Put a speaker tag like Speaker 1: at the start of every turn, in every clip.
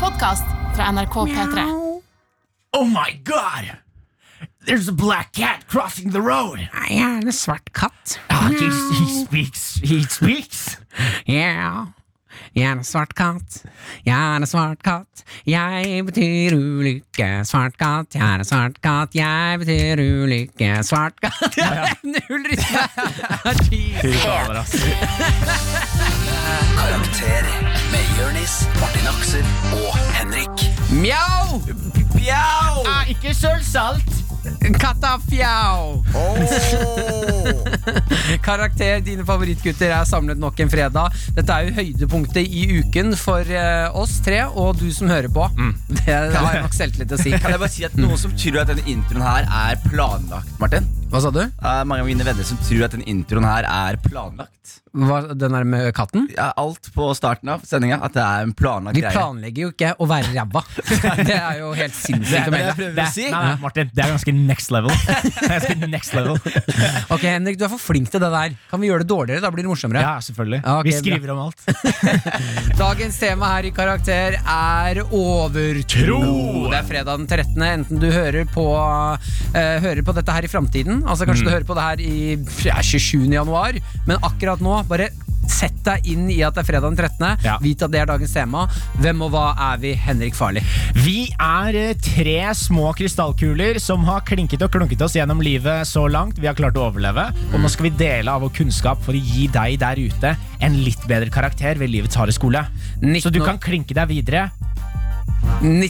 Speaker 1: podkast fra NRK P3.
Speaker 2: Oh my god! There's a black cat crossing the road.
Speaker 3: Jeg er en svart katt.
Speaker 2: Ah, he, he speaks. He speaks.
Speaker 3: Yeah. Jeg er en svart katt, jeg er en svart katt, jeg betyr ulykke. Svart katt, jeg er en svart katt, jeg betyr ulykke. Svart katt Jeg har null rytme!
Speaker 4: Karakter med Jørnis, Martin Aksel og Henrik.
Speaker 3: Mjau!
Speaker 4: Bjau!
Speaker 2: Ah, ikke søl salt.
Speaker 3: Katta fjau! Karakter, dine favorittgutter er samlet nok en fredag. Dette er jo høydepunktet i uken for eh, oss tre og du som hører på. Det har jeg nok selvtillit til å si.
Speaker 5: Kan jeg bare si at Noen som tror at denne introen her er planlagt, Martin.
Speaker 3: Hva sa du?
Speaker 5: Det er mange av mine venner som tror at denne introen her er planlagt.
Speaker 3: Hva, den der med katten?
Speaker 5: Ja, alt på starten av sendinga at det er en planlagt
Speaker 3: Vi
Speaker 5: greie.
Speaker 3: planlegger jo ikke å være ræva. Det er jo helt sinnssykt å melde.
Speaker 2: Det, nei, nei, Martin, det er ganske next level. Det er ganske next level
Speaker 3: Ok, Henrik, du er for flink til det der. Kan vi gjøre det dårligere? Da blir det morsommere.
Speaker 2: Ja, selvfølgelig.
Speaker 3: Ja, ok,
Speaker 2: Vi skriver om alt.
Speaker 3: Dagens tema her i Karakter er overtro. Det er fredag den 13. Enten du hører på, eh, hører på dette her i framtiden, altså kanskje du hører på det her i ja, 27. januar, men akkurat nå, bare sett deg inn i at det er fredag den 13.
Speaker 2: Ja.
Speaker 3: Vit at det er dagens tema. Hvem og hva er vi? Henrik Farli.
Speaker 2: Vi er eh, tre små krystallkuler som har klinket og klunket oss gjennom livet så langt. Vi har klart å overleve, og nå skal vi dele av vår kunnskap for å gi deg der ute en litt bedre karakter ved livets harde skole. Så du
Speaker 3: 19
Speaker 2: kan klinke deg videre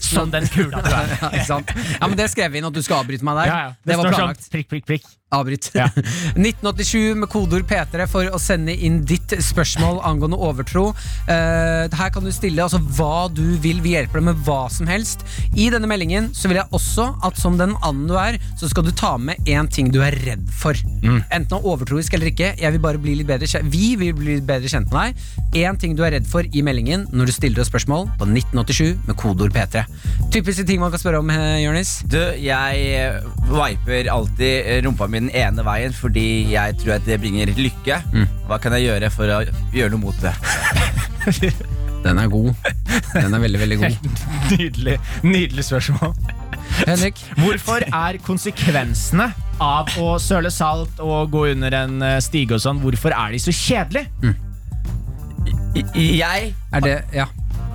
Speaker 2: som den kula du er.
Speaker 3: ja, ikke sant? ja, men Det skrev vi inn at du skal avbryte meg der.
Speaker 2: Ja, ja.
Speaker 3: Det, var
Speaker 2: står
Speaker 3: planlagt.
Speaker 2: sånn prikk, prikk, prikk.
Speaker 3: Avbryt.
Speaker 2: Ja.
Speaker 3: 1987 med kodeord P3 for å sende inn ditt spørsmål angående overtro. Eh, her kan du stille altså, hva du vil. Vi hjelper deg med hva som helst. I denne meldingen så vil jeg også at som den anden du er, så skal du ta med én ting du er redd for. Enten overtroisk eller ikke. Jeg vil bare bli litt bedre kjent Vi vil bli litt bedre kjent med deg. Én ting du er redd for i meldingen når du stiller oss spørsmål på 1987 med kodeord P3. Typiske ting man kan spørre om, eh, Jonis.
Speaker 5: Du, jeg eh, viper alltid eh, rumpa mi den ene veien fordi jeg tror at det bringer lykke. Hva kan jeg gjøre for å gjøre noe mot det?
Speaker 3: Den er god. Den er veldig, veldig god.
Speaker 2: Nydelig, nydelig spørsmål.
Speaker 3: Henrik?
Speaker 2: Hvorfor er konsekvensene av å søle salt og gå under en eh, stige og sånn, hvorfor er de så kjedelige?
Speaker 3: Mm.
Speaker 5: I- Jeg
Speaker 3: Er det, ja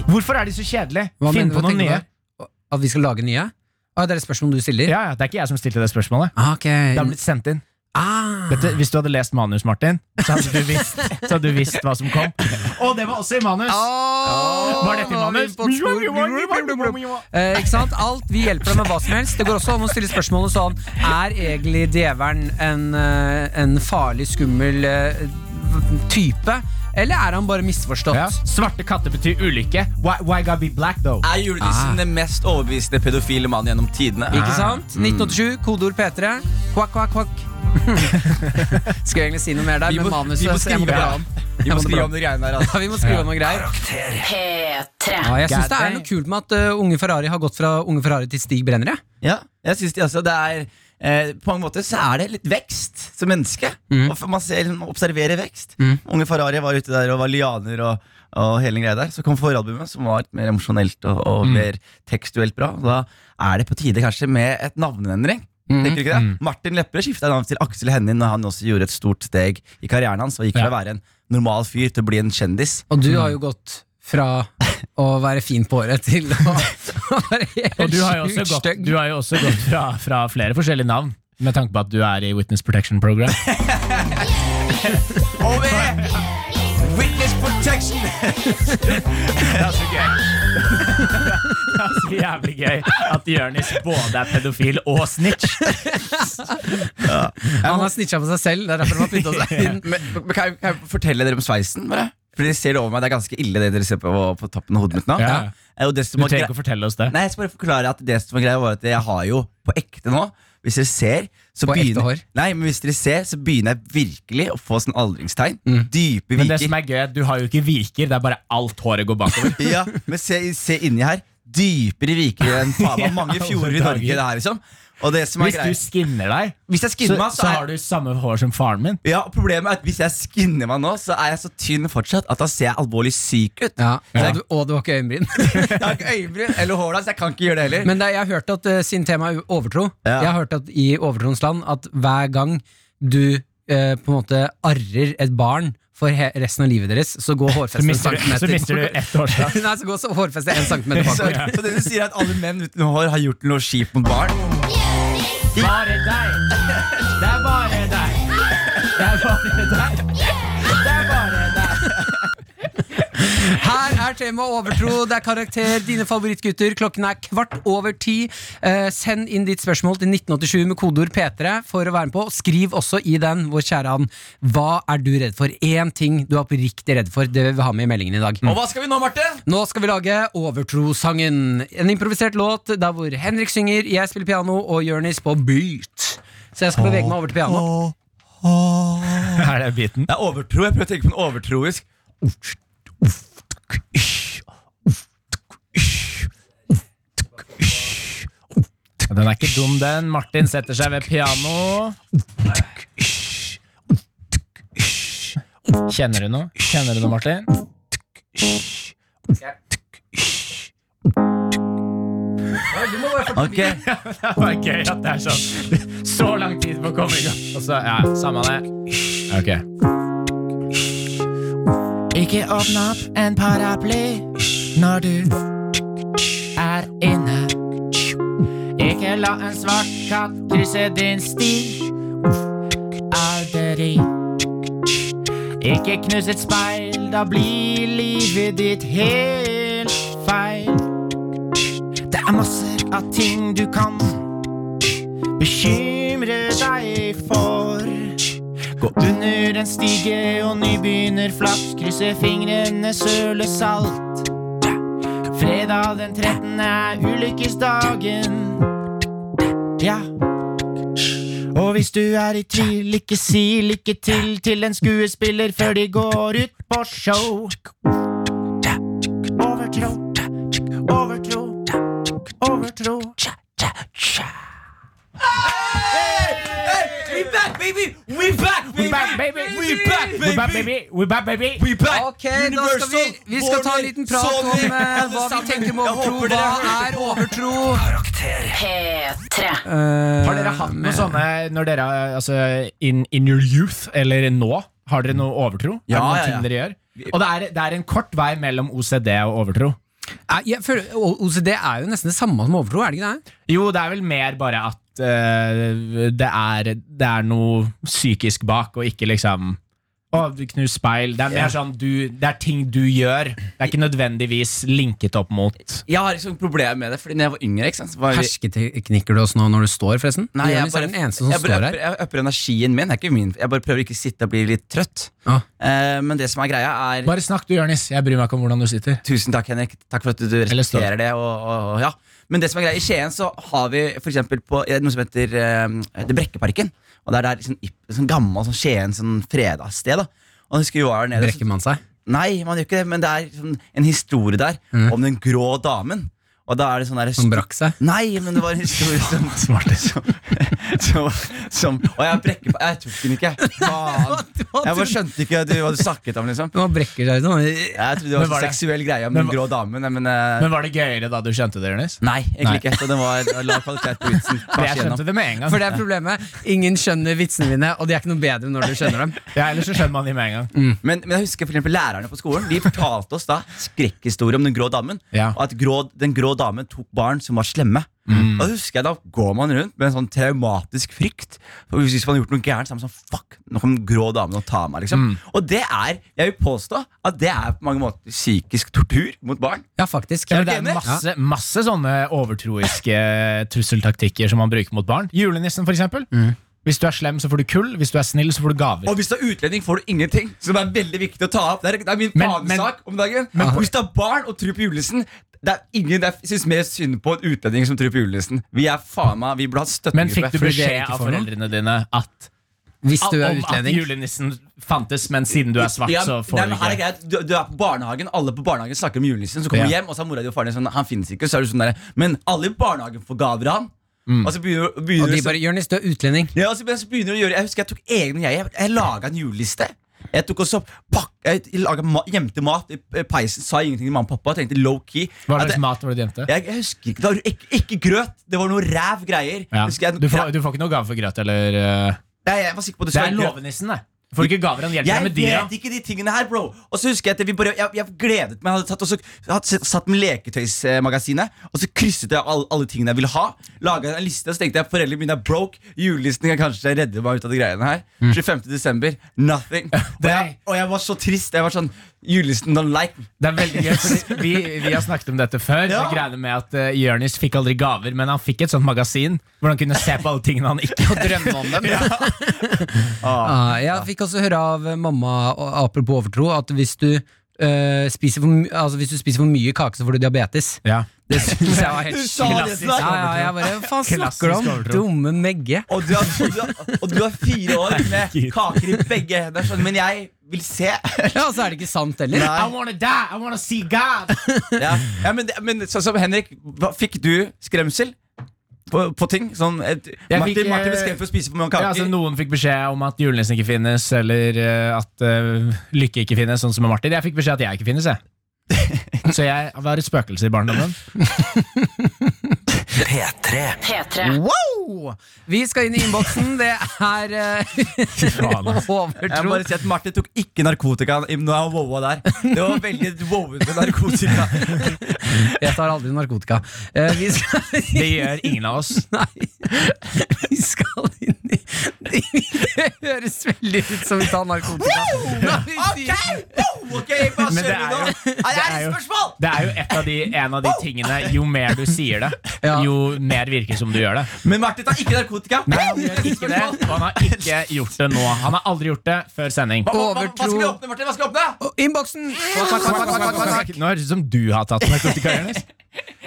Speaker 2: Hvorfor er de så kjedelige?
Speaker 3: Hva
Speaker 2: Finn
Speaker 3: mener-
Speaker 2: på
Speaker 3: hva tenker
Speaker 2: noen
Speaker 3: du
Speaker 2: nye.
Speaker 3: der? At vi skal lage nye? Ah, det er et spørsmål du stiller?
Speaker 2: Ja, ja, Det er ikke jeg som stilte det spørsmålet.
Speaker 3: Ah, ok.
Speaker 2: Det har blitt sendt inn.
Speaker 3: ah.
Speaker 2: Dette, hvis du hadde lest manus, Martin, så hadde du visst, så hadde du visst hva som kom. Og det var også i manus! Var dette i manus?
Speaker 3: Eh, ikke sant? Alt Vi hjelper deg med hva som helst. Det går også om å stille spørsmålet sånn Er egentlig djevelen en, eh, en farlig, skummel eh, type? Eller er han bare misforstått?
Speaker 2: Ja. Svarte katter betyr ulykke. Why, why gotta be black, though?
Speaker 5: er julenissen den mest overbevisende pedofile mannen gjennom tidene.
Speaker 3: Ikke sant?
Speaker 2: Mm.
Speaker 3: 1987, kodeord P3. Kvakk, kvakk, kvakk. Skal jeg egentlig si noe mer der,
Speaker 5: Vi må,
Speaker 3: men manuset
Speaker 5: vi må
Speaker 3: så jeg må
Speaker 5: skrive,
Speaker 3: bla
Speaker 5: om-
Speaker 3: om.
Speaker 5: vi
Speaker 3: Jeg
Speaker 5: må
Speaker 3: må
Speaker 5: skrive
Speaker 3: bla.
Speaker 5: om de greiene der. Altså.
Speaker 3: Ja, vi må skrive om noe greier.
Speaker 1: P3.
Speaker 3: Ja, Ah, jeg syns
Speaker 2: God
Speaker 3: det er noe kult med at eh, unge Ferrari har gått fra unge Ferrari til Stig Brenner. jeg.
Speaker 5: Ja, jeg synes de også det er eh, På en måte så er det litt vekst som menneske Og for- Man ser, man observerer vekst Unge Ferrari var ute der og var lianer og, og hele den greia der Så kom foralbumet som var mer emosjonelt og, og mer tekstuelt bra Da er det på tide kanskje med et navneendring Tenker du ikke det? Martin Lepperød skiftet navn til Aksel Hennin Når han også gjorde et stort steg i karrieren hans Og gikk fra å være en normal fyr til å bli en kjendis
Speaker 3: Og du har jo gått fra å være fin på håret til å være helt
Speaker 2: Og du har jo også
Speaker 3: sjukt
Speaker 2: gått,
Speaker 3: stygg.
Speaker 2: du har jo også gått fra, fra flere forskjellige navn, med tanke på at du er i Witness Protection Program.
Speaker 5: Over! Witness protection!
Speaker 2: Det er så gøy. Det er så jævlig gøy at Jonis både er pedofil og snitch.
Speaker 3: Han har snitcha på seg selv. Det er derfor han har putta seg inn.
Speaker 5: Men, men kan, jeg, kan jeg fortelle dere om sveisen? Bare? Fordi dere ser det over meg, det er ganske ille det dere ser på, på toppen av hodet mitt nå.
Speaker 2: Ja.
Speaker 5: Eh, Og det
Speaker 2: Du
Speaker 5: som var
Speaker 2: trenger
Speaker 5: grei-
Speaker 2: ikke å fortelle oss det.
Speaker 5: Nei, jeg skal bare forklare at det som var greia, var at jeg har jo på ekte nå hvis dere ser, så
Speaker 3: På ekte
Speaker 5: begynner,
Speaker 3: hår?
Speaker 5: Nei, men hvis dere ser, så begynner jeg virkelig å få sånn aldringstegn. Dype
Speaker 2: Mm. Men det
Speaker 5: viker.
Speaker 2: som er gøy, er at du har jo ikke viker, det er bare alt håret går bakover.
Speaker 5: ja, men se, se inni her. dypere viker enn faen meg mange
Speaker 2: Ja,
Speaker 5: fjorder i
Speaker 2: dager.
Speaker 5: Norge. det her liksom Og det som er
Speaker 2: Hvis du
Speaker 5: greia
Speaker 2: skinner deg,
Speaker 5: Hvis jeg
Speaker 2: så,
Speaker 5: skinner meg,
Speaker 2: så har du samme hår som faren min.
Speaker 5: ja, og Problemet er at hvis jeg skinner meg nå, så er jeg så tynn fortsatt at da ser jeg alvorlig syk ut.
Speaker 3: Ja. Og, du, og du har ikke øyenbryn.
Speaker 5: Jeg har ikke øyebryn eller hår, da, så jeg kan ikke gjøre det heller.
Speaker 3: Men det, er- jeg har hørt at eh, siden temaet er overtro
Speaker 5: Ja.
Speaker 3: Jeg har hørt at i overtroens land at hver gang du eh, på en måte arrer et barn for he resten av livet deres, så går
Speaker 2: Så
Speaker 3: hårfestet en
Speaker 2: mister du, så
Speaker 3: centimeter
Speaker 2: mister du ett år. da.
Speaker 3: Nei, så går så hårfestet en centimeter
Speaker 5: så,
Speaker 3: bakover.
Speaker 5: så det du sier, er at alle menn uten hår har gjort noe kjipt mot barn?
Speaker 2: Bare deg. Det er bare deg. Det er bare deg. Det er bare deg.
Speaker 3: Her er tema overtro. Det er karakter. Dine favorittgutter. Klokken er kvart over ti. Eh, send inn ditt spørsmål til 1987 med kodeord P3 for å være med på. Og skriv også i den, vår kjære Ann, hva er du redd for? Én ting du er oppriktig redd for. Det vil vi ha med i meldingen i dag.
Speaker 5: Og hva skal vi nå, Marte?
Speaker 3: Nå skal vi lage Overtrosangen. En improvisert låt der hvor Henrik synger, jeg spiller piano og Jonis på beat. Så jeg skal bevege meg over til piano.
Speaker 2: Er det biten?
Speaker 5: Det er overtro. Jeg prøver å tenke på en overtroisk
Speaker 2: Den er ikke dum, den. Martin setter seg ved piano. Kjenner du noe? Kjenner du noe, Martin?
Speaker 5: Ok,
Speaker 2: Det var gøy at det er sånn. Så lang tid på å komme i gang. Og så, ja, samme det. Ok. Ikke åpne opp en paraply når du er inne. Ikke la en svart katt krysse din sti. Aldri. Ikke knus et speil, da blir livet ditt helt feil. Det er masser av ting du kan bekymre deg for. Gå under en stige og nybegynner flaps, krysse fingrene, søle salt. Fredag den 13. er ulykkesdagen. Ja. Og hvis du er i tvil, ikke si lykke til til en skuespiller før de går ut på show. Overtro, overtro. Overtro.
Speaker 5: We back, baby! We back, baby!
Speaker 2: We back, baby!
Speaker 5: We back, baby!
Speaker 2: We back, baby! We back, baby!
Speaker 5: We back!
Speaker 3: Ok, da skal vi, vi skal ta en liten prat om eh, hva vi tenker om overtro. Hva er overtro?
Speaker 1: P3.
Speaker 3: Eh,
Speaker 2: Har dere hatt noe sånne når dere altså, in, in your youth, eller nå? Har dere noe overtro? Er det
Speaker 5: Ja,
Speaker 2: noen
Speaker 5: ja, ja.
Speaker 2: ting dere gjør? Og det er, det er en kort vei mellom OCD og overtro.
Speaker 3: Nei, Jeg føler, O- OCD er jo nesten det samme som overtro, er det ikke det?
Speaker 2: Jo, det er vel mer bare at eh, det, er, det er noe psykisk bak, og ikke liksom å, du knus speil. Det er mer sånn du, Det er ting du gjør. Det er ikke nødvendigvis linket opp mot
Speaker 5: Jeg har liksom problemer med det, Fordi når jeg var yngre ikke sant, så var vi-
Speaker 3: Hersketeknikker du oss nå når du står, forresten?
Speaker 5: Nei,
Speaker 3: Jonis
Speaker 5: jeg
Speaker 3: er liksom
Speaker 5: bare-
Speaker 3: den eneste som
Speaker 5: jeg bare
Speaker 3: står her.
Speaker 5: upper- Jeg øpper energien min. Det er ikke min Jeg bare prøver ikke å sitte og bli litt trøtt.
Speaker 3: Ah.
Speaker 5: Eh, men det som er greia, er
Speaker 2: Bare snakk du, Jonis. Jeg bryr meg ikke om hvordan du sitter.
Speaker 5: Tusen takk, Henrik. Takk for at du
Speaker 2: Eller stå.
Speaker 5: respekterer det. Og, og, og, ja. Men det som er greia, i Skien så har vi for eksempel på eh, noe som heter eh, Det Brekkeparken. Og det er der sånn, ip- sånn gammel sånn Skien sånn fredagssted. da Og jeg husker vi var der nede
Speaker 3: Brekker man seg?
Speaker 5: så, Nei, man gjør ikke det, men det er sånn, en historie der
Speaker 2: Mm.
Speaker 5: om den grå damen. Og da er det sånn der,
Speaker 3: Man brakk seg?
Speaker 5: Nei, men det var en historie som som, som, som Og jeg brekker på Jeg tok den ikke. Faen. Jeg bare skjønte ikke du, hva du snakket om, liksom.
Speaker 3: Man brekker seg sånn.
Speaker 5: Jeg trodde
Speaker 2: Men
Speaker 5: det var,
Speaker 2: var
Speaker 5: en
Speaker 2: det-
Speaker 5: seksuell greie om den
Speaker 2: hva-
Speaker 5: grå damen. nei, Men, eh,
Speaker 2: Men var det gøyere da du skjønte det, Jonis?
Speaker 5: Nei,
Speaker 2: Nei.
Speaker 5: egentlig ikke. Så den var det var lav kvalitet på vitsen.
Speaker 2: For
Speaker 5: Tvers
Speaker 2: jeg
Speaker 5: igjennom.
Speaker 2: skjønte det med en gang.
Speaker 3: For det er problemet. Ingen skjønner vitsene mine, og de er ikke noe bedre når du skjønner dem.
Speaker 2: Ja, Ellers så skjønner man de med en gang.
Speaker 5: Men, men jeg husker for eksempel lærerne på skolen De fortalte oss da skrekkhistorie om den grå damen.
Speaker 2: Ja.
Speaker 5: Og at grå, den grå damen tok barn som var slemme.
Speaker 2: Mm.
Speaker 5: Og da husker jeg da går man rundt med en sånn traumatisk frykt. For hvis man har gjort noe gærent, så er man sånn Fuck, nå kommer den grå damen og tar meg.
Speaker 2: Mm.
Speaker 5: liksom Og det er, jeg vil påstå, at det er på mange måter psykisk tortur mot barn.
Speaker 3: Ja, faktisk.
Speaker 2: Ja, men det er
Speaker 5: enig?
Speaker 2: masse, masse sånne overtroiske eh, trusseltaktikker som man bruker mot barn. Julenissen, for eksempel. Hvis du er slem, så får du kull. Hvis du er snill, så får du gaver.
Speaker 5: Og hvis du er utlending, får du ingenting. Som er veldig viktig å ta opp. Det er, det er min
Speaker 2: Men-
Speaker 5: fanesak om dagen. Men hvis du er barn og tror på julenissen det er ingen jeg syns mer synd på en utlending som tror på julenissen. Vi er faen meg, vi burde ha
Speaker 2: Men fikk
Speaker 5: støttegruppe.
Speaker 2: du
Speaker 3: fordi dere
Speaker 2: beskjed
Speaker 3: ikke
Speaker 2: av
Speaker 3: får noe?
Speaker 2: foreldrene dine at
Speaker 3: Hvis du er
Speaker 2: Om at
Speaker 3: utlending.
Speaker 2: julenissen fantes, men siden du er svart,
Speaker 5: Ja,
Speaker 2: så
Speaker 5: nei,
Speaker 2: får du
Speaker 5: men her er
Speaker 2: ikke
Speaker 5: greit. Du, du er på barnehagen, alle på barnehagen snakker om julenissen. Så kommer du
Speaker 2: Ja.
Speaker 5: hjem, og så er mora di og faren din sånn Han finnes ikke. Så er du sånn der, men alle i barnehagen får gaver av han.
Speaker 2: Mm.
Speaker 5: Og så begynner, begynner
Speaker 3: Og de
Speaker 5: du så-
Speaker 3: bare 'Jonis, du er utlending'.
Speaker 5: Ja, altså, men så begynner du å gjøre Jeg husker jeg tok egne jeg Jeg, jeg laget en juleliste Jeg tok også pakk Jeg laget ma, gjemte mat i i peisen Sa ingenting til mamma og pappa Tenkte low key
Speaker 2: Hva
Speaker 5: at
Speaker 2: slags
Speaker 5: jeg,
Speaker 2: mat var det du gjemte?
Speaker 5: jeg, jeg husker ikke Det var ikke, ikke grøt Det var noe ræv greier
Speaker 2: Ja.
Speaker 5: Husker jeg,
Speaker 2: Du, får, du får ikke noe gave for grøt, eller eh,
Speaker 5: Nei, jeg var sikker på at det
Speaker 2: Det
Speaker 5: skulle
Speaker 2: er
Speaker 5: være grøt.
Speaker 2: låvenissen, det. Du får ikke gaver, han hjelper deg
Speaker 5: Jeg
Speaker 2: med dyra.
Speaker 5: vet ikke de tingene her, bro. Og så husker jeg at vi bare, jeg, jeg gledet meg. Jeg hadde tatt, også, jeg hadde s- satt med leketøysmagasinet, og så krysset jeg alle, alle tingene jeg ville ha. Laga en liste, og så tenkte jeg foreldrene mine er broke. Julelisten kan kanskje redde meg ut av de greiene her. 25. desember, nothing. Og jeg, og jeg var så trist. Jeg var sånn Julelisten don't like me.
Speaker 2: Det er veldig gøy, fordi vi, vi har snakket om dette før.
Speaker 5: Ja.
Speaker 2: Det greiene med at uh, Jonis fikk aldri gaver, men han fikk et sånt magasin hvor han kunne se på alle tingene han ikke hadde drømme om dem.
Speaker 3: Ah, jeg fikk også høre av eh, mamma, og- apropos overtro, at hvis du, eh, spiser, for, my- altså, hvis du spiser for mye kake, så får du diabetes.
Speaker 2: Ja.
Speaker 3: Det synes jeg var helt
Speaker 5: Du sa det
Speaker 3: klassisk.
Speaker 5: snart.
Speaker 3: Ja, ja, jeg bare, Hva faen
Speaker 2: Klassisk
Speaker 3: snakker du om?
Speaker 2: overtro.
Speaker 3: Dumme Megge.
Speaker 5: Og du, har, og, du har, og du har fire år med kaker i begge hender, sånn, men jeg vil se.
Speaker 3: Ja, så er det ikke sant heller.
Speaker 5: Nei.
Speaker 2: I wanna die, I wanna see God.
Speaker 5: ja. ja, men, det- men sånn som Henrik, hva, fikk du skremsel på, på ting? Sånn, et,
Speaker 2: Jeg
Speaker 5: Martin,
Speaker 2: fikk, eh,
Speaker 5: Martin ble skremt for å spise for mange kaker.
Speaker 2: Ja, altså, noen fikk beskjed om at julenissen ikke finnes, eller eh, at eh, lykke ikke finnes, sånn som med Martin. Jeg fikk beskjed at jeg ikke finnes, jeg. Så jeg var et spøkelse i barndommen.
Speaker 4: P3
Speaker 1: P3.
Speaker 3: Wow! Vi skal inn i innboksen. Det er eh,
Speaker 5: jeg må
Speaker 3: overtro.
Speaker 5: bare si at Martin tok ikke narkotika. Nå er han wowa der. Det var veldig wowet med narkotika.
Speaker 3: Jeg tar aldri narkotika. Eh, vi skal
Speaker 2: Det gjør ingen av oss.
Speaker 3: Nei, vi skal inn i Det høres veldig ut som vi tar narkotika. Når vi
Speaker 5: Ok,
Speaker 3: sier-
Speaker 5: wow, ok, bare
Speaker 2: Men det
Speaker 5: kjører
Speaker 2: er jo-
Speaker 5: nå. Er det
Speaker 2: er
Speaker 5: et
Speaker 2: jo-
Speaker 5: spørsmål?
Speaker 2: Det er jo et av de, en av de tingene Jo mer du sier det,
Speaker 3: Ja.
Speaker 2: jo mer virker det som du gjør det.
Speaker 5: Men Martin tar ikke narkotika.
Speaker 2: Nei, han gjør ikke det,
Speaker 5: Spørsmål.
Speaker 2: og han har ikke gjort det nå. Han har aldri gjort det før sending.
Speaker 5: Hva, hva, hva, hva skal vi
Speaker 3: Overtro.
Speaker 5: åpne, Martin? Hva skal vi åpne?
Speaker 3: Innboksen!
Speaker 2: Nå høres det ut som du har tatt narkotika, Jonis.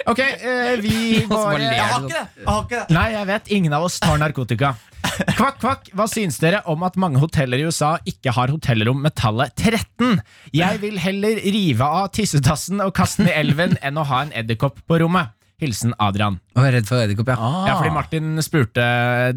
Speaker 2: Ok, eh, vi
Speaker 3: Og så bare
Speaker 2: går
Speaker 3: ler
Speaker 5: Jeg
Speaker 2: eh,
Speaker 3: du.
Speaker 5: har ikke det. Jeg har ikke det.
Speaker 2: Nei, jeg vet ingen av oss tar narkotika. Kvakk, kvakk, hva syns dere om at mange hoteller i USA ikke har hotellrom med tallet 13? Jeg vil heller rive av tissetassen og kaste den i elven enn å ha en edderkopp på rommet. Hilsen Adrian.
Speaker 3: Å, Jeg er redd for edderkopp, ja.
Speaker 2: Ja,
Speaker 5: Ah.
Speaker 2: fordi Martin spurte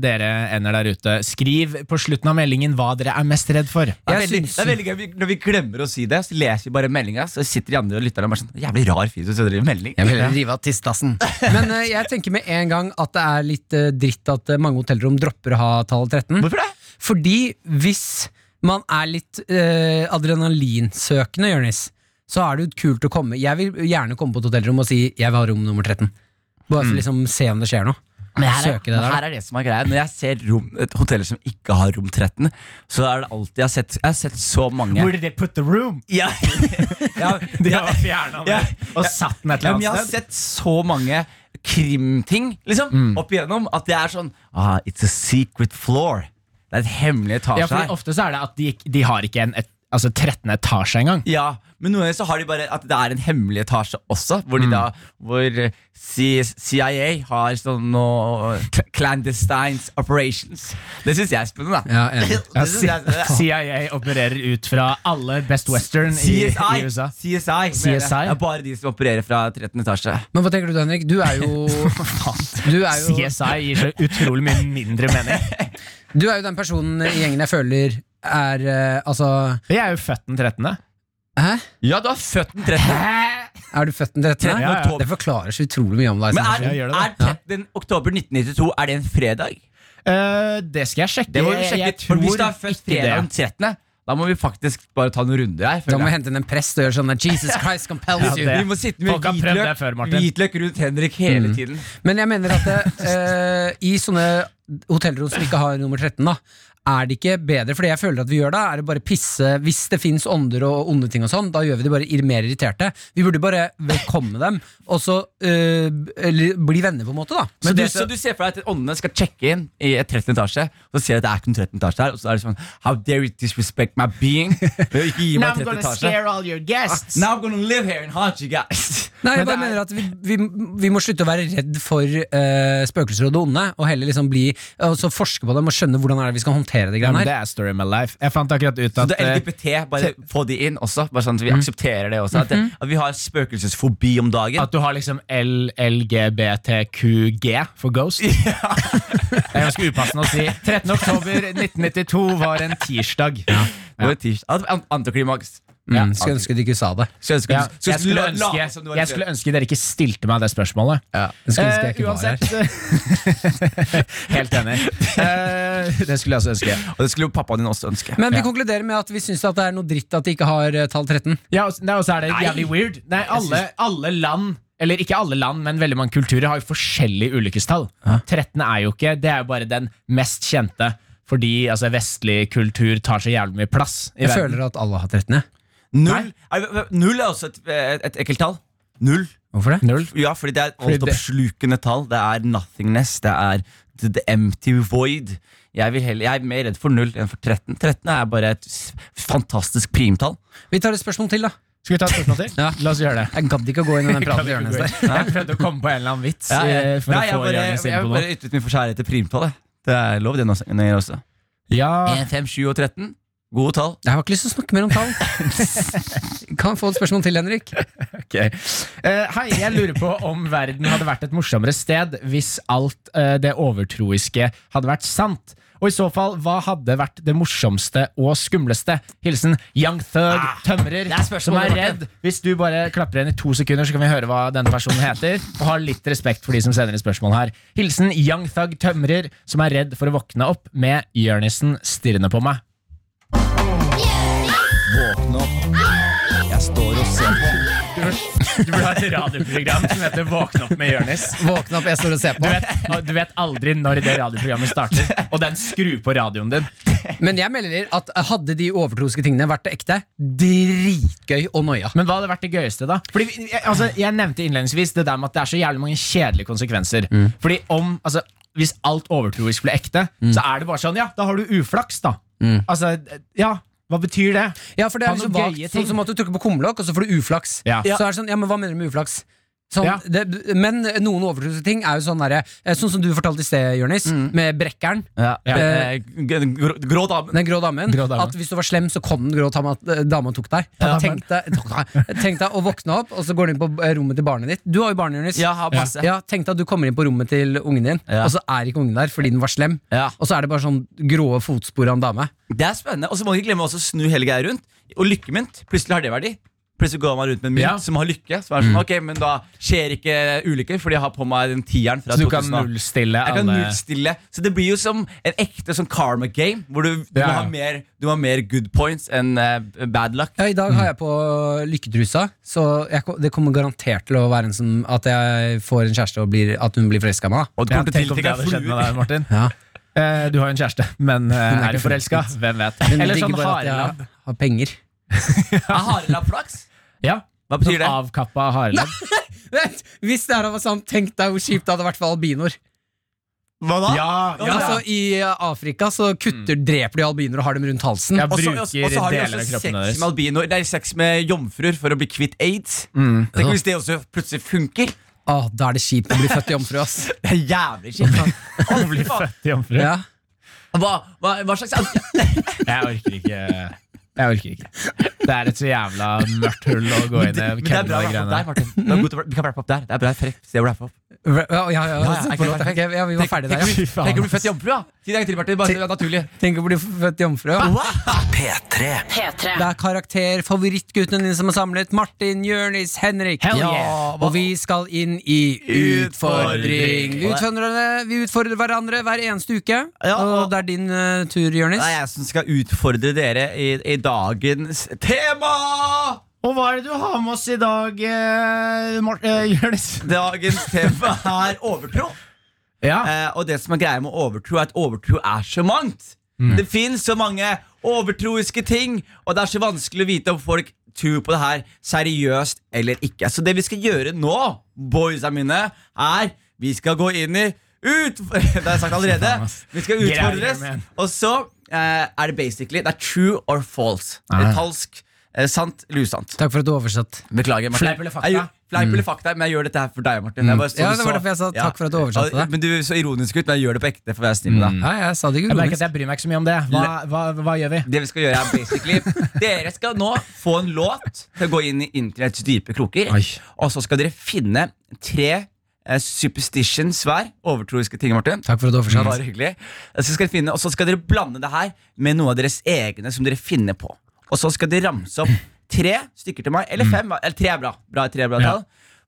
Speaker 2: dere ender der ute. Skriv på slutten av meldingen hva dere er mest redd for.
Speaker 5: Det er,
Speaker 3: Jeg
Speaker 5: veldig,
Speaker 3: syns-
Speaker 5: det er veldig gøy vi- Når vi glemmer å si det, så leser vi bare meldinga. Så sitter de andre og lytter og bare sånn Jævlig rar fyr som sender en melding.
Speaker 3: Jeg vil rive av tistassen. Men eh, jeg tenker med en gang at det er litt eh, dritt at eh, mange hotellrom dropper å ha tallet 13.
Speaker 5: Hvorfor det?
Speaker 3: Fordi hvis man er litt eh, adrenalinsøkende, Jonis, så er det jo kult å komme. Jeg vil gjerne komme på et hotellrom og si 'jeg vil ha rom nummer 13'. Bare for liksom se om det skjer noe. Søke det
Speaker 5: men
Speaker 3: der.
Speaker 5: her er det som er greia. Når jeg ser rom, et hotell som ikke har rom 13, så er det alltid Jeg har sett, jeg har sett så mange
Speaker 2: Where did they put the room?
Speaker 5: ja, ja,
Speaker 2: De
Speaker 5: ja,
Speaker 2: har fjerna den
Speaker 5: Ja.
Speaker 2: og satt den et
Speaker 5: ja,
Speaker 2: eller
Speaker 5: men jeg har
Speaker 2: annet sted.
Speaker 5: sett så mange krimting liksom,
Speaker 3: Mm.
Speaker 5: opp igjennom at det er sånn ah, It's a secret floor. Det er et hemmelig
Speaker 2: Ja,
Speaker 5: etasje
Speaker 2: for
Speaker 5: her.
Speaker 2: Ofte så er det at de, ikke- de har ikke en et, altså 13. etasje engang.
Speaker 5: Ja, Men noen ganger så har de bare at det er en hemmelig etasje også, hvor,
Speaker 3: Mm.
Speaker 5: de da, hvor eh, C- CIA har sånn noe clandestine operations. Det syns jeg er spennende, da.
Speaker 3: Ja, enig.
Speaker 5: Det synes jeg er spennende.
Speaker 2: CIA opererer ut fra alle Best Western i, i USA.
Speaker 5: CSI, mener jeg.
Speaker 2: CSI?
Speaker 5: Det er bare de som opererer fra 13. etasje.
Speaker 3: Men hva tenker du da, Henrik? Du er jo Du er jo,
Speaker 2: CSI gir så utrolig mye mindre mening.
Speaker 3: du er jo den personen i gjengen jeg føler er eh, Altså
Speaker 2: Jeg er jo født den 13.
Speaker 3: Hæ?
Speaker 5: Ja, du har født den 13.
Speaker 3: Er du født den 13.?
Speaker 2: Ja, ja, ja.
Speaker 3: Det forklarer så utrolig mye om deg.
Speaker 5: Men
Speaker 3: som
Speaker 5: er,
Speaker 3: person.
Speaker 2: jeg gjør det,
Speaker 5: er 13. oktober 1992 Er det en fredag?
Speaker 2: Eh, det skal jeg sjekke.
Speaker 5: Det må vi
Speaker 2: Jeg-
Speaker 5: sjekke
Speaker 2: jeg
Speaker 5: ut. For hvis du
Speaker 2: tror
Speaker 5: er født
Speaker 2: ikke det.
Speaker 5: fredag den 13., da må vi faktisk bare ta noen runder her.
Speaker 3: Da
Speaker 5: føler
Speaker 3: må vi
Speaker 5: jeg.
Speaker 3: hente inn en prest og gjøre sånn der, Jesus Christ compels
Speaker 2: Ja,
Speaker 3: you.
Speaker 2: det-
Speaker 5: Vi må sitte med
Speaker 2: Folk har prøvd det
Speaker 5: hvitløk,
Speaker 2: før, Martin. Mm.
Speaker 5: hvitløk rundt Henrik hele tiden.
Speaker 3: Men jeg mener at det, eh, i sånne hotellrom som ikke har nummer 13, da, er det ikke bedre? For det jeg føler at vi gjør da, er å bare pisse Hvis det fins ånder og onde ting og sånn, da gjør vi de bare ir- mer irriterte. Vi burde bare velkomme dem, og så eh, eller bli venner, på en måte, da.
Speaker 5: Så
Speaker 3: Så
Speaker 5: du,
Speaker 3: det-
Speaker 5: så du ser for deg at åndene skal sjekke inn i et 13. etasje, og så ser de at det er ikke noen 13. etasje her, og så er det sånn How dare you disrespect my being? Ved å ikke gi
Speaker 2: Now I'm
Speaker 5: meg 13.
Speaker 2: gonna
Speaker 5: etasje.
Speaker 2: scare all your guests.
Speaker 5: Now I'm gonna live here and haunt you guys.
Speaker 3: Nei, jeg bare
Speaker 2: Men det er-
Speaker 3: mener at vi, vi, vi må slutte å være redd for eh, spøkelser og det onde, og heller liksom bli, altså forske på dem og skjønne hvordan er det vi skal håndtere de
Speaker 2: Ja,
Speaker 3: greiene
Speaker 2: men det
Speaker 3: her.
Speaker 2: er story of my life. Jeg fant akkurat ut
Speaker 5: Så
Speaker 2: at
Speaker 5: det
Speaker 2: eh,
Speaker 5: er
Speaker 2: Mm.
Speaker 5: LGBT, bare få de inn også. Bare sånn at vi aksepterer det også. At, det, at vi har spøkelsesfobi om dagen.
Speaker 2: Mm-hmm. At du har liksom LLGBTQG for Ghost. det er ganske upassende å si. 13. oktober 1992 var en tirsdag.
Speaker 5: Det var tirs- at- an- Antiklimaks.
Speaker 3: Mm, skulle ønske du ikke sa det.
Speaker 5: Skulle ønske-
Speaker 2: Ja,
Speaker 5: skulle
Speaker 2: jeg, skulle
Speaker 5: la-
Speaker 2: ønske,
Speaker 5: late som du var
Speaker 2: jeg skulle ønske dere ikke stilte meg det spørsmålet.
Speaker 3: Jeg skulle ønske jeg
Speaker 2: Eh,
Speaker 3: ikke var her.
Speaker 2: Helt enig. Eh, det skulle jeg også ønske.
Speaker 5: Og det skulle jo pappaen din også ønske.
Speaker 3: Men vi
Speaker 2: Ja.
Speaker 3: konkluderer med at vi syns at det er noe dritt at de ikke har eh, tall 13.
Speaker 2: Ja, og s- nei, og så er det jævlig weird. Nei, alle, alle land eller ikke alle land, men veldig mange kulturer har jo forskjellige ulykkestall. 13 er jo ikke Det er jo bare den mest kjente, fordi altså, vestlig kultur tar så jævlig mye plass. I
Speaker 3: Jeg
Speaker 2: verden.
Speaker 3: føler at alle har 13. jeg.
Speaker 5: Null, er, null er også et, eh, et, et ekkelt tall. Null.
Speaker 3: Hvorfor det?
Speaker 2: Null.
Speaker 5: Ja, fordi det er et
Speaker 2: Fordi det-
Speaker 5: altoppslukende tall. Det er nothingness. Det er the, the empty void. Jeg, vil heller, jeg er mer redd for null enn for 13. 13 er bare et s- fantastisk primtall.
Speaker 3: Vi tar et spørsmål til, da.
Speaker 2: Skal vi ta et spørsmål til?
Speaker 3: Ja.
Speaker 2: La oss gjøre det.
Speaker 3: Jeg gadd ikke å gå inn i den
Speaker 2: Kan
Speaker 3: praten.
Speaker 2: vi
Speaker 3: Jonas,
Speaker 2: ikke
Speaker 3: der.
Speaker 2: gå inn? Jeg prøvde å komme på en eller annen vits. eh, For
Speaker 5: Nei,
Speaker 2: å
Speaker 5: jeg
Speaker 2: få
Speaker 5: bare,
Speaker 2: Jonis inn
Speaker 5: jeg
Speaker 2: på noe.
Speaker 5: bare ytret min forskjærlighet til primtallet. Det er lov, det nå- nå også.
Speaker 2: Ja,
Speaker 5: 1, 5, 7 og 13. Gode tall.
Speaker 3: Jeg har ikke lyst til å snakke mer om tall. Kan jeg få et spørsmål til, Henrik.
Speaker 2: ok Eh, Hei, jeg lurer på om verden hadde vært et morsommere sted hvis alt eh, det overtroiske hadde vært sant. Og i så fall, hva hadde vært det morsomste og skumleste? Hilsen Young Thug
Speaker 5: Ah,
Speaker 2: Tømrer, som er redd. Hvis du bare klapper igjen i to sekunder, så kan vi høre hva denne personen heter. Og ha litt respekt for de som sender inn spørsmål her. Hilsen Young Thug Tømrer, som er redd for å våkne opp med Jørnissen stirrende på meg.
Speaker 5: Våkne opp. Jeg står og ser på.
Speaker 2: Du burde ha et radioprogram som heter Våkne opp med Jørnis.
Speaker 3: Våkne opp, jeg står og ser
Speaker 2: Du
Speaker 3: på.
Speaker 2: vet, og du vet aldri når det radioprogrammet starter, og den skrur på radioen din.
Speaker 3: Men jeg melder at hadde de overtroiske tingene vært ekte, dritgøy og noia.
Speaker 2: Men hva hadde vært det gøyeste, da? Fordi, vi- jeg- altså, jeg nevnte innledningsvis det der med at det er så jævlig mange kjedelige konsekvenser.
Speaker 3: Mm.
Speaker 2: Fordi om, altså, Hvis alt overtroisk ble ekte,
Speaker 3: Mm.
Speaker 2: så er det bare sånn Ja, da har du uflaks, da. Altså, ja, Hva betyr det?
Speaker 3: Ja, for det
Speaker 2: Ha
Speaker 3: er jo så
Speaker 2: noen
Speaker 3: vagt.
Speaker 2: gøye ting.
Speaker 3: Sånn som at du trykker på kumlokk, og så får du uflaks.
Speaker 2: Ja.
Speaker 3: Så er det sånn, ja, men hva mener du med uflaks? Sånn,
Speaker 2: Ja.
Speaker 3: det, men noen overtroiske ting er jo sånn derre eh, Sånn som du fortalte i sted, Jonis,
Speaker 2: Mm.
Speaker 3: med brekkeren.
Speaker 5: Ja.
Speaker 2: Ja.
Speaker 5: Eh, g- grå, grå dame.
Speaker 3: Den grå damen.
Speaker 2: Grå dame.
Speaker 3: At hvis du var slem, så kom den grå tama- eh, dama og tok deg. Tenk, deg tok deg. tenk deg å våkne opp, og så går du inn på eh, rommet til barnet ditt. Du har jo barn, Jonis.
Speaker 5: Ja, har masse.
Speaker 3: Ja, tenk deg at du kommer inn på rommet til ungen din,
Speaker 5: Ja.
Speaker 3: og så er ikke ungen der fordi den var slem.
Speaker 5: Ja.
Speaker 3: Og så er det bare sånn gråe fotspor av en dame.
Speaker 5: Det er spennende. Og så må du ikke glemme også å snu hele greia rundt. Og lykkemynt. Plutselig har det verdi. Plutselig går man rundt med en mynt
Speaker 2: Ja. Mm.
Speaker 5: som har lykke. Så er det sånn, ok, Men da skjer ikke ulykker, fordi jeg har på meg den tieren fra
Speaker 2: Så du kan
Speaker 5: 2000.
Speaker 2: nullstille
Speaker 5: Jeg kan
Speaker 2: alle
Speaker 5: nullstille. Så det blir jo som en ekte sånn karma game, hvor du, du,
Speaker 2: Ja, ja.
Speaker 5: har, mer, du har mer good points enn eh, bad luck.
Speaker 3: Ja, I dag har jeg på lykketrusa, så jeg, ko- det kommer garantert til å være en sånn at jeg får en kjæreste og blir, at hun blir forelska i meg. da.
Speaker 5: Og det
Speaker 2: ja,
Speaker 5: kommer
Speaker 2: Tenk
Speaker 5: til
Speaker 2: om
Speaker 5: til
Speaker 2: det hadde skjedd med deg, Martin.
Speaker 3: Ja.
Speaker 2: Eh, du har jo en kjæreste, men eh, er du forelska? Hvem vet?
Speaker 3: Men
Speaker 2: Eller
Speaker 3: jeg
Speaker 2: sånn
Speaker 3: digger bare at
Speaker 2: harelabb.
Speaker 3: jeg har penger.
Speaker 5: Harelabbflaks?
Speaker 2: Ja.
Speaker 5: Hva betyr
Speaker 2: Sånn
Speaker 5: det?
Speaker 2: Avkappa harelabb.
Speaker 3: Vent, hvis det her var sant, sånn, tenk deg hvor kjipt det hadde vært for albinoer.
Speaker 5: Hva da?
Speaker 2: Ja, ja.
Speaker 3: Altså, I eh, Afrika så kutter, dreper de albinoer og har dem rundt halsen.
Speaker 2: Ja,
Speaker 5: Og så-
Speaker 2: bruker
Speaker 5: og så- og så har de
Speaker 2: deler av
Speaker 5: også
Speaker 2: kroppen
Speaker 5: sex
Speaker 2: deres.
Speaker 5: med albinoer Nei, sex med jomfruer for å bli kvitt aids.
Speaker 2: Mm.
Speaker 5: Tenk hvis det også plutselig funker.
Speaker 3: Åh, da er det kjipt å bli født jomfru, ass.
Speaker 5: Det er jævlig kjipt. Å, fy faen.
Speaker 2: Til jomfru.
Speaker 3: Ja.
Speaker 5: Hva, hva, hva slags
Speaker 2: Jeg orker ikke. Jeg orker ikke. Det er et så jævla mørkt hull å gå inn
Speaker 5: Men
Speaker 2: i.
Speaker 5: det, men det er
Speaker 2: kødde
Speaker 5: bra
Speaker 2: med de
Speaker 5: å rappe opp der,
Speaker 2: greiene.
Speaker 5: Martin. Det er godt å- Vi kan rappe opp der. Det er bra. perfekt sted å rappe opp.
Speaker 3: Ja, ja, ja, ja,
Speaker 5: ja,
Speaker 3: forlåt,
Speaker 5: perfekt.
Speaker 3: ok, ja, vi var ferdige der.
Speaker 2: Fy
Speaker 3: Ja.
Speaker 2: faen,
Speaker 5: Tenk å bli
Speaker 2: ass.
Speaker 5: født jomfru, da! Si deg til Martin. Bare det er naturlig.
Speaker 3: Tenk å bli født jomfru. Ja.
Speaker 4: P3.
Speaker 3: Det
Speaker 1: P3.
Speaker 3: er karakter, favorittguttene dine som er samlet. Martin, Jørnis, Henrik.
Speaker 2: Hell yeah.
Speaker 3: Og vi skal inn i utfordring.
Speaker 5: Utfordring.
Speaker 3: Vi utfordrer, vi utfordrer hverandre hver eneste uke.
Speaker 5: Ja,
Speaker 3: og,
Speaker 5: og-
Speaker 3: det er din eh, tur, Jørnis.
Speaker 5: Det er jeg som skal utfordre dere i, i dagens tema!
Speaker 2: Og hva er det du har med oss i dag, eh, Mart- eh, Jonis?
Speaker 5: Dagens tema er overtro.
Speaker 2: Ja.
Speaker 5: Eh, og det som er greia med overtro, er at overtro er så mangt. Det fins så mange overtroiske ting, og det er så vanskelig å vite om folk tror på det her seriøst eller ikke. Så det vi skal gjøre nå, boysa mine, er vi skal gå inn i ut... Det har jeg sagt allerede. Vi skal utfordres.
Speaker 2: Greier, man.
Speaker 5: Og så eh, er det basically Det er true or false.
Speaker 2: Ah.
Speaker 5: Falsk, eh, sant eller usant.
Speaker 3: Takk for at du oversatte.
Speaker 5: Beklager, Martin.
Speaker 2: Fleip eller fakta?
Speaker 5: Jeg, gjorde- Fleip eller fakta, men jeg gjør dette her for deg, Martin. Jeg bare så
Speaker 3: Mm. Ja,
Speaker 5: du
Speaker 3: det var
Speaker 5: så-
Speaker 3: derfor jeg sa takk for at du oversatte
Speaker 5: Ja,
Speaker 3: det. Mm.
Speaker 5: Men du så ironisk ut, men jeg gjør det på ekte for å være snill med deg.
Speaker 3: Nei, jeg sa det ikke
Speaker 2: Jeg merker
Speaker 3: ironisk.
Speaker 2: at jeg bryr meg ikke så mye om det. Hva, hva, hva gjør vi?
Speaker 5: Det vi skal gjøre er basically Dere skal nå få en låt til å gå inn i internetts dype kroker.
Speaker 3: Oi.
Speaker 5: Og så skal dere finne tre eh, superstitions hver. Overtroiske ting, Martin.
Speaker 3: Takk for at du oversatte.
Speaker 5: Bare hyggelig. Så skal dere finne, og så skal dere blande det her med noe av deres egne som dere finner på. Og så skal dere ramse opp tre stykker til meg, eller fem. Eller tre er bra. bra, tre er bra
Speaker 2: Ja.
Speaker 5: tall.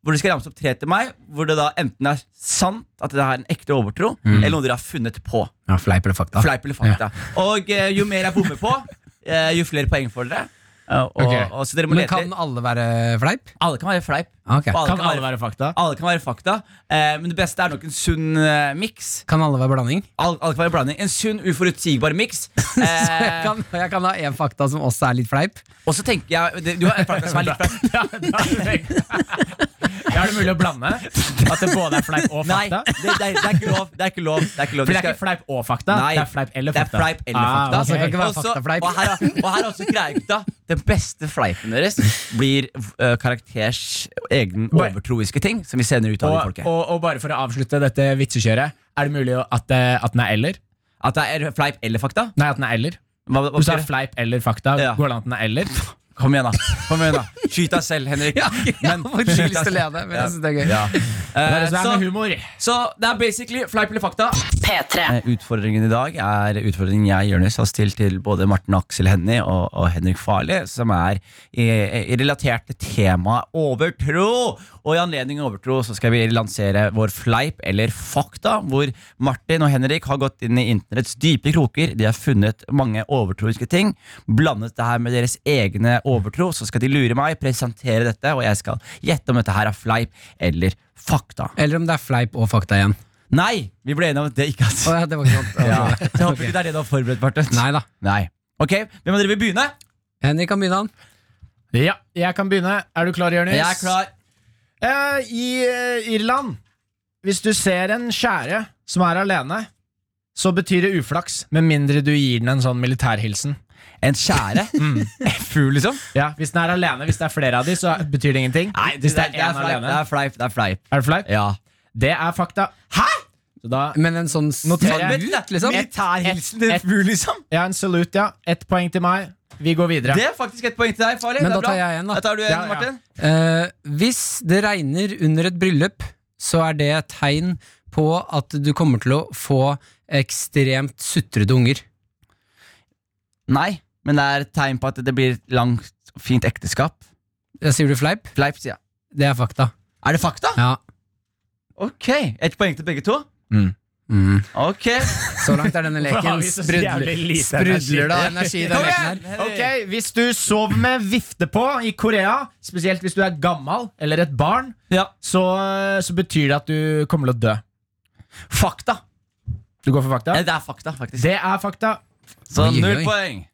Speaker 5: Hvor dere skal ramse opp tre til meg, hvor det da enten er sant at det er en ekte overtro, eller noe dere har funnet på.
Speaker 3: Ja, Fleip eller fakta.
Speaker 5: Fleip eller fakta. Og eh, jo mer jeg bommer på, eh, jo flere poeng får dere. Eh, og,
Speaker 3: Ok.
Speaker 5: og, så dere må
Speaker 3: Men
Speaker 5: lete
Speaker 3: kan alle være fleip?
Speaker 5: Alle kan være fleip.
Speaker 3: Ah, Ok.
Speaker 5: Og alle
Speaker 2: Kan
Speaker 5: kan,
Speaker 2: alle
Speaker 5: være,
Speaker 2: være fakta?
Speaker 5: alle kan være fakta. Eh, men det beste er nok en sunn eh, miks.
Speaker 3: Kan alle være blanding?
Speaker 5: Alle, alle kan være blanding. En sunn, uforutsigbar miks.
Speaker 3: Så jeg
Speaker 5: Eh,
Speaker 3: kan, jeg kan ha én fakta som også er litt fleip.
Speaker 5: og så tenker jeg det, Du har en fakta som er litt fleip.
Speaker 2: Ja, da er det tenkt. Ja, er det mulig å blande? At det både er fleip og
Speaker 5: Nei,
Speaker 2: fakta?
Speaker 5: det, det, er- det er ikke lov. Det er ikke lov. Det er ikke lov.
Speaker 2: For det er
Speaker 5: Du skal-
Speaker 2: ikke fleip og fakta?
Speaker 5: Nei,
Speaker 2: det er fleip eller
Speaker 5: det er
Speaker 2: fakta.
Speaker 5: fleip eller fakta.
Speaker 2: Ah,
Speaker 3: Så det kan
Speaker 2: ok.
Speaker 3: ikke være
Speaker 5: Også-
Speaker 3: faktafleip.
Speaker 5: Og her, er- og her er også greia, Den beste fleipen deres blir eh, karakters egen
Speaker 2: Bare-
Speaker 5: overtroiske ting som vi sender ut av det
Speaker 2: Og,
Speaker 5: folket.
Speaker 2: og, og bare for å avslutte dette vitsekjøret, er det mulig å- at, det- at den er eller?
Speaker 5: At det er fleip eller fakta?
Speaker 2: Nei, at den er eller.
Speaker 5: Hva, hva,
Speaker 2: Hvis det
Speaker 5: betyr
Speaker 2: er
Speaker 5: det?
Speaker 2: fleip eller fakta,
Speaker 5: Ja.
Speaker 2: går det an at den er eller?
Speaker 5: kom igjen, da. Kom igjen da Skyt deg selv, Henrik.
Speaker 3: Ja, jeg har faktisk lyst til å le av det, men jeg synes det er gøy.
Speaker 5: Ja.
Speaker 2: Det
Speaker 5: Eh,
Speaker 2: er det som er med
Speaker 5: så,
Speaker 2: humor.
Speaker 5: så det er basically fleip eller fakta.
Speaker 1: P3.
Speaker 5: Eh, Utfordringen i dag er utfordringen jeg Jørnes, har stilt til både Martin Aksel Hennie og, og Henrik Farli, som er i, i relatert til temaet overtro. Og i anledning overtro så skal vi lansere vår fleip eller fakta, hvor Martin og Henrik har gått inn i internetts dype kroker. De har funnet mange overtroiske ting. Blandet det her med deres egne overtro, så skal de lure meg, presentere dette, og jeg skal gjette om dette her er fleip eller fakta.
Speaker 3: Eller om det er fleip og fakta igjen.
Speaker 5: Nei! Vi ble enige om at det ikke er
Speaker 3: Å, ja, det var ikke sant.
Speaker 5: ja. Så jeg håper ikke det er det du har forberedt, Martin.
Speaker 3: Nei da.
Speaker 5: Nei. Ok, Hvem av dere vil begynne?
Speaker 3: Henrik kan begynne, han.
Speaker 2: Ja, jeg kan begynne. Er du klar, Jonis?
Speaker 5: Jeg er klar.
Speaker 2: Eh, I eh, Irland, hvis du ser en skjære som er alene, så betyr det uflaks, med mindre du gir den en sånn militærhilsen.
Speaker 5: En skjære? En fugl, liksom?
Speaker 2: Ja, Hvis den er alene, hvis det er flere av de, så betyr det ingenting. hvis det er
Speaker 5: det er
Speaker 2: én
Speaker 5: fleip.
Speaker 2: alene,
Speaker 5: Det er fleip. Det er fleip.
Speaker 2: er det fleip?
Speaker 5: Ja.
Speaker 2: Det er fakta. Hæ?! Så da
Speaker 3: Men en sånn sånn
Speaker 2: Noterer jeg.
Speaker 3: ut, liksom.
Speaker 5: Militærhilsen til
Speaker 2: et-
Speaker 5: en fugl, liksom?
Speaker 2: Ja, en salut, ja. Ett poeng til meg. Vi går videre.
Speaker 5: Det er faktisk et poeng til deg, Farlig.
Speaker 3: Men
Speaker 5: Det
Speaker 3: da tar
Speaker 5: er bra.
Speaker 3: jeg en, da.
Speaker 5: Da tar du en,
Speaker 2: Ja, ja.
Speaker 5: Martin.
Speaker 3: Eh, hvis det regner under et bryllup, så er det et tegn på at du kommer til å få ekstremt sutrete unger.
Speaker 5: Nei, men det er et tegn på at det blir et langt, fint ekteskap.
Speaker 3: Jeg sier du fleip?
Speaker 5: Fleip, sier jeg.
Speaker 3: Det er fakta.
Speaker 5: Er det fakta?
Speaker 3: Ja.
Speaker 5: Ok, Ett poeng til begge to.
Speaker 3: Mm.
Speaker 5: Ok
Speaker 3: Så langt er denne
Speaker 2: Hvorfor har
Speaker 3: leken
Speaker 2: vi så
Speaker 3: sprudler,
Speaker 2: jævlig lite energi?
Speaker 3: sprudler det av energi i
Speaker 5: Kom
Speaker 3: denne leken
Speaker 5: igjen!
Speaker 3: her.
Speaker 2: Ok, Hvis du sover med vifte på i Korea, spesielt hvis du er gammel eller et barn,
Speaker 5: Ja.
Speaker 2: så, så betyr det at du kommer til å dø.
Speaker 5: Fakta.
Speaker 2: Du går for fakta?
Speaker 5: Eh, Det er fakta, faktisk.
Speaker 2: Det er fakta.
Speaker 5: Så
Speaker 3: Oi, oi,
Speaker 5: null
Speaker 3: oi.
Speaker 5: poeng.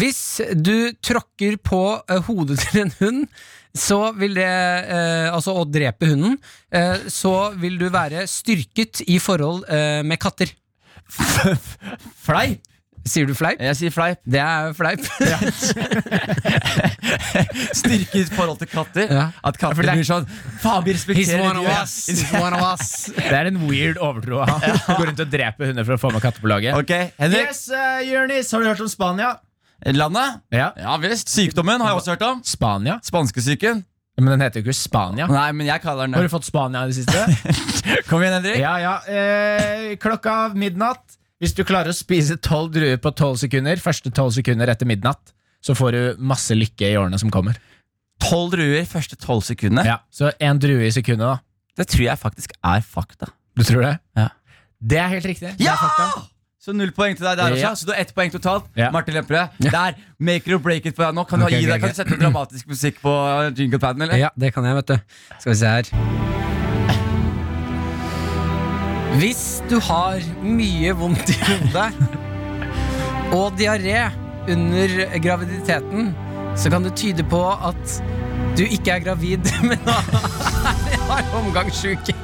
Speaker 3: Hvis du tråkker på eh, hodet til en hund, så vil det eh, Altså å drepe hunden, eh, så vil du være styrket i forhold eh, med katter.
Speaker 5: Fleip.
Speaker 3: Sier du
Speaker 2: Eh,
Speaker 3: fleip?
Speaker 5: Jeg sier fleip.
Speaker 3: Det er fleip.
Speaker 5: Styrke i forhold til katter.
Speaker 3: Ja.
Speaker 5: At katter blir sånn Faen, vi
Speaker 3: He's
Speaker 5: respekterer
Speaker 3: one
Speaker 5: de,
Speaker 3: of
Speaker 5: ja."
Speaker 3: us. He's one of us.
Speaker 2: Det er en weird overtro å ha. Gå rundt og drepe hunder for å få med katter på laget.
Speaker 5: Ok, Henrik.
Speaker 2: Yes, uh, Jonis, har du hørt om Spania?
Speaker 5: Landet?
Speaker 2: Ja.
Speaker 5: Ja visst. Sykdommen har jeg også hørt om.
Speaker 2: Spania?
Speaker 5: Spanskesyken.
Speaker 2: Men den heter jo ikke Spania.
Speaker 5: Nei, men jeg kaller den
Speaker 2: Har
Speaker 5: det.
Speaker 2: du fått Spania i det siste?
Speaker 5: Kom igjen, Henrik.
Speaker 2: Ja, ja. Eh, klokka av midnatt. Hvis du klarer å spise tolv druer på tolv sekunder, første tolv sekunder etter midnatt, så får du masse lykke i årene som kommer.
Speaker 5: Tolv druer første tolv sekundene.
Speaker 2: Ja, Så én drue i sekundet, da.
Speaker 5: Det tror jeg faktisk er fakta.
Speaker 2: Du tror det?
Speaker 5: Ja.
Speaker 2: Det er helt riktig. Det er
Speaker 5: Ja!
Speaker 2: fakta.
Speaker 5: Så null poeng til deg der også.
Speaker 2: Ja.
Speaker 5: Så du har ett poeng totalt.
Speaker 2: Ja.
Speaker 5: Martin Lepperød, der. Make it or break it på deg nå. Kan du,
Speaker 3: Ok,
Speaker 5: gi
Speaker 3: ok,
Speaker 5: deg, kan
Speaker 3: ok.
Speaker 5: du sette dramatisk musikk på jinglepaden, eller?
Speaker 3: Ja, det kan jeg, vet du. Skal vi se her. Hvis du har mye vondt i hodet og diaré under graviditeten, så kan det tyde på at du ikke er gravid, men har omgangssjuke.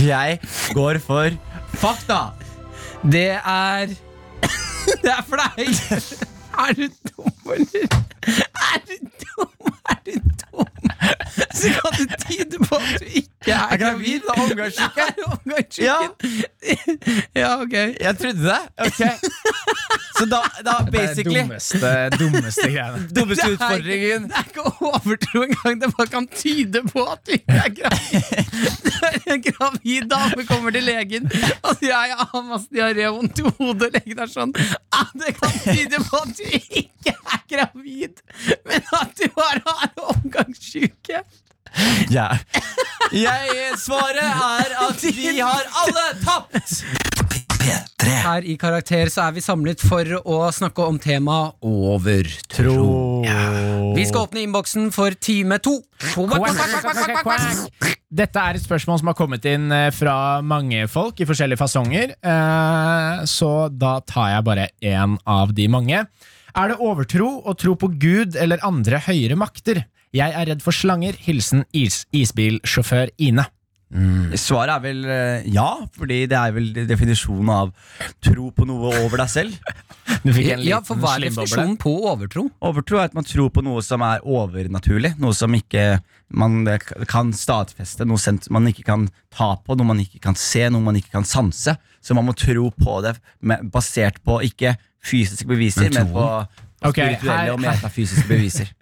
Speaker 5: Jeg går for fakta.
Speaker 3: Det er Det er fleip! Er du dum, eller? Er du så kan det tyde på at du ikke er
Speaker 5: Er gravid, da, omgangssyke.
Speaker 3: Er omgangssyken. Ja, ok.
Speaker 5: Jeg trodde det. Ok Så da, da
Speaker 2: Det
Speaker 5: basically
Speaker 2: er dummeste, dummeste greiene.
Speaker 3: Det
Speaker 5: Dummeste
Speaker 3: er ikke-
Speaker 5: utfordringen.
Speaker 3: Det er ikke overtro engang. Det bare kan tyde på at du ikke er gravid. Det er en gravid dame kommer til legen og sier «Nei, jeg har masse diaré og vondt i hodet. Legen er sånn «Ja, Det kan tyde på at du ikke er gravid, men at du bare har omgangssyke.
Speaker 5: Ja. Jeg, svaret er at vi har alle tapt!
Speaker 4: P3
Speaker 3: Her i Karakter så er vi samlet for å snakke om temaet overtro. Vi skal åpne innboksen for time to.
Speaker 2: Dette er et spørsmål som har kommet inn eh, fra mange folk i forskjellige fasonger, eh, så da tar jeg bare én av de mange. Er det overtro å tro på Gud eller andre høyere makter? Jeg er redd for slanger. Hilsen is isbilsjåfør Ine.
Speaker 5: Svaret er vel eh, ja, fordi det er vel definisjonen av tro på noe over deg selv.
Speaker 2: Du fikk en
Speaker 3: Ja,
Speaker 2: liten
Speaker 3: for hva er
Speaker 2: slimboble.
Speaker 3: definisjonen på overtro?
Speaker 5: Overtro er at man tror på noe som er overnaturlig. Noe som ikke man eh, kan stadfeste, noe sent- man ikke kan ta på, noe man ikke kan se, noe man ikke kan sanse. Så man må tro på det med, basert på ikke fysiske beviser, men, på
Speaker 2: Ok,
Speaker 5: spirituelle
Speaker 2: her-
Speaker 5: og metafysiske beviser.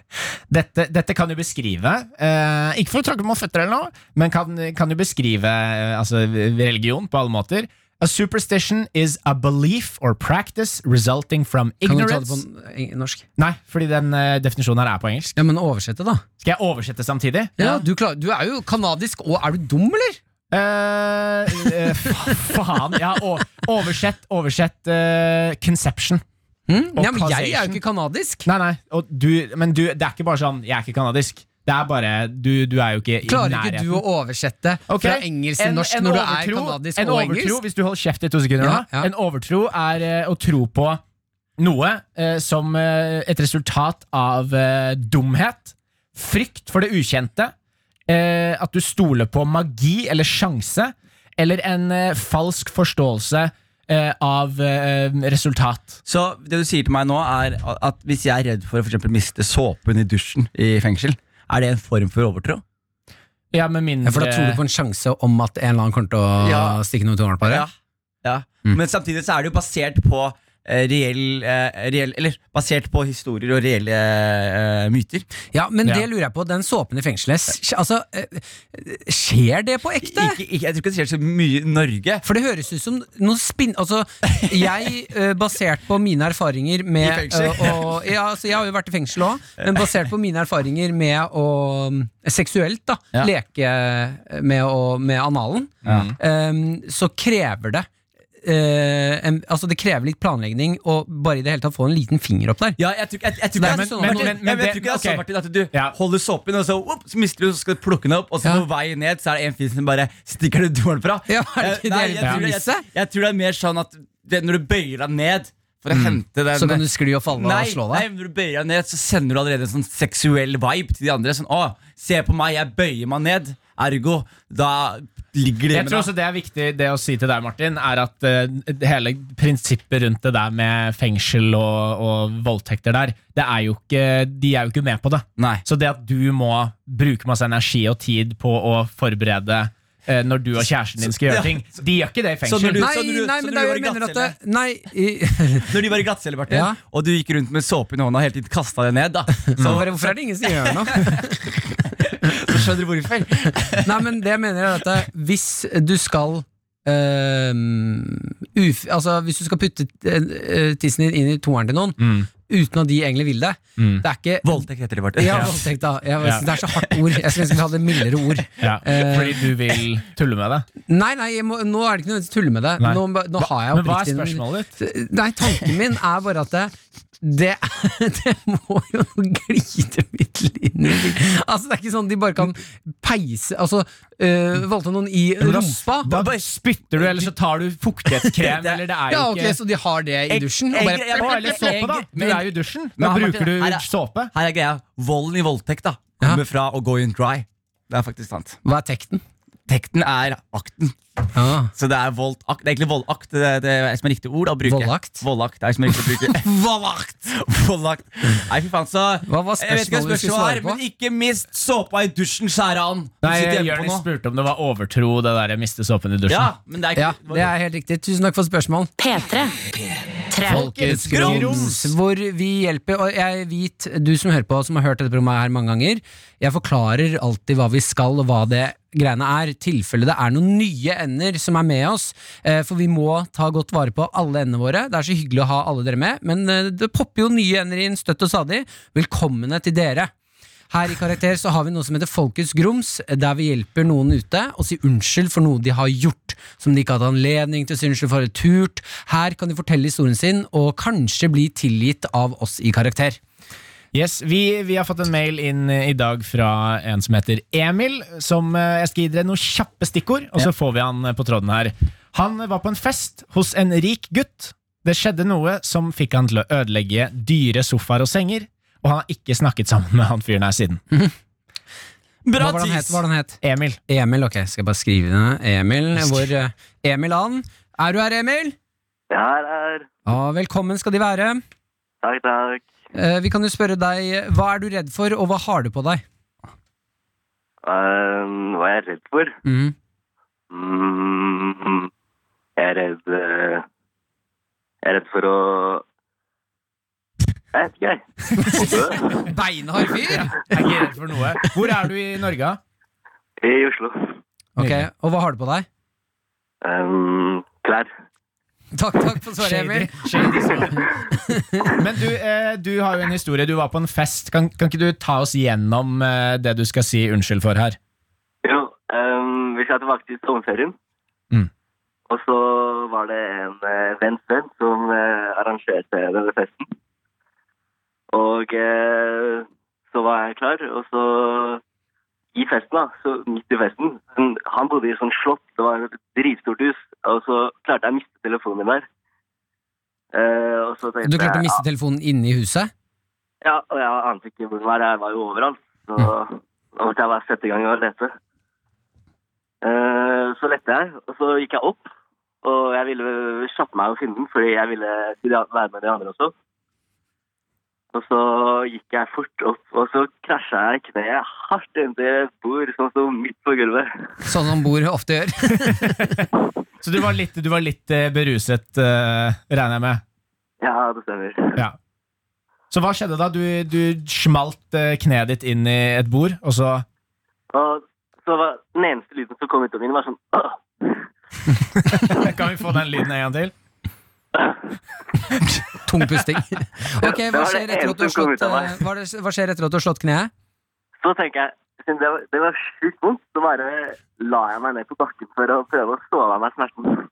Speaker 2: Dette, dette kan jo beskrive, eh, ikke for å tråkke på føtter eller noe, men kan, kan jo beskrive eh, altså, religion på alle måter. A superstition is a belief or practice resulting from
Speaker 3: Kan du ta det
Speaker 2: ignorance
Speaker 3: på n- eng- norsk?
Speaker 2: Nei, fordi den eh, definisjonen her er på engelsk.
Speaker 3: Ja, men oversette, da.
Speaker 2: Skal jeg oversette samtidig?
Speaker 3: Ja, du, klar, du er jo kanadisk, og er du dum, eller?
Speaker 2: Eh, eh, fa faen. Ja, o- oversett, oversett eh, conception.
Speaker 3: Mm?
Speaker 2: Og
Speaker 3: Ja, men jeg er
Speaker 2: causation.
Speaker 3: jo ikke kanadisk.
Speaker 2: Nei, nei, og du, men du, det er ikke bare sånn 'jeg er ikke kanadisk'. Det er bare Du, du er jo ikke i
Speaker 3: Klarer ikke
Speaker 2: nærheten.
Speaker 3: du å oversette
Speaker 2: Ok,
Speaker 3: fra engelsk til norsk når du er kanadisk
Speaker 2: en
Speaker 3: og
Speaker 2: overtro,
Speaker 3: engelsk?
Speaker 2: Hvis du holder kjeft i to sekunder
Speaker 3: Ja,
Speaker 2: nå
Speaker 3: ja.
Speaker 2: En overtro er eh, å tro på noe eh, som eh, et resultat av eh, dumhet, frykt for det ukjente, eh, at du stoler på magi eller sjanse, eller en eh, falsk forståelse eh, av eh, resultat.
Speaker 5: Så det du sier til meg nå er a- at hvis jeg er redd for å for eksempel miste såpen i dusjen i fengsel, er det en form for overtro?
Speaker 2: Ja, med
Speaker 3: Ja,
Speaker 2: mindre
Speaker 3: for da tror du på en sjanse om at en eller annen kommer til å
Speaker 5: Ja.
Speaker 3: stikke noe tommel på deg?
Speaker 5: Ja. ja.
Speaker 3: Mm.
Speaker 5: Men samtidig så er det jo basert på eh, reell, eh, reell Eller basert på historier og reelle eh, myter.
Speaker 3: Ja, men
Speaker 2: Ja.
Speaker 3: det lurer jeg på. Den såpen i fengselet, s- altså, eh, skjer det på ekte?
Speaker 5: Ikke, ikke, jeg tror ikke det skjer så mye i Norge.
Speaker 3: For det høres ut som noe spinn... Altså, jeg, eh, basert på mine erfaringer med
Speaker 5: I fengsel.
Speaker 3: eh, å- ja, altså, jeg har jo vært i fengsel òg, men basert på mine erfaringer med å mm, seksuelt da,
Speaker 5: Ja.
Speaker 3: leke med, å, med analen, eh, så krever det eh, en, altså Det krever litt planlegging og bare i det hele tatt få en liten finger opp der.
Speaker 5: Ja, jeg tror ikke jeg- jeg tror
Speaker 3: Nei,
Speaker 5: ikke det
Speaker 3: men-
Speaker 5: er sånn,
Speaker 3: men-
Speaker 5: Martin.
Speaker 2: men- men
Speaker 5: Jeg
Speaker 2: det-
Speaker 5: vet- jeg tror ikke det er
Speaker 2: ok.
Speaker 5: sånn Martin, at du
Speaker 2: Ja.
Speaker 5: holder såpen, og så, opp, så mister du, så skal du plukke den opp, og så
Speaker 3: Ja.
Speaker 5: på vei ned så er det en fyr som bare stikker det doren fra.
Speaker 3: Ja, er det ikke
Speaker 5: Eh, nei,
Speaker 3: det
Speaker 5: jeg, tror, jeg,
Speaker 3: premisset?
Speaker 5: jeg, tror det er mer sånn at det, når du bøyer deg ned for å hente den
Speaker 3: Mm. Så kan du skli og falle
Speaker 5: Nei,
Speaker 3: og slå
Speaker 5: nei,
Speaker 3: deg.
Speaker 5: når du bøyer deg ned, så sender du allerede en sånn seksuell vibe til de andre. Sånn, å, se på meg, jeg bøyer meg ned. Ergo, da ligger det
Speaker 2: Jeg tror også det er viktig det å si til deg, Martin, er at eh, det hele prinsippet rundt det der med fengsel og, og voldtekter der, det er jo ikke, de er jo ikke med på det.
Speaker 5: Nei.
Speaker 2: Så det at du må bruke masse energi og tid på å forberede eh, når du og kjæresten din skal
Speaker 5: Ja,
Speaker 2: gjøre ting, de gjør ikke det i
Speaker 5: Så når
Speaker 2: fengsel.
Speaker 5: du-
Speaker 3: Nei,
Speaker 5: så når du-
Speaker 3: nei,
Speaker 5: så
Speaker 3: men
Speaker 5: når
Speaker 3: det er jo
Speaker 5: du var i
Speaker 3: jeg mener at det,
Speaker 5: glattcelle.
Speaker 3: Nei, i,
Speaker 5: Når de var i glattcelle, Martin,
Speaker 3: Ja. Mm.
Speaker 5: og du gikk rundt med såpen i hånda og hele tiden kasta det ned, da. Så,
Speaker 3: bare, hvorfor er det ingen som gjør noe?
Speaker 5: så skjønner du hvorfor.
Speaker 3: Nei, men det jeg mener er at hvis du skal øhm, uf, altså Hvis du skal putte øh, tissen din inn i toeren til noen
Speaker 2: Mm.
Speaker 3: uten at de egentlig vil det Det er ikke
Speaker 5: Voldtekt heter det, Martin.
Speaker 3: Ja, voldtekt, da. Jeg,
Speaker 2: Ja.
Speaker 3: Det er så hardt ord. Jeg skulle ønske vi hadde mildere ord.
Speaker 2: Ja,
Speaker 3: Eh,
Speaker 2: fordi du vil tulle med det.
Speaker 3: Nei, nei, jeg må, nå er det ikke nødvendigvis å tulle med det.
Speaker 2: Nei.
Speaker 3: Nå, nå har jeg
Speaker 2: Men hva er
Speaker 3: oppriktig-
Speaker 2: spørsmålet ditt?
Speaker 3: Nei, tanken min er bare at det det, det må jo glide middellinjer. Altså, det er ikke sånn de bare kan peise Altså, øh, valgte noen i
Speaker 2: Men da-
Speaker 3: rumpa.
Speaker 2: Da bare spytter du, eller så tar du fuktighetskrem,
Speaker 5: Det-
Speaker 2: eller det er jo
Speaker 3: Ja,
Speaker 2: ikke
Speaker 3: ok, Så de har det i
Speaker 5: Jeg-
Speaker 3: dusjen? Og
Speaker 5: jeg-
Speaker 3: bare,
Speaker 5: jeg-
Speaker 2: Å, eller såpe, da. Du er jo i dusjen. Men
Speaker 5: Ja, Martin,
Speaker 2: bruker
Speaker 5: her er-
Speaker 2: du såpe?
Speaker 5: Her er greia. Volden i voldtekt da kommer fra å gå in dry. Det er faktisk sant.
Speaker 3: hva er tekten?
Speaker 5: Tekten er akten.
Speaker 3: Ah.
Speaker 5: Så det er voldakt. Det er egentlig voldakt det er, det er som er riktig ord å bruke.
Speaker 3: Voldakt?
Speaker 5: Voldakt, det er som er riktig å bruke. voldakt! Nei, fy faen, så
Speaker 3: Hva var
Speaker 5: Jeg vet ikke hva
Speaker 3: spørsmålet du skulle
Speaker 5: spørsmålet
Speaker 3: svare
Speaker 5: er,
Speaker 3: på?
Speaker 5: men ikke mist såpa i dusjen, skjære an! Du
Speaker 2: Nei,
Speaker 5: sitter hjemme på
Speaker 2: Jonis
Speaker 5: nå.
Speaker 2: spurte om det var overtro, det der miste såpen i dusjen.
Speaker 5: Ja, men det er ikke
Speaker 3: Ja, det er helt riktig. Tusen takk for spørsmål.
Speaker 1: P3.
Speaker 3: Folkets grums, hvor vi hjelper Og jeg vet, du som hører på, som har hørt dette programmet her mange ganger, jeg forklarer alltid hva vi skal, og hva det greiene er, tilfelle det er noen nye ender som er med oss. eh, For vi må ta godt vare på alle endene våre. Det er så hyggelig å ha alle dere med, men eh, det popper jo nye ender inn støtt og stadig. Velkomne til dere. Her i Karakter så har vi noe som heter Folkets grums, der vi hjelper noen ute og sier unnskyld for noe de har gjort, som de ikke hadde anledning til å si unnskyld for eller turt. Her kan de fortelle historien sin og kanskje bli tilgitt av oss i Karakter.
Speaker 2: Yes, vi, vi har fått en mail inn eh, i dag fra en som heter Emil. Som eh, Jeg skal gi dere noen kjappe stikkord, og så får vi han eh, på tråden her. Han var på en fest hos en rik gutt. Det skjedde noe som fikk han til å ødelegge dyre sofaer og senger, og han har ikke snakket sammen med han fyren her siden.
Speaker 5: Hm.
Speaker 3: Hva
Speaker 5: Bra
Speaker 3: var det han het?
Speaker 5: tis!
Speaker 3: Hva var det han het?
Speaker 2: Emil.
Speaker 3: Emil, ok. Skal jeg bare skrive ned Emil. Hvor eh, Emil An. Er du her, Emil?
Speaker 6: Jeg er her.
Speaker 3: Ja, velkommen skal de være.
Speaker 6: Takk, takk.
Speaker 3: Eh, Vi kan jo spørre deg, hva er du redd for, og hva har du på deg?
Speaker 6: Ehm, hva er jeg redd for?
Speaker 3: Mm.
Speaker 6: Mm, jeg er redd eh, Jeg er redd for å Jeg vet ikke, jeg. Å dø.
Speaker 3: Beinhard fyr!
Speaker 2: Jeg er ikke redd for noe. Hvor er du i Norge?
Speaker 6: I Oslo.
Speaker 3: Ok, og hva har du på deg?
Speaker 6: Ehm, klær.
Speaker 3: Takk, takk for svaret, Emil.
Speaker 2: Shady svar. Men du, eh, du har jo en historie. Du var på en fest. Kan, kan ikke du ta oss gjennom eh, det du skal si unnskyld for her?
Speaker 6: Jo, ehm, vi skal tilbake til sommerferien.
Speaker 2: Mm.
Speaker 6: Og så var det en eh, venns venn som eh, arrangerte denne festen. Og eh, så var jeg klar, og så i festen, da, så midt i festen Han, han bodde i et sånt slott, det var et dritstort hus, og så klarte jeg å miste telefonen min der. Eh, og så tenkte
Speaker 3: Du klarte å
Speaker 6: jeg,
Speaker 3: miste telefonen inne i huset?
Speaker 6: ja, og jeg ante ikke hvor den var. Jeg var jo overalt. Så da måtte jeg bare sette i gang og lete. Eh, så lette jeg, og så gikk jeg opp. Og jeg ville kjappe meg og finne den, fordi jeg ville til de- være med de andre også. Og så gikk jeg fort opp, og så krasja jeg kneet hardt inntil et bord som sto midt på gulvet.
Speaker 3: Sånn som bord ofte gjør.
Speaker 2: Så du var litt, du var litt eh, beruset, eh, regner jeg med.
Speaker 6: Ja, det stemmer.
Speaker 2: Ja. Så hva skjedde da? Du, du smalt eh, kneet ditt inn i et bord, og så
Speaker 6: Og så var den eneste lyden som kom ut av min, var sånn «Åh!»
Speaker 2: Kan vi få den lyden en gang til?
Speaker 3: Tung pusting. Ok, hva
Speaker 6: var det
Speaker 3: skjer etter at du har
Speaker 6: eneste som kom
Speaker 3: slått,
Speaker 6: ut av meg.
Speaker 3: eh, hva er det- hva skjer etter at du har slått kneet?
Speaker 6: Så tenker jeg, siden det var, det var sjukt vondt, så bare la jeg meg ned på bakken for å prøve å sove av meg smerten.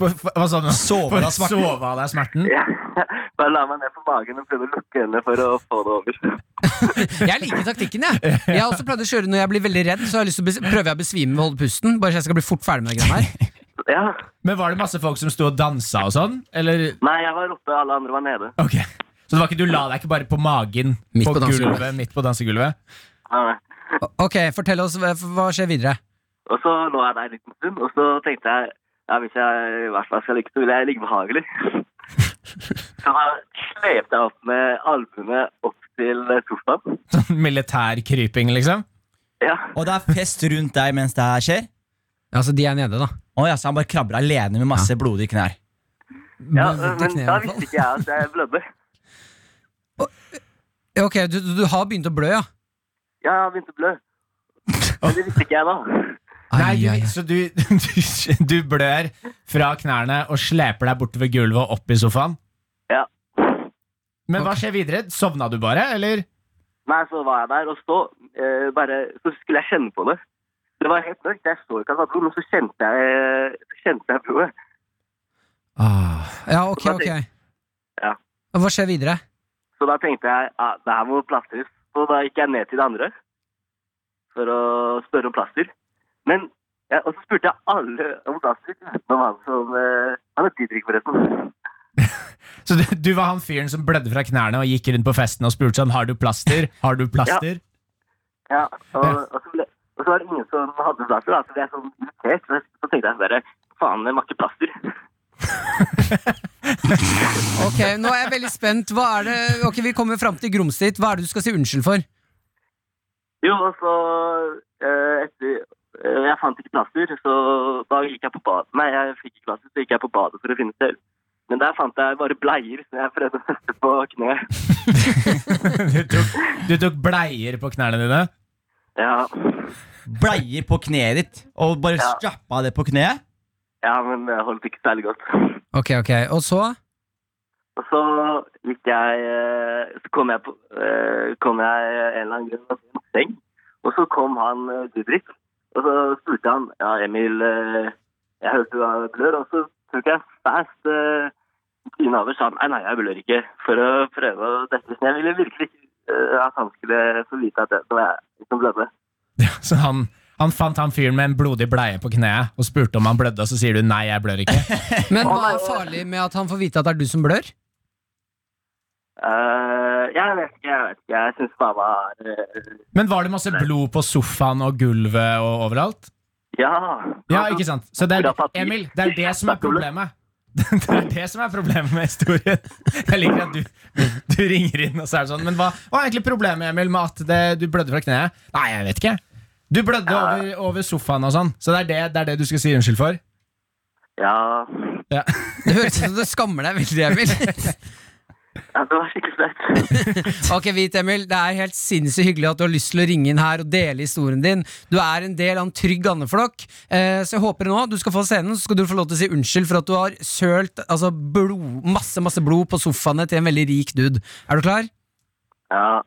Speaker 2: For, for, hva sa du?
Speaker 5: Sove
Speaker 2: For
Speaker 5: av smerten.
Speaker 2: Sove av deg smerten?
Speaker 6: bare la meg ned på magen og prøvde å lukke øynene for å få det over.
Speaker 3: Jeg liker taktikken, jeg. Jeg har også pleid å kjøre når jeg blir veldig redd, så har jeg lyst til å bes- prøver jeg å besvime ved å holde pusten. Bare så jeg skal bli fort ferdig med det greiene her.
Speaker 6: Ja.
Speaker 2: Men var det masse folk som sto og dansa og sånn? Eller
Speaker 6: Nei, jeg var oppe, alle andre var nede.
Speaker 2: Ok. Så det var ikke, du la deg ikke bare på magen
Speaker 3: Midt
Speaker 2: på,
Speaker 3: på dansegulvet.
Speaker 2: gulvet, midt på dansegulvet?
Speaker 6: Nei, nei.
Speaker 3: Ok, fortell oss, hva hva skjer videre?
Speaker 6: Og så lå jeg der en liten stund, og så tenkte jeg ja, hvis jeg i hvert fall skal ligge, så vil jeg ligge behagelig. Så da slepte jeg opp med albuene opp til sofaen.
Speaker 2: Sånn militærkryping, liksom?
Speaker 6: Ja.
Speaker 5: Og det er fest rundt deg mens det her skjer?
Speaker 3: Altså, de er nede, da.
Speaker 5: Å ja, så han bare krabber alene med masse blodige knær.
Speaker 6: ja,
Speaker 3: Vondt i
Speaker 6: men
Speaker 3: kneet, i
Speaker 6: da
Speaker 3: hvert fall.
Speaker 6: visste ikke jeg at jeg blødde.
Speaker 3: Ok, du, du, du har begynt å blø, ja?
Speaker 6: Ja, jeg begynte å blø. Men det visste ikke jeg da.
Speaker 2: Nei,
Speaker 3: Ai,
Speaker 2: du,
Speaker 3: ai, ai.
Speaker 2: Så du, du, du blør fra knærne og sleper deg bortover gulvet og opp i sofaen?
Speaker 6: Ja.
Speaker 2: Men hva skjer videre? Sovna du bare, eller?
Speaker 6: Nei, så var jeg der, og så, eh, bare, så skulle jeg kjenne på det. Det var helt mørkt, jeg så ikke at det var blod, men så kjente jeg, så kjente jeg blodet. Ah.
Speaker 3: Ja, ok, ok.
Speaker 6: Ja.
Speaker 3: Og Hva skjer videre?
Speaker 6: Så da tenkte jeg, ja, det her må plastres. Så da gikk jeg ned til det andre for å spørre om plaster. Men, ja, og så spurte jeg alle om plaster, utenom han som, eh, han er tidrik forresten.
Speaker 2: Så du, du var han fyren som blødde fra knærne og gikk rundt på festen og spurte sånn Har du plaster? Har du plaster?
Speaker 6: Ja, og, og, så ble, og Og så var det ingen som hadde blaster, da, så ble jeg sånn irritert. Så jeg- Så tenkte jeg bare faen, jeg makker plaster.
Speaker 3: Ok, Nå er jeg veldig spent. Hva er det? Ok, Vi kommer fram til grumset ditt. Hva er det du skal si unnskyld for?
Speaker 6: Jo, og så eh, etter eh, Jeg fant ikke plaster, så da gikk jeg på badet. Nei, jeg fikk ikke plaster, så gikk jeg på badet for å finne selv. Men der fant jeg bare bleier som jeg prøvde å feste på kneet.
Speaker 2: Du tok, du tok bleier på knærne dine.
Speaker 6: Ja.
Speaker 5: Bleier på kneet ditt, og bare
Speaker 6: Ja.
Speaker 5: strappa det på kneet?
Speaker 6: ja, men det holdt ikke særlig godt.
Speaker 3: Ok, ok, Og så?
Speaker 6: Og så gikk jeg eh, Så kom jeg på eh, kom jeg en eller annen grunn på en seng, og så kom han eh, Didrik. Og så spurte han ja, Emil, eh, jeg hørte du var blør, og så tok jeg fast eh, trynet over og sa nei, nei, jeg blør ikke, for å prøve å dette seg. Jeg ville virkelig ikke eh, at han skulle få vite at det var jeg som blødde.
Speaker 2: Ja, så han, han fant han fyren med en blodig bleie på kneet og spurte om han blødde, og så sier du nei, jeg blør ikke.
Speaker 3: Men hva er farlig med at han får vite at det er du som blør?
Speaker 6: Eh, jeg vet ikke, jeg vet ikke. Jeg syns bare var eh,
Speaker 2: Men var det masse blod på sofaen og gulvet og overalt?
Speaker 6: Ja.
Speaker 2: Ja, ikke sant? Så det er,
Speaker 6: Hvordan papir?
Speaker 2: Emil, det er det som er problemet. Det er det som er problemet med historien. Jeg liker at du, du ringer inn og så er det sånn. Men hva, hva er egentlig problemet, Emil, med at det, du blødde fra kneet? Nei, jeg vet ikke. Du blødde over, over sofaen og sånn, så det er det, det er det du skal si unnskyld for?
Speaker 6: Ja.
Speaker 2: Ja.
Speaker 3: Det høres ut som du skammer deg veldig, Emil.
Speaker 6: ja det var skikkelig flaut.
Speaker 3: Ok, Hvit Emil, Det er helt sinnssykt hyggelig at du har lyst til å ringe inn her og dele historien din. Du er en del av en trygg andeflokk, eh, så jeg håper nå du skal få scenen. Så skal du få lov til å si unnskyld for at du har sølt altså, blod, masse masse blod på sofaene til en veldig rik dude. Er du klar?
Speaker 6: Ja.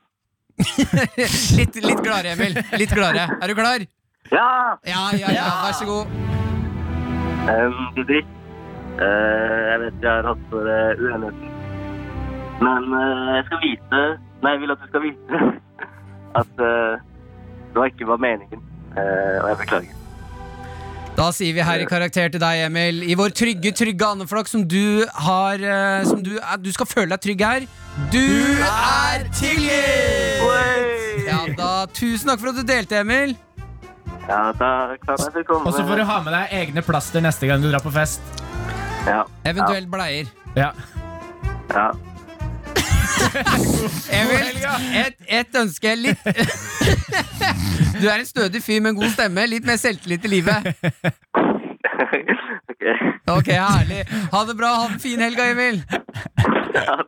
Speaker 3: Litt, litt gladere, Emil. Litt gladere. Er du klar?
Speaker 6: ja.
Speaker 3: Ja, ja, ja. Vær så god.
Speaker 6: Um, Didrik, eh, jeg vet jeg har hatt for eh, uenigheten, men eh, jeg skal vite Nei, jeg vil at du skal vite at eh, det ikke var meningen, eh, og jeg beklager.
Speaker 3: Da sier vi her i karakter til deg, Emil. I vår trygge, trygge andeflokk som du har eh, Som du, er- du skal føle deg trygg her. Du, er tilgitt! Ja da. Tusen takk for at du delte, Emil.
Speaker 6: Ja, takk for at jeg fikk komme.
Speaker 2: Og så får du ha med deg egne plaster neste gang du drar på fest.
Speaker 6: Ja,
Speaker 3: Eventuelt bleier.
Speaker 2: Ja.
Speaker 6: ja.
Speaker 3: Emil, ett et ønske. Litt Du er en stødig fyr med en god stemme. Litt mer selvtillit i livet.
Speaker 6: ok.
Speaker 3: Ok, herlig. Ha det bra. Ha en fin helg, Emil.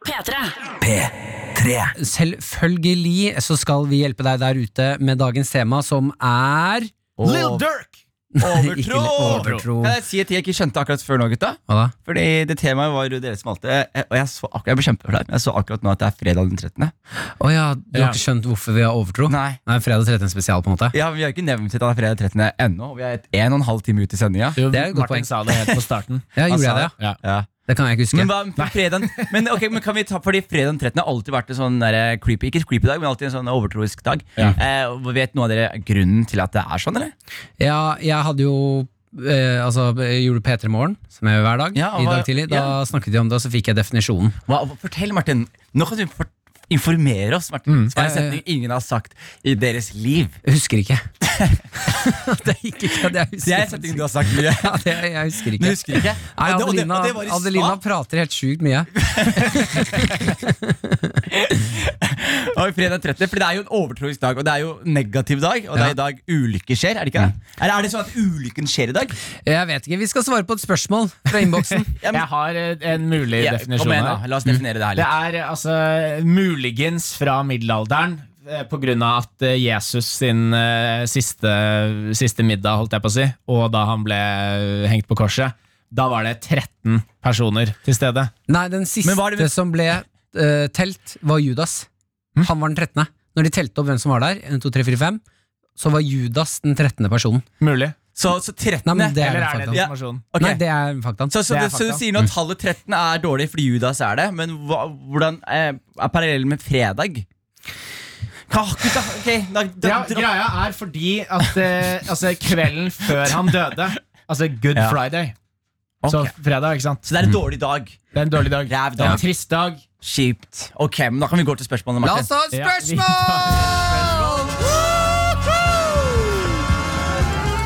Speaker 1: P3.
Speaker 3: Selvfølgelig så skal vi hjelpe deg der ute med dagens tema, som er
Speaker 5: Lil Durk! Overtro!
Speaker 3: overtro.
Speaker 5: Kan jeg si et ting jeg ikke skjønte akkurat før nå, gutta?
Speaker 3: Hva da?
Speaker 5: Fordi det temaet var jo dere som alltid jeg- Og jeg, så akkurat, jeg ble kjempeflau, men jeg så akkurat nå at det er fredag den 13.
Speaker 3: Å ja, du
Speaker 2: Ja.
Speaker 3: har ikke skjønt hvorfor vi har overtro?
Speaker 5: Nei.
Speaker 3: Nei, Fredag 13 spesial, på en måte.
Speaker 5: Ja, men Vi har ikke nevnt at det er fredag 13. ennå. og Vi er et en og en halv time ut i sendinga.
Speaker 2: Jo,
Speaker 3: Det er et godt
Speaker 2: Martin
Speaker 3: poeng.
Speaker 2: sa det helt på starten.
Speaker 3: Ja,
Speaker 5: Han
Speaker 3: gjorde jeg
Speaker 5: sa
Speaker 3: det? ja?
Speaker 2: Ja.
Speaker 5: Ja.
Speaker 3: Det kan jeg ikke huske.
Speaker 5: Men, hva, for fredagen, men, ok, men kan vi ta Fordi fredagen 13 har alltid vært en sånn der creepy Ikke creepy dag, men alltid en sånn overtroisk dag.
Speaker 2: Ja.
Speaker 5: Eh, og vet noen av dere grunnen til at det er sånn, eller?
Speaker 3: Ja, jeg hadde jo eh, altså, jeg gjorde P3 Morgen, som jeg gjør hver dag,
Speaker 5: Ja,
Speaker 3: i
Speaker 5: hva-
Speaker 3: dag tidlig. Da
Speaker 5: ja.
Speaker 3: snakket de om det, og så fikk jeg definisjonen.
Speaker 5: Hva, fortell, Martin. Nå kan du for, informere oss, Martin. Som er en
Speaker 3: Ja, ja, ja.
Speaker 5: setning ingen har sagt i deres liv.
Speaker 3: Jeg husker ikke. det gikk ikke at jeg husker.
Speaker 5: Det er en setning du har sagt mye.
Speaker 3: Ja, det, jeg husker
Speaker 5: Du
Speaker 3: ikke.
Speaker 5: husker ikke?
Speaker 3: Nei,
Speaker 5: Og det- og det-
Speaker 3: Adelina,
Speaker 5: og det var i stad.
Speaker 3: Adelina prater helt sjukt mye.
Speaker 5: Og fredag 13, for det er jo en overtroisk dag, og det er jo en negativ dag. Og det
Speaker 3: Ja.
Speaker 5: er i dag ulykker skjer, er det ikke det? Eller er det sånn at ulykken skjer i dag?
Speaker 3: Jeg vet ikke, Vi skal svare på et spørsmål fra innboksen.
Speaker 2: Jeg har eh, en mulig
Speaker 5: Ja,
Speaker 2: definisjon
Speaker 5: kom igjen,
Speaker 2: her.
Speaker 5: da. La oss definere det her
Speaker 2: Det er
Speaker 5: litt.
Speaker 2: eh, altså muligens fra middelalderen. eh, På grunn av at eh, Jesus sin eh, siste, siste middag, holdt jeg på å si, og da han ble eh, hengt på korset, da var det 13 personer til stede.
Speaker 3: Nei, den siste
Speaker 5: Men hva er det vi- Hm?
Speaker 3: som ble eh, telt, var Judas. Han var den 13. Når de telte opp hvem som var der, 1, 2, 3, 4, 5, så var Judas den 13. personen.
Speaker 2: Mulig.
Speaker 5: Så, så 13
Speaker 3: Nei, men det er den
Speaker 2: Eller er det
Speaker 3: faktaen.
Speaker 5: Ja.
Speaker 2: informasjon?
Speaker 5: Ok.
Speaker 3: Nei, det er faktaen.
Speaker 5: Så, så,
Speaker 2: Det er
Speaker 5: du, så du
Speaker 2: fakta.
Speaker 5: sier nå at tallet 13 er dårlig fordi Judas er det, men hva, hvordan eh, er parallellen med fredag? Ka- gutta, ok, da, da,
Speaker 2: Ja,
Speaker 5: dra-
Speaker 2: greia er fordi at eh, altså, kvelden før han døde, altså Good
Speaker 5: Ja.
Speaker 2: Friday Så
Speaker 5: Ok.
Speaker 2: fredag, ikke sant?
Speaker 5: Så det er en dårlig dag.
Speaker 2: Det er en dårlig dag.
Speaker 5: Ræv
Speaker 2: Det er
Speaker 5: dag.
Speaker 2: en trist dag.
Speaker 5: Kjipt. Ok, men Da kan vi gå til spørsmålet.
Speaker 3: La oss
Speaker 5: Martin
Speaker 3: ta et
Speaker 2: Ja, vi
Speaker 3: spørsmål!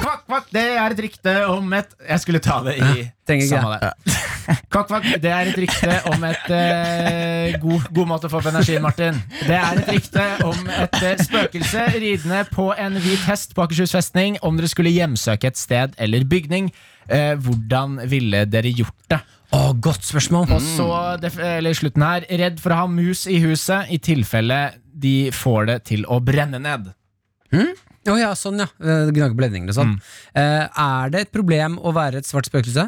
Speaker 2: Kokkvakt, det er et rykte om et Jeg skulle ta det i
Speaker 3: trenger ikke
Speaker 2: samme det. Kokkvakt, det er et rykte om et eh, god, god måte å få opp energien, Martin. Det er et rykte om et eh, spøkelse ridende på en hvit hest på Akershus festning om dere skulle hjemsøke et sted eller bygning. Eh, hvordan ville dere gjort det?
Speaker 3: Å, godt spørsmål.
Speaker 5: Mm.
Speaker 2: Og så def- eller slutten her Redd for å ha mus i huset I tilfelle de får det til å brenne ned
Speaker 3: Å ja, sånn, ja. Eh, Gnage på ledninger og sånn.
Speaker 5: Mm.
Speaker 3: Eh, er det et problem å være et svart spøkelse?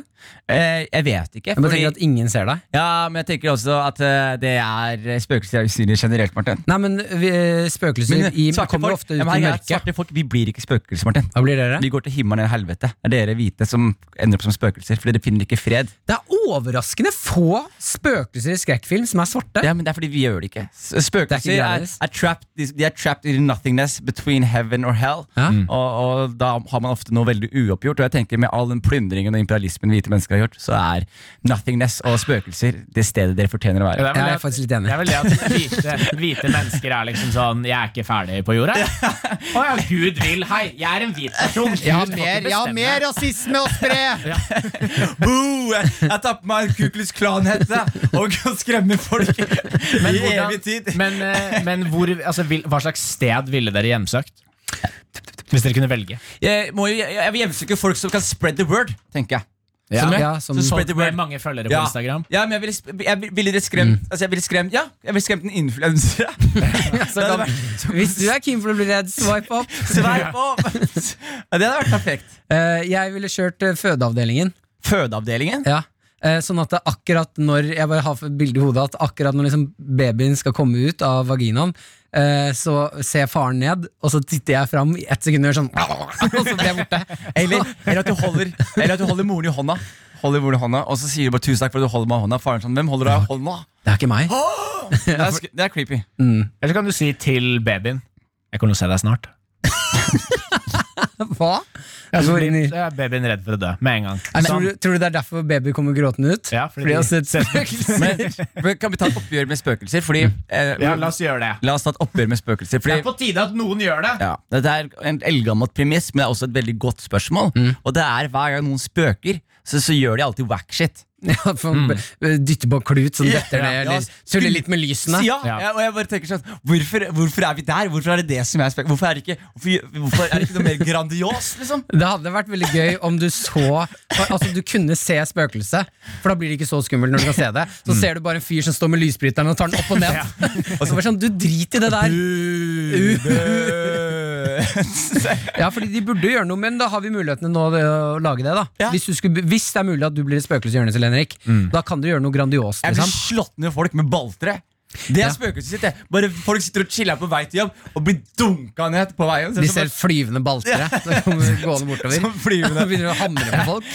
Speaker 5: Eh, jeg vet ikke.
Speaker 3: Jeg bare
Speaker 5: fordi-
Speaker 3: tenker at ingen ser deg.
Speaker 5: ja, men jeg tenker også at eh, det er spøkelser er usynlige generelt, Martin.
Speaker 3: Nei, men eh, spøkelser
Speaker 5: Men
Speaker 3: i,
Speaker 5: svarte
Speaker 3: kommer
Speaker 5: folk-
Speaker 3: ofte ut
Speaker 5: Ja, men
Speaker 3: i
Speaker 5: herregud,
Speaker 3: mørket.
Speaker 5: Svarte folk, vi blir ikke spøkelser, Martin.
Speaker 3: Hva blir dere?
Speaker 5: Vi går til himmelen eller helvete. Det er dere hvite som ender opp som spøkelser, for dere finner ikke fred.
Speaker 3: Det er overraskende få spøkelser i skrekkfilm som er svarte.
Speaker 5: Ja, men det er fordi vi gjør det ikke. S-
Speaker 3: Det er
Speaker 5: Spøkelser
Speaker 3: ikke
Speaker 5: er,
Speaker 3: gratis.
Speaker 5: er trapped de, de er trapped in nothingness between heaven or hell.
Speaker 3: Ja. Mm.
Speaker 5: Og, og da har man ofte noe veldig uoppgjort. Og jeg tenker med all den plyndringen og imperialismen hvite mennesker har gjort, så er nothingness og spøkelser det stedet dere fortjener å
Speaker 2: Det
Speaker 5: være.
Speaker 2: vel
Speaker 3: Jeg
Speaker 2: det
Speaker 3: er
Speaker 2: at-
Speaker 3: faktisk litt
Speaker 2: det
Speaker 3: enig.
Speaker 2: er vel det at hvite, hvite mennesker er liksom sånn Jeg er ikke ferdig på jorda Å ja, Gud vil, hei, jeg er en hvit person Gud
Speaker 7: Jeg har
Speaker 2: får ikke
Speaker 7: mer, jeg har
Speaker 2: bestemme.
Speaker 7: mer rasisme å spre!
Speaker 5: Boo! Jeg, jeg tar på meg en Kuklus Klan-hette og kan skremme folk
Speaker 2: men,
Speaker 5: i
Speaker 2: hvordan,
Speaker 5: evig tid.
Speaker 2: men, eh, men hvor, altså, vil, hva slags sted ville dere hjemsøkt? Hvis dere kunne velge
Speaker 5: Jeg, må jo, jeg, jeg vil hjemsøke folk som kan spread the word, tenker jeg.
Speaker 3: Ja.
Speaker 5: Skjønner du?
Speaker 3: Ja, som-
Speaker 5: Så
Speaker 2: Folk
Speaker 5: spread the
Speaker 2: Sånn, med
Speaker 5: word.
Speaker 2: mange følgere på
Speaker 5: Ja.
Speaker 2: Instagram Mm.
Speaker 5: Ja, men jeg ville, sp- jeg ville- ville dere skremt Altså, jeg ville skremt Ja, jeg ville skremt en influenser.
Speaker 3: Så kan, hvis du er keen for å bli redd, swipe opp.
Speaker 5: Sveip opp! Ja, det hadde vært perfekt.
Speaker 3: Eh, jeg ville kjørt eh, fødeavdelingen.
Speaker 5: Fødeavdelingen?
Speaker 3: Ja. Eh, Sånn at det akkurat når Jeg bare har et bilde i hodet at akkurat når liksom babyen skal komme ut av vaginaen, eh, så ser faren ned, og så titter jeg fram i ett sekund og gjør sånn Og så blir jeg borte.
Speaker 5: Eller, eller, at du holder, eller at du holder moren i hånda. Holder moren i hånda Og så sier du bare 'tusen takk for at du holder meg i hånda'. Faren sånn, hvem holder deg i hånda?
Speaker 3: Det er ikke meg.
Speaker 5: Det er, sk- det er creepy.
Speaker 2: Eller så kan du si til babyen Jeg kommer til å se deg snart
Speaker 3: Hva?
Speaker 2: Ja, så
Speaker 3: Går inn i-
Speaker 2: blir så er babyen redd for å dø med en gang.
Speaker 3: Jeg tror, du, tror du det er derfor baby kommer gråtende ut?
Speaker 2: Ja,
Speaker 3: fordi de har sett spøkelser?
Speaker 5: Men, men kan vi ta et oppgjør med spøkelser? Fordi eh,
Speaker 2: Ja, la oss gjøre det.
Speaker 5: La oss ta et oppgjør med spøkelser. Fordi,
Speaker 2: Det er på tide at noen gjør det.
Speaker 5: Ja, Dette er en eldgammelt premiss, men det er også et veldig godt spørsmål.
Speaker 2: Mm.
Speaker 5: Og det er Hver gang noen spøker, så, så gjør de alltid wack shit.
Speaker 3: Ja, for
Speaker 2: Mm.
Speaker 3: å b- Dytte på klut som detter ned,
Speaker 5: Ja,
Speaker 3: eller tulle litt med lysene?
Speaker 5: Ja,
Speaker 2: Ja.
Speaker 5: ja, og jeg bare tenker sånn Hvorfor, hvorfor er vi der? Hvorfor er det det som er spøk? Hvorfor er det ikke, hvorfor, hvorfor er det ikke noe mer grandios, liksom?
Speaker 3: Det hadde vært veldig gøy om du så Altså du kunne se spøkelset, for da blir det ikke så skummelt når du kan se det. Så
Speaker 5: Mm.
Speaker 3: ser du bare en fyr som står med lysbryteren og tar den opp og ned. Og så bare sånn, Du driter i det der. Ja, fordi de burde gjøre noe, men da har vi mulighetene nå det, å lage det. da
Speaker 5: Ja. Mm.
Speaker 3: hvis, du skulle, hvis det er mulig at du blir et spøkelse i hjørnet til Henrik, da kan du gjøre noe grandiost.
Speaker 5: Jeg blir
Speaker 3: Liksom.
Speaker 5: slått ned av folk med balltre. Det er spøkelset sitt. det. Bare Folk sitter og chiller på vei til jobb og blir dunka ned på veien.
Speaker 3: De ser flyvende baltere som kommer gående bortover.
Speaker 5: Som flyvende.
Speaker 3: Og begynner å hamre på folk.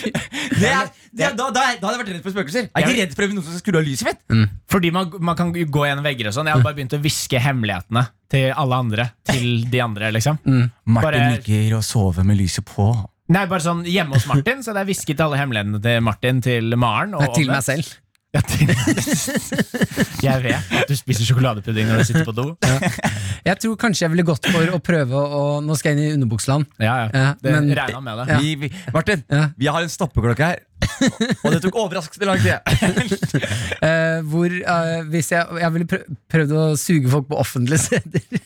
Speaker 5: det er, det er, da, da, da hadde jeg vært redd for spøkelser. Jeg er ikke redd for noen som skrur av lyset mitt.
Speaker 3: Mm.
Speaker 2: Fordi man, man kan gå gjennom vegger og sånn. Jeg har bare begynt å hviske hemmelighetene til alle andre. Til de andre, liksom.
Speaker 5: Martin
Speaker 2: Bare-
Speaker 5: ligger og sover med lyset på.
Speaker 2: Nei, bare sånn hjemme hos Martin, så hadde jeg hvisket alle hemmelighetene til Martin, til Maren. Og
Speaker 3: Nei, til
Speaker 2: Olle.
Speaker 3: meg selv.
Speaker 2: Ja, til jeg vet at du spiser sjokoladepudding når du sitter på do.
Speaker 3: Jeg tror kanskje jeg ville gått for å prøve å Nå skal jeg inn i underbukseland.
Speaker 2: Ja, ja.
Speaker 3: Ja,
Speaker 2: Det
Speaker 3: men-
Speaker 2: regna med det.
Speaker 5: Vi, vi, Martin,
Speaker 3: Ja.
Speaker 5: vi har en stoppeklokke her. Og det tok overraskende lang tid.
Speaker 3: Eh, hvor eh, hvis jeg, jeg ville prø prøvd å suge folk på offentlige steder.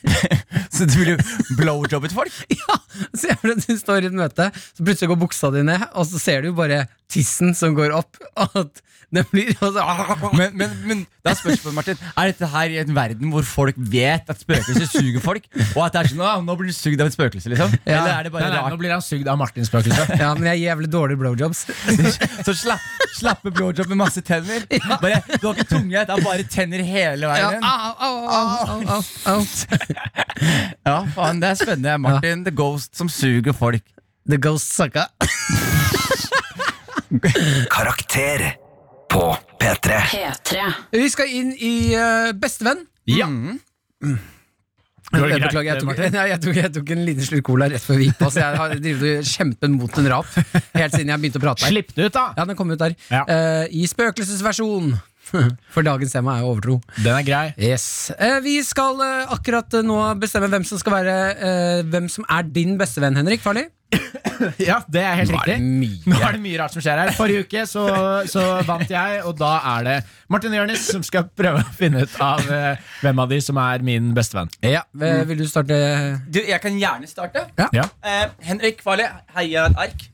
Speaker 5: Så du ville blowjobbet folk?
Speaker 3: ja, så jeg du står i et møte, så plutselig går buksa di ned, og så ser du jo bare tissen som går opp. Og at den blir og så,
Speaker 5: Men, men, men da er spørsmålet, Martin Er dette her i en verden hvor folk vet at spøkelser suger folk? Og at det er sånn, «Å, nå blir du sugd av et spøkelse, liksom?
Speaker 3: Ja.
Speaker 5: Eller er
Speaker 2: Nei,
Speaker 5: det bare
Speaker 2: nei, nå
Speaker 5: rart?
Speaker 2: blir han sugd av Martins liksom. spøkelse.
Speaker 3: Ja, men jeg gir jævlig dårlige blowjobs.
Speaker 5: Så slapp, slappe blowjob med masse tenner? Bare, du har ikke tunge, det er bare tenner hele
Speaker 3: Ja,
Speaker 5: veien?
Speaker 3: au,
Speaker 5: Ja,
Speaker 3: au, au, au, au, au.
Speaker 5: faen, Det er spennende. Martin the Ghost som suger folk.
Speaker 3: The ghost sucka.
Speaker 8: Karakter på P3.
Speaker 9: P3.
Speaker 3: Vi skal inn i eh, Bestevenn.
Speaker 2: Ja.
Speaker 3: Jeg beklager, jeg tok, nei, jeg, tok, jeg tok en liten slurk cola rett før vi gikk på, så jeg har drevet og kjempet mot en rap helt siden jeg begynte å prate. her.
Speaker 2: Slipp det ut, da!
Speaker 3: Ja, den kom ut der.
Speaker 2: Ja.
Speaker 3: Eh, I spøkelsesversjon. For dagens tema er jo overtro.
Speaker 2: Den er grei.
Speaker 3: Yes. Eh, vi skal eh, akkurat eh, nå bestemme hvem som skal være eh, Hvem som er din bestevenn, Henrik Farley.
Speaker 2: Ja, det er helt
Speaker 3: Nå er det
Speaker 2: riktig.
Speaker 3: mye.
Speaker 2: Nå er det mye rart som skjer her. Forrige uke så, så vant jeg, og da er det Martin og Jonis som skal prøve å finne ut av eh, hvem av de som er min bestevenn.
Speaker 3: Ja, eh, Vil du starte?
Speaker 5: Du, jeg kan gjerne starte.
Speaker 2: Ja.
Speaker 5: Eh, Henrik Farley, heia et ark.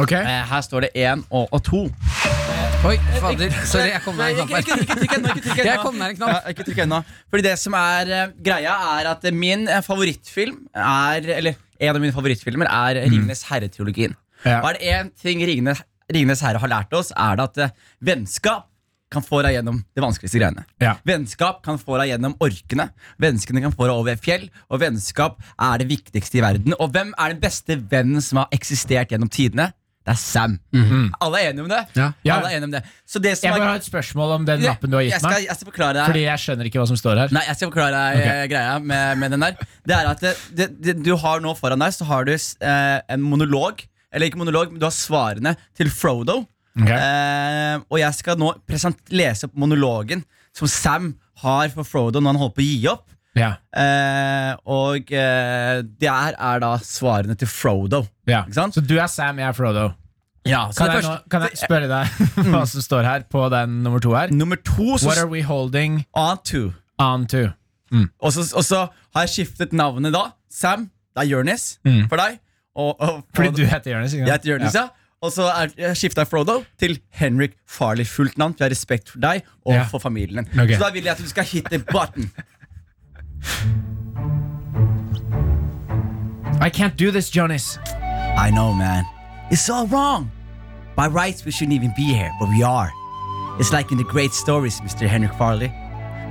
Speaker 2: Ok.
Speaker 5: Eh, her står det én og, og to.
Speaker 3: Oi,
Speaker 5: Eh,
Speaker 3: fader. Sorry, jeg kom meg en knapp
Speaker 5: Ikke-
Speaker 3: her.
Speaker 5: ikke- ikke trykk ennå, ikke trykk ennå.
Speaker 3: Jeg kom meg en knapp.
Speaker 5: Ja, ikke trykk ennå. Fordi det som er eh, greia, er at eh, min eh, favorittfilm er Eller en av mine favorittfilmer er
Speaker 3: Mm.
Speaker 5: Ringenes herre-teologien.
Speaker 2: Ja.
Speaker 5: Og er det én ting Ringenes, Ringenes herre har lært oss, er det at eh, vennskap kan få deg gjennom de vanskeligste greiene.
Speaker 2: Ja.
Speaker 5: Vennskap kan få deg gjennom orkene. Vennskene kan få deg over et fjell. Og vennskap er det viktigste i verden. Og hvem er den beste vennen som har eksistert gjennom tidene? Det er Sam. Alle er enige om det?
Speaker 3: Mhm. Ja.
Speaker 2: Ja.
Speaker 5: Alle er enige om det. Så det som
Speaker 2: Jeg
Speaker 5: er-
Speaker 2: bare har et spørsmål om den lappen du har
Speaker 5: jeg
Speaker 2: gitt
Speaker 5: skal,
Speaker 2: meg.
Speaker 5: Jeg skal forklare deg
Speaker 2: Fordi jeg skjønner ikke hva som står her.
Speaker 5: Nei, jeg skal forklare deg eh, greia med, med den der. Det er at det, det, det, du har nå foran deg Så har du s- eh, en monolog Eller ikke monolog, men du har svarene til Frodo
Speaker 2: Ok.
Speaker 5: eh, Og jeg skal nå present lese opp monologen Som Sam har for Frodo Når han holder på å gi opp
Speaker 2: Ja.
Speaker 5: eh, Og eh, der er da svarene til Frodo
Speaker 2: Ja.
Speaker 5: Ikke sant?
Speaker 2: Så du er Sam, jeg er Frodo.
Speaker 5: ja, så
Speaker 2: Kan jeg, Mm.
Speaker 5: det
Speaker 2: nå,
Speaker 5: første-
Speaker 2: kan jeg spørre deg hva som står her på den nummer to her?
Speaker 5: Nummer to så,
Speaker 2: What are we holding
Speaker 5: On to
Speaker 2: on to?
Speaker 5: Og så, og så har jeg skiftet navnet da. Sam, det er Jonis for deg. Og, og,
Speaker 2: Mm. Fordi du heter Jonis. ikke sant?
Speaker 5: Jeg heter Jonis, ja. Og så er- jeg skifta Frodo til Henrik Farley. Fullt navn. for Jeg har respekt for deg og
Speaker 2: Ja.
Speaker 5: for familien.
Speaker 2: Ok.
Speaker 5: Så da vil jeg at du skal hit the button.
Speaker 2: I can't do this, Jonis.
Speaker 5: I know, man. It's all wrong. By rights, we shouldn't even be here, but we are. It's like in the great stories, Mr. Henrik Farley.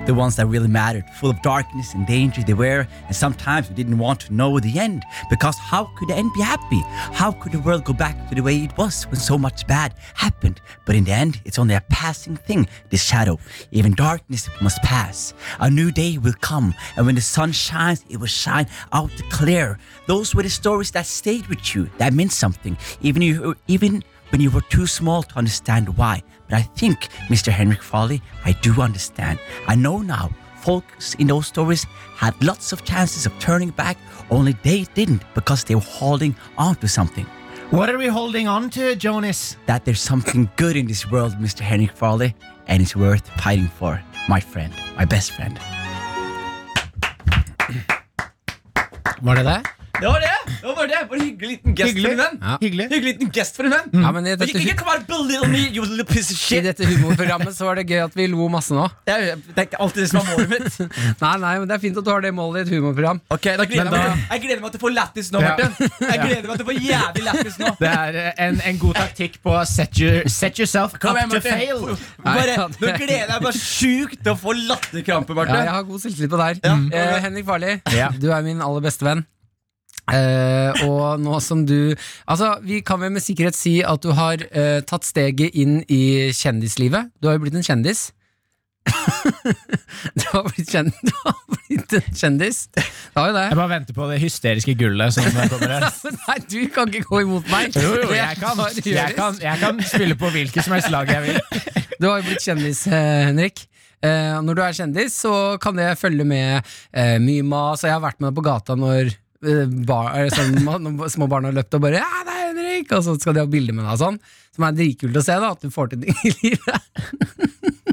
Speaker 5: The ones that really mattered, full of darkness and danger they were, and sometimes we didn't want to know the end, because how could the end be happy? How could the world go back to the way it was when so much bad happened? But in the end, it's only a passing thing, this shadow. Even darkness must pass. A new day will come, and when the sun shines, it will shine out the clear. Those were the stories that stayed with you, that meant something, even you, even when you were too small to understand why. But I think, Mr. Henrik Farley, I do understand. I know now. Folks in those stories had lots of chances of turning back, only they didn't because they were holding on to something.
Speaker 2: What are we holding on to, Jonis?
Speaker 5: That there's something good in this world, Mr. Henrik Farley, and it's worth fighting for. My friend, my best friend.
Speaker 2: Var det det?
Speaker 5: Det var det! det var det. Bare en hyggelig liten gest
Speaker 2: Hyggelig.
Speaker 5: for en venn.
Speaker 3: Ja.
Speaker 2: Hyggelig.
Speaker 5: Hyggelig Mm. liten gest for en venn.
Speaker 3: Ja, men i
Speaker 5: Ikke-
Speaker 3: dette,
Speaker 5: ikke come out, belittle me, you little piece of
Speaker 3: I
Speaker 5: shit.
Speaker 3: dette humorprogrammet så var det gøy at vi lo masse nå.
Speaker 5: Det er det er ikke alltid det som er målet mitt.
Speaker 3: Nei, nei, men Det er fint at du har det målet i et humorprogram.
Speaker 5: Ok, da
Speaker 2: Men
Speaker 5: gleder jeg, meg, jeg gleder meg til å få lættis nå,
Speaker 2: Ja.
Speaker 5: Martin. Jeg gleder meg til å få jævlig lættis nå.
Speaker 2: Det er eh, en, en god taktikk på set, your, set yourself
Speaker 5: Kom
Speaker 2: up
Speaker 5: igjen,
Speaker 2: to
Speaker 5: Martin.
Speaker 2: fail.
Speaker 5: Bare,
Speaker 3: Nei, ja,
Speaker 5: nå
Speaker 3: det-
Speaker 5: gleder jeg meg sjukt til å få latterkrampe,
Speaker 3: Ja, jeg
Speaker 5: Martin.
Speaker 3: har god selvtillit på deg.
Speaker 5: Ja.
Speaker 3: Eh, Henrik Farli,
Speaker 2: Ja.
Speaker 3: du er min aller beste venn. Eh, og nå som du Altså, vi kan vel med sikkerhet si at du har eh, tatt steget inn i kjendislivet. Du har jo blitt en kjendis. du, har blitt kjend du har blitt en kjendis. Du har jo det.
Speaker 2: Jeg bare venter på det hysteriske gullet som kommer her.
Speaker 3: Nei, du kan ikke gå imot meg.
Speaker 2: Jo, jo,
Speaker 3: Det
Speaker 2: jeg kan,
Speaker 3: bare gjøres.
Speaker 2: jeg kan, jeg kan spille på hvilket som helst lag jeg vil.
Speaker 3: Du har jo blitt kjendis, eh, Henrik. Eh, og når du er kjendis, så kan det følge med eh, mye mas. og Jeg har vært med deg på gata når eh, bar, eh, sånn, ma- når små barn har løpt og bare 'Ja, det er Henrik!' Og så skal de ha bilde med deg og sånn. Som er dritkult å se, da, at du får til ting i livet.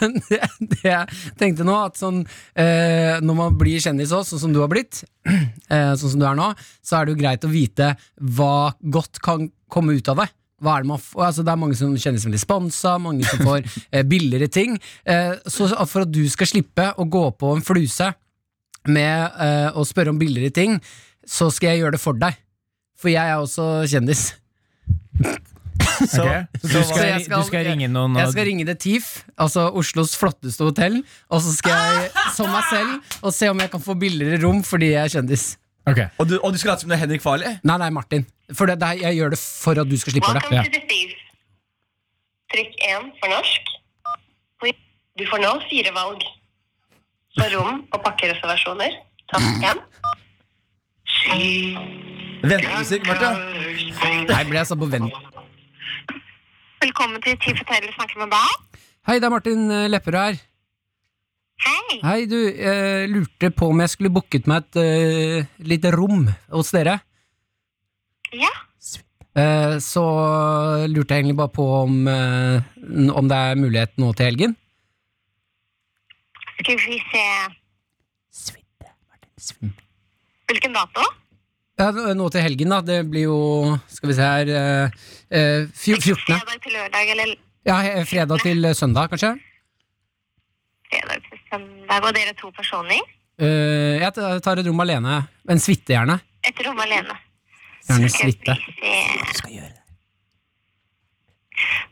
Speaker 3: Men det, det jeg tenkte nå, at sånn eh, når man blir kjendis òg, sånn som du har blitt, eh, sånn som du er nå, så er det jo greit å vite hva godt kan komme ut av det. Hva er det, man får? Altså, det er mange som kjenner seg veldig sponsa, mange som får eh, billigere ting. Eh, så at for at du skal slippe å gå på en fluse med eh, å spørre om billigere ting, så skal jeg gjøre det for deg. For jeg er også kjendis.
Speaker 2: Ok? Så du
Speaker 3: Så
Speaker 2: skal,
Speaker 3: jeg skal-
Speaker 2: du skal ringe noen
Speaker 3: Jeg
Speaker 2: og
Speaker 3: skal ringe The Thief, altså Oslos flotteste hotell, og så skal jeg som meg selv og se om jeg kan få billigere rom fordi jeg er kjendis.
Speaker 2: Ok.
Speaker 5: Og du, og du skulle late som du er Henrik Farley?
Speaker 3: Nei, nei, Martin. For det, det, er- jeg gjør det for at du skal slippe det.
Speaker 10: Welcome to the Thieves. Trykk 1 for norsk. Du får nå fire valg. For rom og pakkereservasjoner, tast 1.
Speaker 5: Ventemusikk, Martin.
Speaker 3: Her ble jeg satt på vent.
Speaker 10: Velkommen til Ti forteller snakker med deg.
Speaker 3: Hei, det er Martin eh, Lepperød her.
Speaker 10: Hei.
Speaker 3: Hei, du, eh, lurte på om jeg skulle booket meg et eh, lite rom hos dere.
Speaker 10: Ja.
Speaker 3: Eh, så lurte jeg egentlig bare på om, eh, n- om det er mulighet nå til helgen.
Speaker 10: Skal vi se Hvilken dato?
Speaker 3: Ja, n- nå til helgen, da. Det blir jo, skal vi se her, eh, eh, fjo- 14.
Speaker 10: Fredag til lørdag eller
Speaker 3: Ja, he- fredag til søndag, kanskje?
Speaker 10: fredag til søndag? Og dere to personer?
Speaker 3: Eh, jeg t- tar et rom alene. En suite, gjerne.
Speaker 10: Et rom alene.
Speaker 3: Gjerne
Speaker 10: Skal vi
Speaker 3: suite.
Speaker 10: se.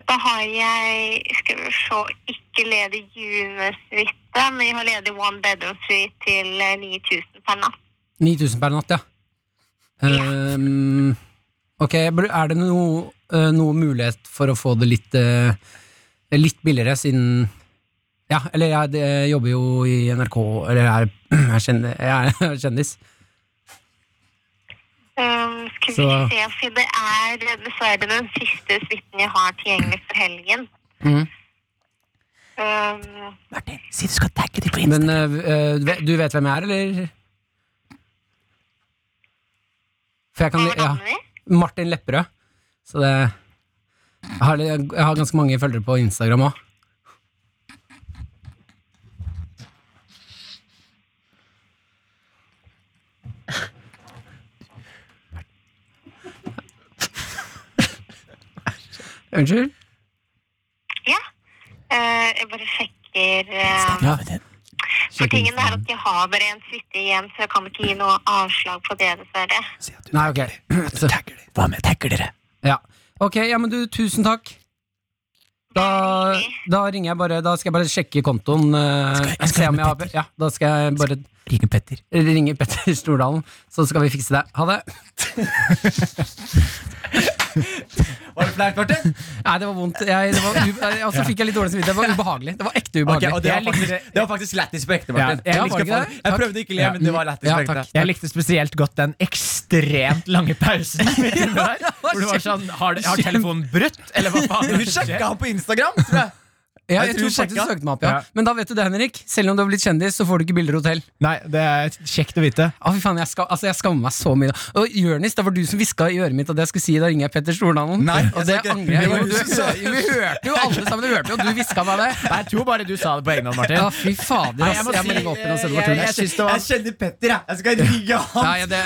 Speaker 10: Da har jeg skal vi se, ikke ledig junesuite, men jeg har ledig one bedroom suite til eh, 9000 per natt.
Speaker 3: 9000 per natt, ja. Ehm, ok, br- er det noe, eh, noe mulighet for å få det litt, eh, litt billigere, siden Ja, eller jeg, det- jeg jobber jo i NRK, eller jeg er, jeg er, kjendis, jeg er kjendis.
Speaker 10: Um, skal vi
Speaker 3: Så-
Speaker 10: se, for det er dessverre den siste suiten jeg har tilgjengelig for helgen.
Speaker 3: Mhm.
Speaker 10: Ehm, Um,
Speaker 3: Men eh, eh, du vet- du vet hvem jeg er, eller? For jeg
Speaker 10: hva
Speaker 3: kan
Speaker 10: var
Speaker 3: ja,
Speaker 10: navnet ditt?
Speaker 3: Martin Lepperød. Så det jeg har, jeg har ganske mange følgere på Instagram òg. Unnskyld?
Speaker 10: Ja. Eh, jeg bare sjekker eh,
Speaker 3: Ja.
Speaker 10: For tingen er at jeg har bare en suite igjen, så jeg kan ikke gi noe avslag på det, dessverre.
Speaker 3: Nei, ok. Så,
Speaker 11: Hva med tagger dere?
Speaker 3: ja. Ok, ja, men du, tusen takk. Da,
Speaker 10: Veldig.
Speaker 3: da ringer jeg bare Da skal jeg bare sjekke kontoen. eh, se om jeg har, ja, da skal jeg bare
Speaker 11: Ringe Petter.
Speaker 3: ringe Petter Stordalen, så skal vi fikse det. Ha det.
Speaker 5: Var det flaut, Martin?
Speaker 3: Nei, det var vondt. Jeg, det var u jeg, også fikk jeg litt dårlig samvittighet. Det var ubehagelig. Det var ekte
Speaker 5: Ok,
Speaker 3: ubehagelig.
Speaker 5: og det, var
Speaker 2: Jeg likte
Speaker 5: faktisk, det var faktisk lættis på ekte,
Speaker 2: Ja,
Speaker 5: Martin.
Speaker 2: jeg
Speaker 5: jeg,
Speaker 3: likte
Speaker 5: elsker
Speaker 3: det.
Speaker 5: folk.
Speaker 3: Takk.
Speaker 5: jeg prøvde ikke å le, men det var lættis
Speaker 3: Ja,
Speaker 5: på ekte.
Speaker 3: takk.
Speaker 2: Jeg likte spesielt godt den ekstremt lange pausen. midt i det der, hvor det var sånn, har, har telefonen brutt, eller hva faen?
Speaker 5: Hun sjekka han på Instagram! tror jeg.
Speaker 3: Ja,
Speaker 5: Jeg
Speaker 3: jeg
Speaker 5: tror
Speaker 3: tror faktisk
Speaker 5: sjekka.
Speaker 3: du søkte meg opp, ja.
Speaker 2: Ja.
Speaker 3: Men da vet du det, Henrik. Selv om du har blitt kjendis, så får du ikke bilder og hotell.
Speaker 2: Nei, det er kjekt å vite.
Speaker 3: Å, fy faen, jeg, ska, altså, jeg skammer meg så mye. Og Jørnis, det var du som hviska i øret mitt at jeg skulle si da ringer jeg Petter Stordalen.
Speaker 5: Nei, jeg
Speaker 3: og det
Speaker 5: sa ikke-
Speaker 3: angrer jeg
Speaker 5: Det var
Speaker 3: jo.
Speaker 5: du
Speaker 3: Du,
Speaker 5: som sa-
Speaker 3: vi hørte jo alle sammen, du hørte jo, du hviska meg det.
Speaker 2: Jeg tror bare du sa det på egen hånd, Martin.
Speaker 3: Ja, fy fader,
Speaker 2: Nei,
Speaker 3: ass.
Speaker 2: jeg
Speaker 3: Jeg
Speaker 2: må
Speaker 3: må,
Speaker 2: si,
Speaker 3: ringe opp igjen og se det
Speaker 2: eh,
Speaker 3: var tull.
Speaker 2: jeg- jeg synes det var-
Speaker 5: Jeg kjenner Petter, jeg. Jeg skal ringe han. Ah!
Speaker 3: Nei, det,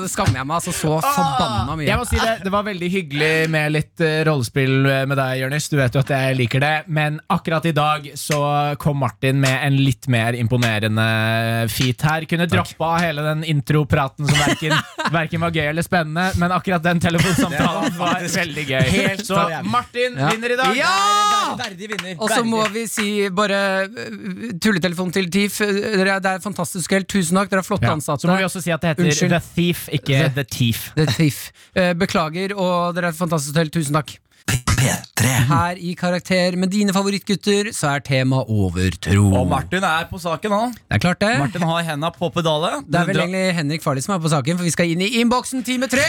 Speaker 3: nå skammer jeg meg altså så forbanna mye.
Speaker 2: Jeg må si Det det var veldig hyggelig med litt eh, rollespill eh, med deg, Jonis. Du vet jo at jeg liker det. Men akkurat i dag så kom Martin med en litt mer imponerende feat her. Kunne droppa hele den intropraten som verken, verken var gøy eller spennende, men akkurat den telefonsamtalen var veldig gøy.
Speaker 5: helt
Speaker 2: Så
Speaker 5: jævlig.
Speaker 2: Martin
Speaker 3: Ja.
Speaker 2: vinner i dag.
Speaker 5: Ja! Verdig vinner.
Speaker 3: Og så
Speaker 5: Verdig.
Speaker 3: må vi si bare øh, tulletelefon til TIF. Dere er, det er fantastisk helt. Tusen takk, dere er flotte
Speaker 2: Ja.
Speaker 3: ansatte.
Speaker 2: Så må vi også si at det heter
Speaker 3: Unnskyld.
Speaker 2: The Thief, ikke The Thief.
Speaker 3: Det er TIF. Eh, Beklager, og dere er fantastisk helt. Tusen takk. Her i Karakter med dine favorittgutter så er tema overtro.
Speaker 5: Og Martin er på saken, han.
Speaker 3: Det er klart, det.
Speaker 5: Martin har henda på pedalet.
Speaker 3: Det er vel
Speaker 5: Dra-
Speaker 3: egentlig Henrik Farley som er på saken, for vi skal inn i innboksen time tre!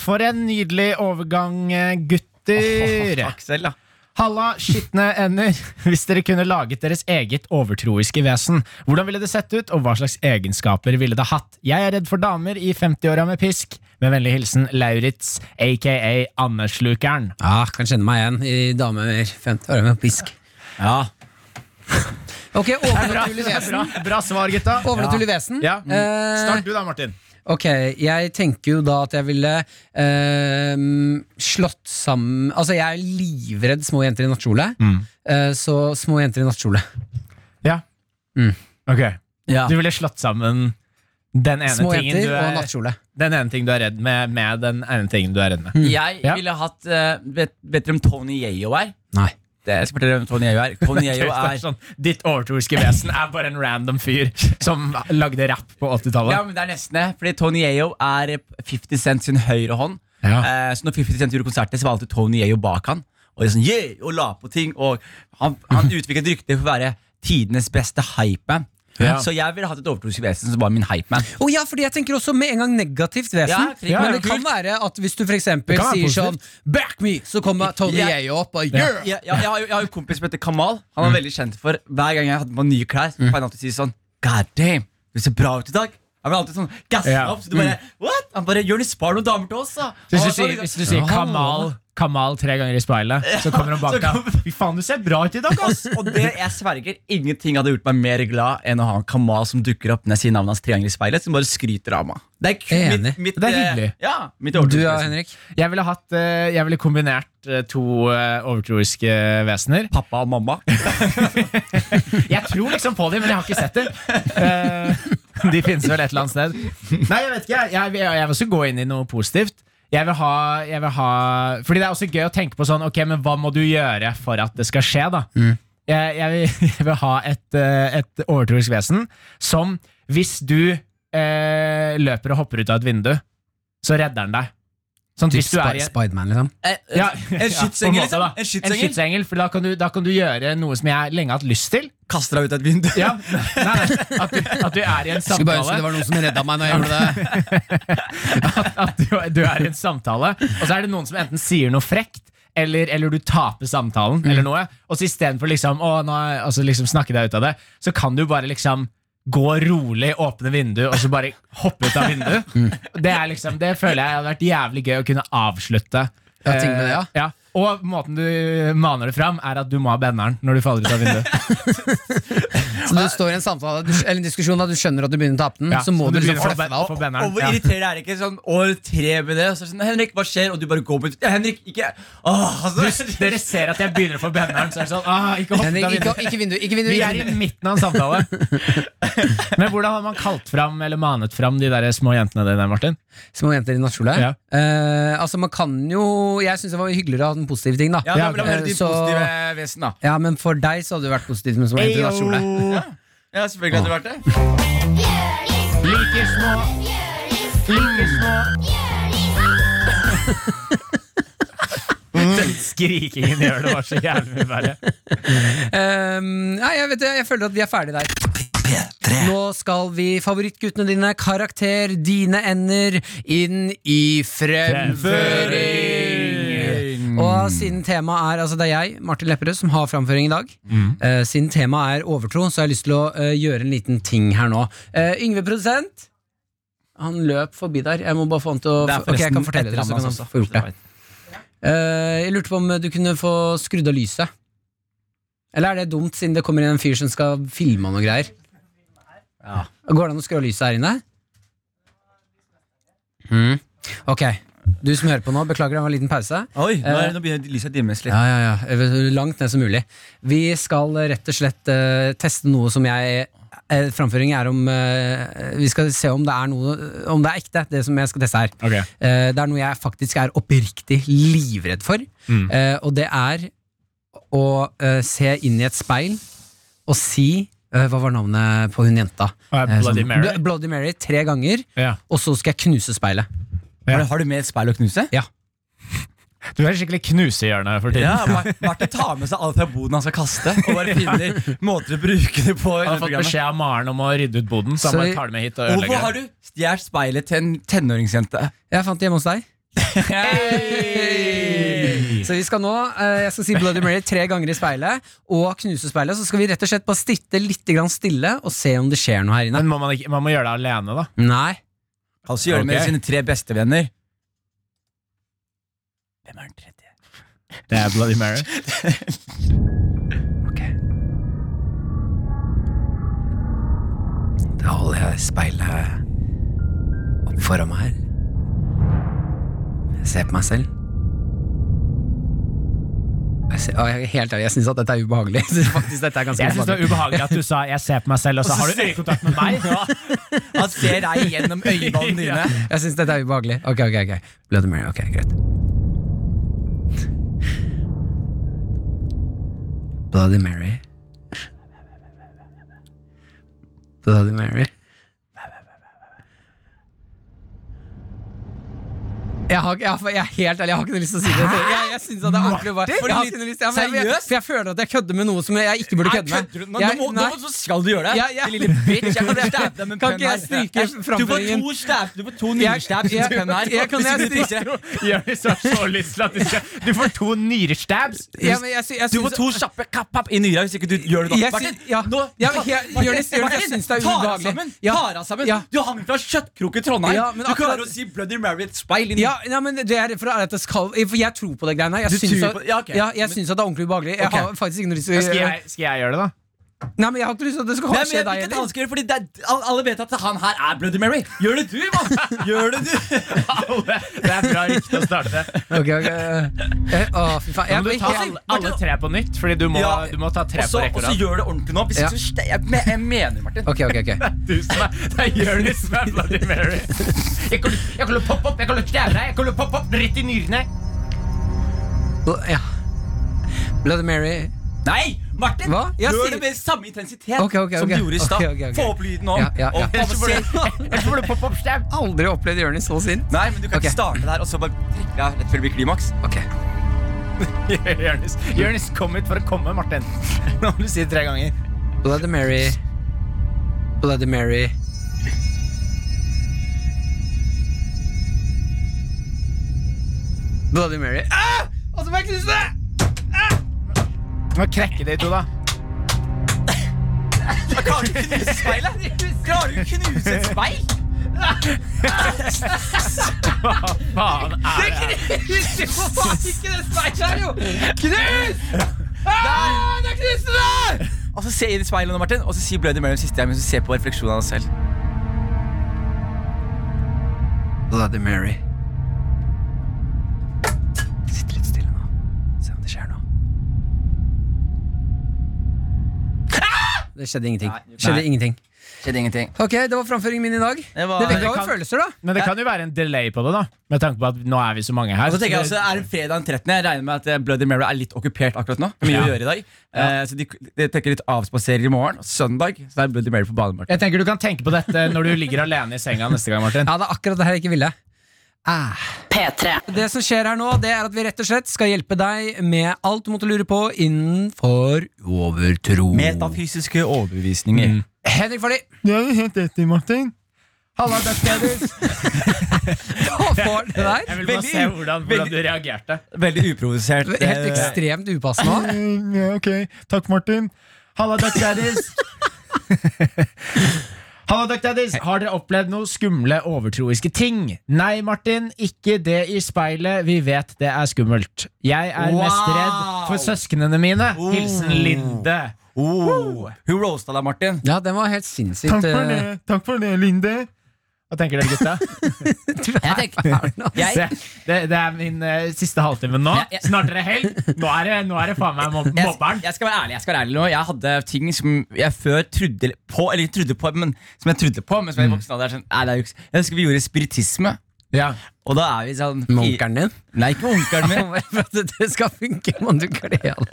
Speaker 2: For en nydelig overgang, eh, gutter.
Speaker 5: Aksel, da.
Speaker 2: Halla, skitne ender. Hvis dere kunne laget deres eget overtroiske vesen, hvordan ville det sett ut, og hva slags egenskaper ville det hatt? Jeg er redd for damer i 50-åra med pisk. Med vennlig hilsen Lauritz, aka Anderslukeren.
Speaker 3: Ja, Ah, kan kjenne meg igjen i dame med 50 år med pisk.
Speaker 5: Ja.
Speaker 3: Ok,
Speaker 2: Bra,
Speaker 3: overnaturlig
Speaker 2: bra,
Speaker 3: vesen.
Speaker 2: bra svar, gutta.
Speaker 3: Overnaturlig vesen.
Speaker 2: Ja.
Speaker 3: Eh,
Speaker 2: Start du, da, Martin.
Speaker 3: Ok, jeg tenker jo da at jeg ville ehm, slått sammen Altså, jeg er livredd små jenter i nattkjole.
Speaker 2: Mm.
Speaker 3: Eh, så små jenter i nattkjole.
Speaker 2: Ja.
Speaker 3: Mm.
Speaker 2: Ok.
Speaker 5: Ja.
Speaker 2: Du ville slått sammen den ene,
Speaker 3: Små
Speaker 2: tingen du
Speaker 3: jenter og
Speaker 2: er,
Speaker 3: nattkjole.
Speaker 2: den ene ting du er redd med, med den ene tingen du er redd med.
Speaker 5: Jeg
Speaker 2: Mm. Ja.
Speaker 5: ville hatt eh, vet, vet dere om Tony Yeo er?
Speaker 3: Nei.
Speaker 5: Det, jeg skal fortelle dere om Tony Yeo er. Tony
Speaker 2: Det
Speaker 5: Yeo
Speaker 2: er
Speaker 5: er
Speaker 2: sånn, ditt overtroiske vesen er bare en random fyr som lagde rap på 80-tallet.
Speaker 5: Ja, men det er nesten det. Fordi Tony Yeo er eh, 50 Cent sin høyre hånd. Eh, så når 50 Cent gjorde konserter, så var alltid Tony Yeo bak han. Og, liksom,
Speaker 2: Mm.
Speaker 5: yeah! og la på ting. Og han, han utviklet et rykte for å være tidenes beste hypeman.
Speaker 2: Ja.
Speaker 5: Så jeg ville hatt et overtroisk vesen som var min hypeman.
Speaker 3: Å ja, fordi jeg tenker også med en gang negativt vesen.
Speaker 5: Ja, krig-
Speaker 3: men
Speaker 2: ja,
Speaker 3: det kan være at hvis du f.eks.
Speaker 2: kan være
Speaker 3: sier sånn
Speaker 2: positivt.
Speaker 3: 'back me', så kommer Tony
Speaker 5: Ja.
Speaker 3: Yeo opp og 'yeah'.
Speaker 5: Jeg, jeg, jeg, har jo- jeg har jo en kompis som heter Kamal. Han
Speaker 2: Mm.
Speaker 5: er veldig kjent for Hver gang jeg hadde på meg nye klær, Så pleide han alltid å si sånn God damn, du ser bra ut i dag. Han ble alltid sånn gassa
Speaker 2: Ja. Mm.
Speaker 5: opp. Så du bare, what? Han bare Jonis, spar noen damer til oss, da.
Speaker 2: Hvis
Speaker 5: Han
Speaker 2: du
Speaker 5: var
Speaker 2: sier,
Speaker 5: sånn-
Speaker 2: hvis du sier Kamal, Kamal tre ganger i speilet, så kommer han bak
Speaker 5: så
Speaker 2: deg.
Speaker 5: kommer-
Speaker 2: Fy faen, du ser bra ut i dag, ass!
Speaker 5: Og det, jeg sverger, ingenting hadde gjort meg mer glad enn å ha en Kamal som dukker opp når jeg sier navnet hans tre ganger i speilet, som bare skryter av meg. Det er, ku-
Speaker 3: Enig.
Speaker 5: mitt, mitt,
Speaker 2: Det er
Speaker 5: eh,
Speaker 2: hyggelig.
Speaker 5: Ja, mitt
Speaker 3: Du ja,
Speaker 5: overdosis.
Speaker 3: Henrik?
Speaker 2: Jeg ville, hatt, eh, jeg ville kombinert eh, to eh, overtroiske vesener.
Speaker 5: Pappa og mamma.
Speaker 2: Jeg tror liksom på dem, men jeg har ikke sett dem. Eh, de finnes vel et eller annet sted. Nei, jeg vet ikke. Jeg, jeg, vil- jeg vil også gå inn i noe positivt. Jeg vil ha, jeg vil ha Fordi det er også gøy å tenke på sånn Ok, men hva må du gjøre for at det skal skje, da? Jeg, jeg, vil, jeg vil ha et, eh, et overtroisk vesen som hvis du eh, løper og hopper ut av et vindu, så redder han deg. Sånn, at hvis du er i en-
Speaker 3: Spiderman, liksom.
Speaker 2: ja,
Speaker 5: Eh, En skytsengel,
Speaker 2: på
Speaker 5: liksom.
Speaker 2: da.
Speaker 5: En skytsengel.
Speaker 2: for da kan, du, da kan du gjøre noe som jeg lenge har hatt lyst til.
Speaker 5: Kaster deg ut av et vindu.
Speaker 2: Ja, nei, nei, at, du, at du er i en
Speaker 3: Skulle bare ønske det
Speaker 2: samtale.
Speaker 3: var noen som redda meg når jeg gjorde det.
Speaker 2: At du, du er i en samtale Og så er det noen som enten sier noe frekt, eller, eller du taper samtalen,
Speaker 3: Mm.
Speaker 2: eller noe. Og så istedenfor liksom, å, nå, er- altså liksom snakke deg ut av det, så kan du bare liksom Gå rolig, åpne vinduet og så bare hoppe ut av vinduet.
Speaker 3: Mm.
Speaker 2: Det, er liksom, det føler jeg hadde vært jævlig gøy å kunne avslutte.
Speaker 3: Ja, ting med det, ja.
Speaker 2: Eh, ja. Og måten du maner det fram, er at du må ha benneren når du faller ut av vinduet.
Speaker 3: Så når du står i en samtale du, eller en diskusjon da du skjønner at du begynner å tape den,
Speaker 2: Ja,
Speaker 3: så må
Speaker 2: så
Speaker 3: du
Speaker 2: du
Speaker 3: liksom
Speaker 2: begynner å
Speaker 3: fluffe deg
Speaker 2: få-
Speaker 3: opp.
Speaker 2: få benneren.
Speaker 5: Og hvor
Speaker 2: Ja.
Speaker 5: irriterende er det ikke sånn år tre med det? Og så er det sånn, Henrik, hva skjer? Og du bare går på ja, Henrik, ikke Åh, altså.
Speaker 2: Hvis dere ser at jeg begynner å få benneren, så er det sånn ah, ikke hopp ut
Speaker 3: Henrik,
Speaker 2: av
Speaker 3: ikke,
Speaker 2: vinduet.
Speaker 3: ikke vindu, ikke vindu.
Speaker 2: Vi
Speaker 3: Ikke
Speaker 2: er i
Speaker 3: vindu.
Speaker 2: midten av en samtale. Men hvordan har man kalt fram eller manet fram de der små jentene dine, Martin?
Speaker 3: Små jenter i nattkjole.
Speaker 2: Ja.
Speaker 3: Eh, altså, man kan jo Jeg syns det var hyggeligere å ha den positive ting, da.
Speaker 5: Ja, men la meg høre
Speaker 3: Eh,
Speaker 5: ditt
Speaker 3: så-
Speaker 5: positive vesen, da.
Speaker 3: Ja, men for deg så hadde det vært positivt med små jenter i nattkjole.
Speaker 5: Ja, selvfølgelig hadde det vært det.
Speaker 2: Like små, like små Den skrikingen gjør det var så jævlig mye verre.
Speaker 3: Ehm, nei, jeg, vet, det, jeg føler at vi er ferdige der.
Speaker 4: P3
Speaker 3: Nå skal vi, favorittguttene dine, karakter, dine ender, inn i fremføring! Og siden temaet er altså det er jeg, Martin Lepperød, som har framføring i dag. Eh, siden temaet er overtro, så har jeg lyst til å eh, gjøre en liten ting her nå. Eh, Yngve produsent, han løp forbi der. Jeg må bare få han til å
Speaker 5: Det er
Speaker 3: Ok, jeg kan
Speaker 5: forresten
Speaker 3: fortelle
Speaker 5: et
Speaker 3: dere, så
Speaker 5: drama
Speaker 3: kan
Speaker 5: også,
Speaker 3: han få gjort det.
Speaker 5: så
Speaker 3: Eh, jeg lurte på om du kunne få skrudd av lyset. Eller er det dumt, siden det kommer inn en fyr som skal filme og noe greier? Går det an å skru av lyset her inne? Mm. Ok. Du som hører på nå, beklager, det var en liten pause.
Speaker 5: Oi, nå,
Speaker 3: Eh,
Speaker 5: er, nå begynner lyset å dimmes litt.
Speaker 3: Ja, ja, ja. Jeg vet, Langt ned som mulig. Vi skal eh, rett og slett eh, teste noe som jeg eh, Framføring er om eh, Vi skal se om det er noe Om det er ekte, det som jeg skal teste her.
Speaker 2: Ok.
Speaker 3: Eh, det er noe jeg faktisk er oppriktig livredd for. Eh, og det er å eh, se inn i et speil og si eh, Hva var navnet på hun jenta?
Speaker 2: Ah,
Speaker 3: Eh,
Speaker 2: Bloody
Speaker 3: sånn,
Speaker 2: Mary?
Speaker 3: Bl- Bloody Mary tre ganger,
Speaker 2: Ja.
Speaker 3: og så skal jeg knuse speilet.
Speaker 2: ja.
Speaker 5: Har du- Har du med et speil å knuse?
Speaker 2: Du er skikkelig knusehjørne for tiden.
Speaker 5: Ja, Mar- Martin tar med seg alt fra boden han skal kaste, og bare finner måter å bruke det på. i
Speaker 2: Han har fått
Speaker 5: programmet.
Speaker 2: beskjed av Maren om å rydde ut boden, så han
Speaker 3: Så-
Speaker 2: bare tar det med hit og
Speaker 5: Hvorfor
Speaker 2: ødelegger
Speaker 5: har
Speaker 2: det.
Speaker 5: du stjålet speilet til en tenåringsjente?
Speaker 3: Jeg fant det hjemme hos deg.
Speaker 5: Hey!
Speaker 3: Så vi skal nå, eh, jeg skal si Bloody Mary tre ganger i speilet, og knuse speilet. Så skal vi rett og slett bare sitte litt grann stille og se om det skjer noe her inne.
Speaker 2: Men må man, ikke, man må gjøre det alene, da.
Speaker 3: Nei.
Speaker 5: Han skal gjøre det med
Speaker 2: Ok.
Speaker 5: sine tre bestevenner. Hvem er den tredje?
Speaker 2: Det er Bloody Mary.
Speaker 3: Da holder jeg speilet opp foran meg her. Jeg ser på meg selv. Jeg ser, å, jeg, helt ærlig, jeg syns at dette er ubehagelig. Jeg synes faktisk dette er ganske
Speaker 2: Jeg syns det var
Speaker 3: ubehagelig.
Speaker 2: ubehagelig at du sa 'jeg ser på meg selv', og så har du øyekontakt med meg.
Speaker 5: Han ser deg gjennom øyeballene dine.
Speaker 3: Jeg syns dette er ubehagelig. Ok, ok, ok. Bloody Mary, ok, greit. Bloody Mary. Bloody Mary. Jeg, har, ikke- jeg, har- jeg er helt ærlig, jeg har ikke noe lyst til å si det. Jeg, jeg synes at det er ordentlig bare, jeg har ikke noe lyst, ja, men jeg, jeg,
Speaker 5: seriøst?
Speaker 3: for jeg føler at jeg kødder med noe som jeg ikke burde kødde med.
Speaker 5: kødder du? Nå,
Speaker 3: Jeg-
Speaker 5: nå, må, nå
Speaker 3: nei.
Speaker 5: må- så skal du gjøre det!
Speaker 3: Ja, ja.
Speaker 5: Din lille bitch. Jeg kan stabbe deg med en
Speaker 3: Kan
Speaker 5: penn
Speaker 3: ikke jeg
Speaker 5: her.
Speaker 3: stryke
Speaker 5: Du får
Speaker 3: framføringen?
Speaker 5: to stab, du får to
Speaker 3: Jeg-
Speaker 5: nyrestabs
Speaker 3: jeg-
Speaker 5: i penn her.
Speaker 3: jeg- kan
Speaker 5: Hvis
Speaker 3: jeg
Speaker 5: ikke du
Speaker 3: stryke-
Speaker 5: trykker.
Speaker 2: Jonis har så lyst til at du skal Du får to nyrestabs!
Speaker 3: Ja, men jeg, sy- jeg
Speaker 5: Du
Speaker 3: synes-
Speaker 5: får to kjappe kapp kapp i nyra hvis ikke du gjør det
Speaker 3: Jeg
Speaker 5: godt.
Speaker 3: sy- ja. Ja, men jeg- Jonis, Jonis, jeg synes det er
Speaker 5: ta deg
Speaker 3: ubehagelig.
Speaker 5: sammen!
Speaker 3: Ja.
Speaker 5: Ta deg sammen.
Speaker 3: Ja.
Speaker 5: Du hang fra kjøttkrok i Trondheim.
Speaker 3: Ja, men
Speaker 5: du
Speaker 3: akkurat-
Speaker 5: klarer å si Bloody Mary i et speil. i
Speaker 3: ja, nei, men det er for at det skal, for jeg tror på det greiene her. Jeg
Speaker 5: Du
Speaker 3: syns
Speaker 5: tror
Speaker 3: at,
Speaker 5: på- ja, ok.
Speaker 3: ja, jeg synes at det er ordentlig ubehagelig. Jeg
Speaker 5: Ok.
Speaker 3: har faktisk ikke noe lyst til
Speaker 2: Skal jeg, skal jeg gjøre det, da?
Speaker 3: Nei, men jeg har ikke lyst til at det skal
Speaker 5: Nei,
Speaker 3: skje
Speaker 5: men jeg
Speaker 3: deg
Speaker 5: vil ikke at han
Speaker 3: heller.
Speaker 5: skal gjøre det, fordi det er, al- alle vet at han her er Bloody Mary. Gjør det du, mann! Gjør det du!
Speaker 2: Det er bra riktig å starte.
Speaker 3: Ok, ok, eh, eh, Å, fy faen. Jeg,
Speaker 2: Nå må du ta
Speaker 3: jeg,
Speaker 2: alle, alle tre på nytt, Fordi du må,
Speaker 5: Ja.
Speaker 2: du må ta tre
Speaker 5: Også,
Speaker 2: på rekke og
Speaker 5: også
Speaker 2: rad.
Speaker 5: gjør det ordentlig nå. Hvis
Speaker 3: Ja.
Speaker 5: ikke så ste- jeg, me- jeg mener, Martin.
Speaker 3: Ok, ok, ok
Speaker 2: Du som er- Det er Jonis som er Bloody Mary. Jeg kan, jeg kan poppe opp, jeg kan stæve deg, jeg kan poppe opp rett i nyrene.
Speaker 3: Bl- ja. Bloody Mary
Speaker 5: Nei, Martin!
Speaker 3: Hva? Jeg
Speaker 5: gjør
Speaker 3: sier-
Speaker 5: det med samme intensitet
Speaker 3: Ok, ok,
Speaker 5: som
Speaker 3: ok.
Speaker 5: du gjorde i stad.
Speaker 3: Ok, ok, ok.
Speaker 5: Få opp lyden nå.
Speaker 3: Ja, ja, ja.
Speaker 5: og bare se-
Speaker 2: Jeg får poppe opp stæv.
Speaker 3: Aldri opplevd Jonis så sint.
Speaker 5: Nei, men du kan
Speaker 3: Ok.
Speaker 5: ikke starte der og så bare trekke deg rett før det blir klimaks.
Speaker 3: Ok
Speaker 2: Jonis, Jonis, kom hit for å komme, Martin. Nå må du si det tre ganger.
Speaker 3: Bloody Mary Bloody Mary Bloody Mary ah! Og så må jeg knuse det!
Speaker 2: Du må krekke de to, da.
Speaker 5: Da klarer du ikke å knuse speilet! Klarer du ikke å knuse et speil?
Speaker 2: Faen er det her?
Speaker 3: Knus! Faen, ikke det speilet her, jo! Knus! Ah, der knuste det!
Speaker 5: Og så se inn i speilet nå, Martin, og så si Bloody Mary den siste gang mens du ser på refleksjonen av deg selv.
Speaker 3: Bloody Mary. Sitt litt stille nå. Se om det skjer noe. Ah! Det skjedde ingenting. Skjedde ingenting.
Speaker 5: Skjedde ingenting.
Speaker 3: Ok, Det var framføringen min i dag. Det,
Speaker 5: var-
Speaker 3: vekker
Speaker 2: Det
Speaker 3: jo
Speaker 2: kan-
Speaker 3: følelser, da.
Speaker 2: Men det kan jo være en delay på det, da. Med tanke på at nå er vi så mange her.
Speaker 5: Og så tenker jeg altså, er det fredag den 13. Jeg regner med at eh, Bloody Mary er litt okkupert akkurat nå. Mye å gjøre i dag Eh, Så de, de tenker litt avspaserer i morgen. Og søndag så er Bloody Mary på banen. Martin.
Speaker 2: Jeg tenker Du kan tenke på dette når du ligger alene i senga neste gang, Martin.
Speaker 3: Ja, det er akkurat det her jeg ikke ville. Ah.
Speaker 1: P3.
Speaker 3: Det som skjer her nå, det er at vi rett og slett skal hjelpe deg med alt du måtte lure på innenfor overtro.
Speaker 5: Metafysiske overbevisninger.
Speaker 3: Henrik Farli,
Speaker 2: Det er helt rett i, Martin. Halla, Duckdadders.
Speaker 3: hva får det der?
Speaker 2: Jeg vil bare
Speaker 5: Veldig-
Speaker 2: se hvordan, hvordan du
Speaker 5: veldig-
Speaker 2: reagerte.
Speaker 5: Veldig uprovosert.
Speaker 3: Helt
Speaker 5: eh,
Speaker 3: ekstremt upassende.
Speaker 2: Mm, ok, takk, Martin. Halla, Duckdadders. Halla, Duckdadders. Har dere opplevd noen skumle overtroiske ting? Nei, Martin, ikke det i speilet. Vi vet det er skummelt. Jeg er mest
Speaker 5: Wow.
Speaker 2: redd for søsknene mine. Hilsen Linde.
Speaker 5: oh, hun roasta deg, Martin.
Speaker 3: Ja, den var helt sinnssykt. eh,
Speaker 2: takk for det, Linde. Hva tenker dere, gutta?
Speaker 3: Jeg tenker
Speaker 2: Se, det, det er min eh, siste halvtime nå. Snart er det helg. Nå er det, nå er det faen meg mob
Speaker 5: Jeg,
Speaker 2: mobberen.
Speaker 5: jeg skal være ærlig jeg skal være ærlig nå. Jeg hadde ting som jeg før trodde på, eller ikke trodde på, men som jeg trodde på. Men som jeg i voksen alder er sånn, nei, det er juks. Jeg husker vi gjorde spiritisme.
Speaker 2: Ja.
Speaker 5: Og da er vi sånn
Speaker 3: Munkeren din?
Speaker 5: Nei, ikke onkelen min.
Speaker 3: For at det skal funke, må du kle av.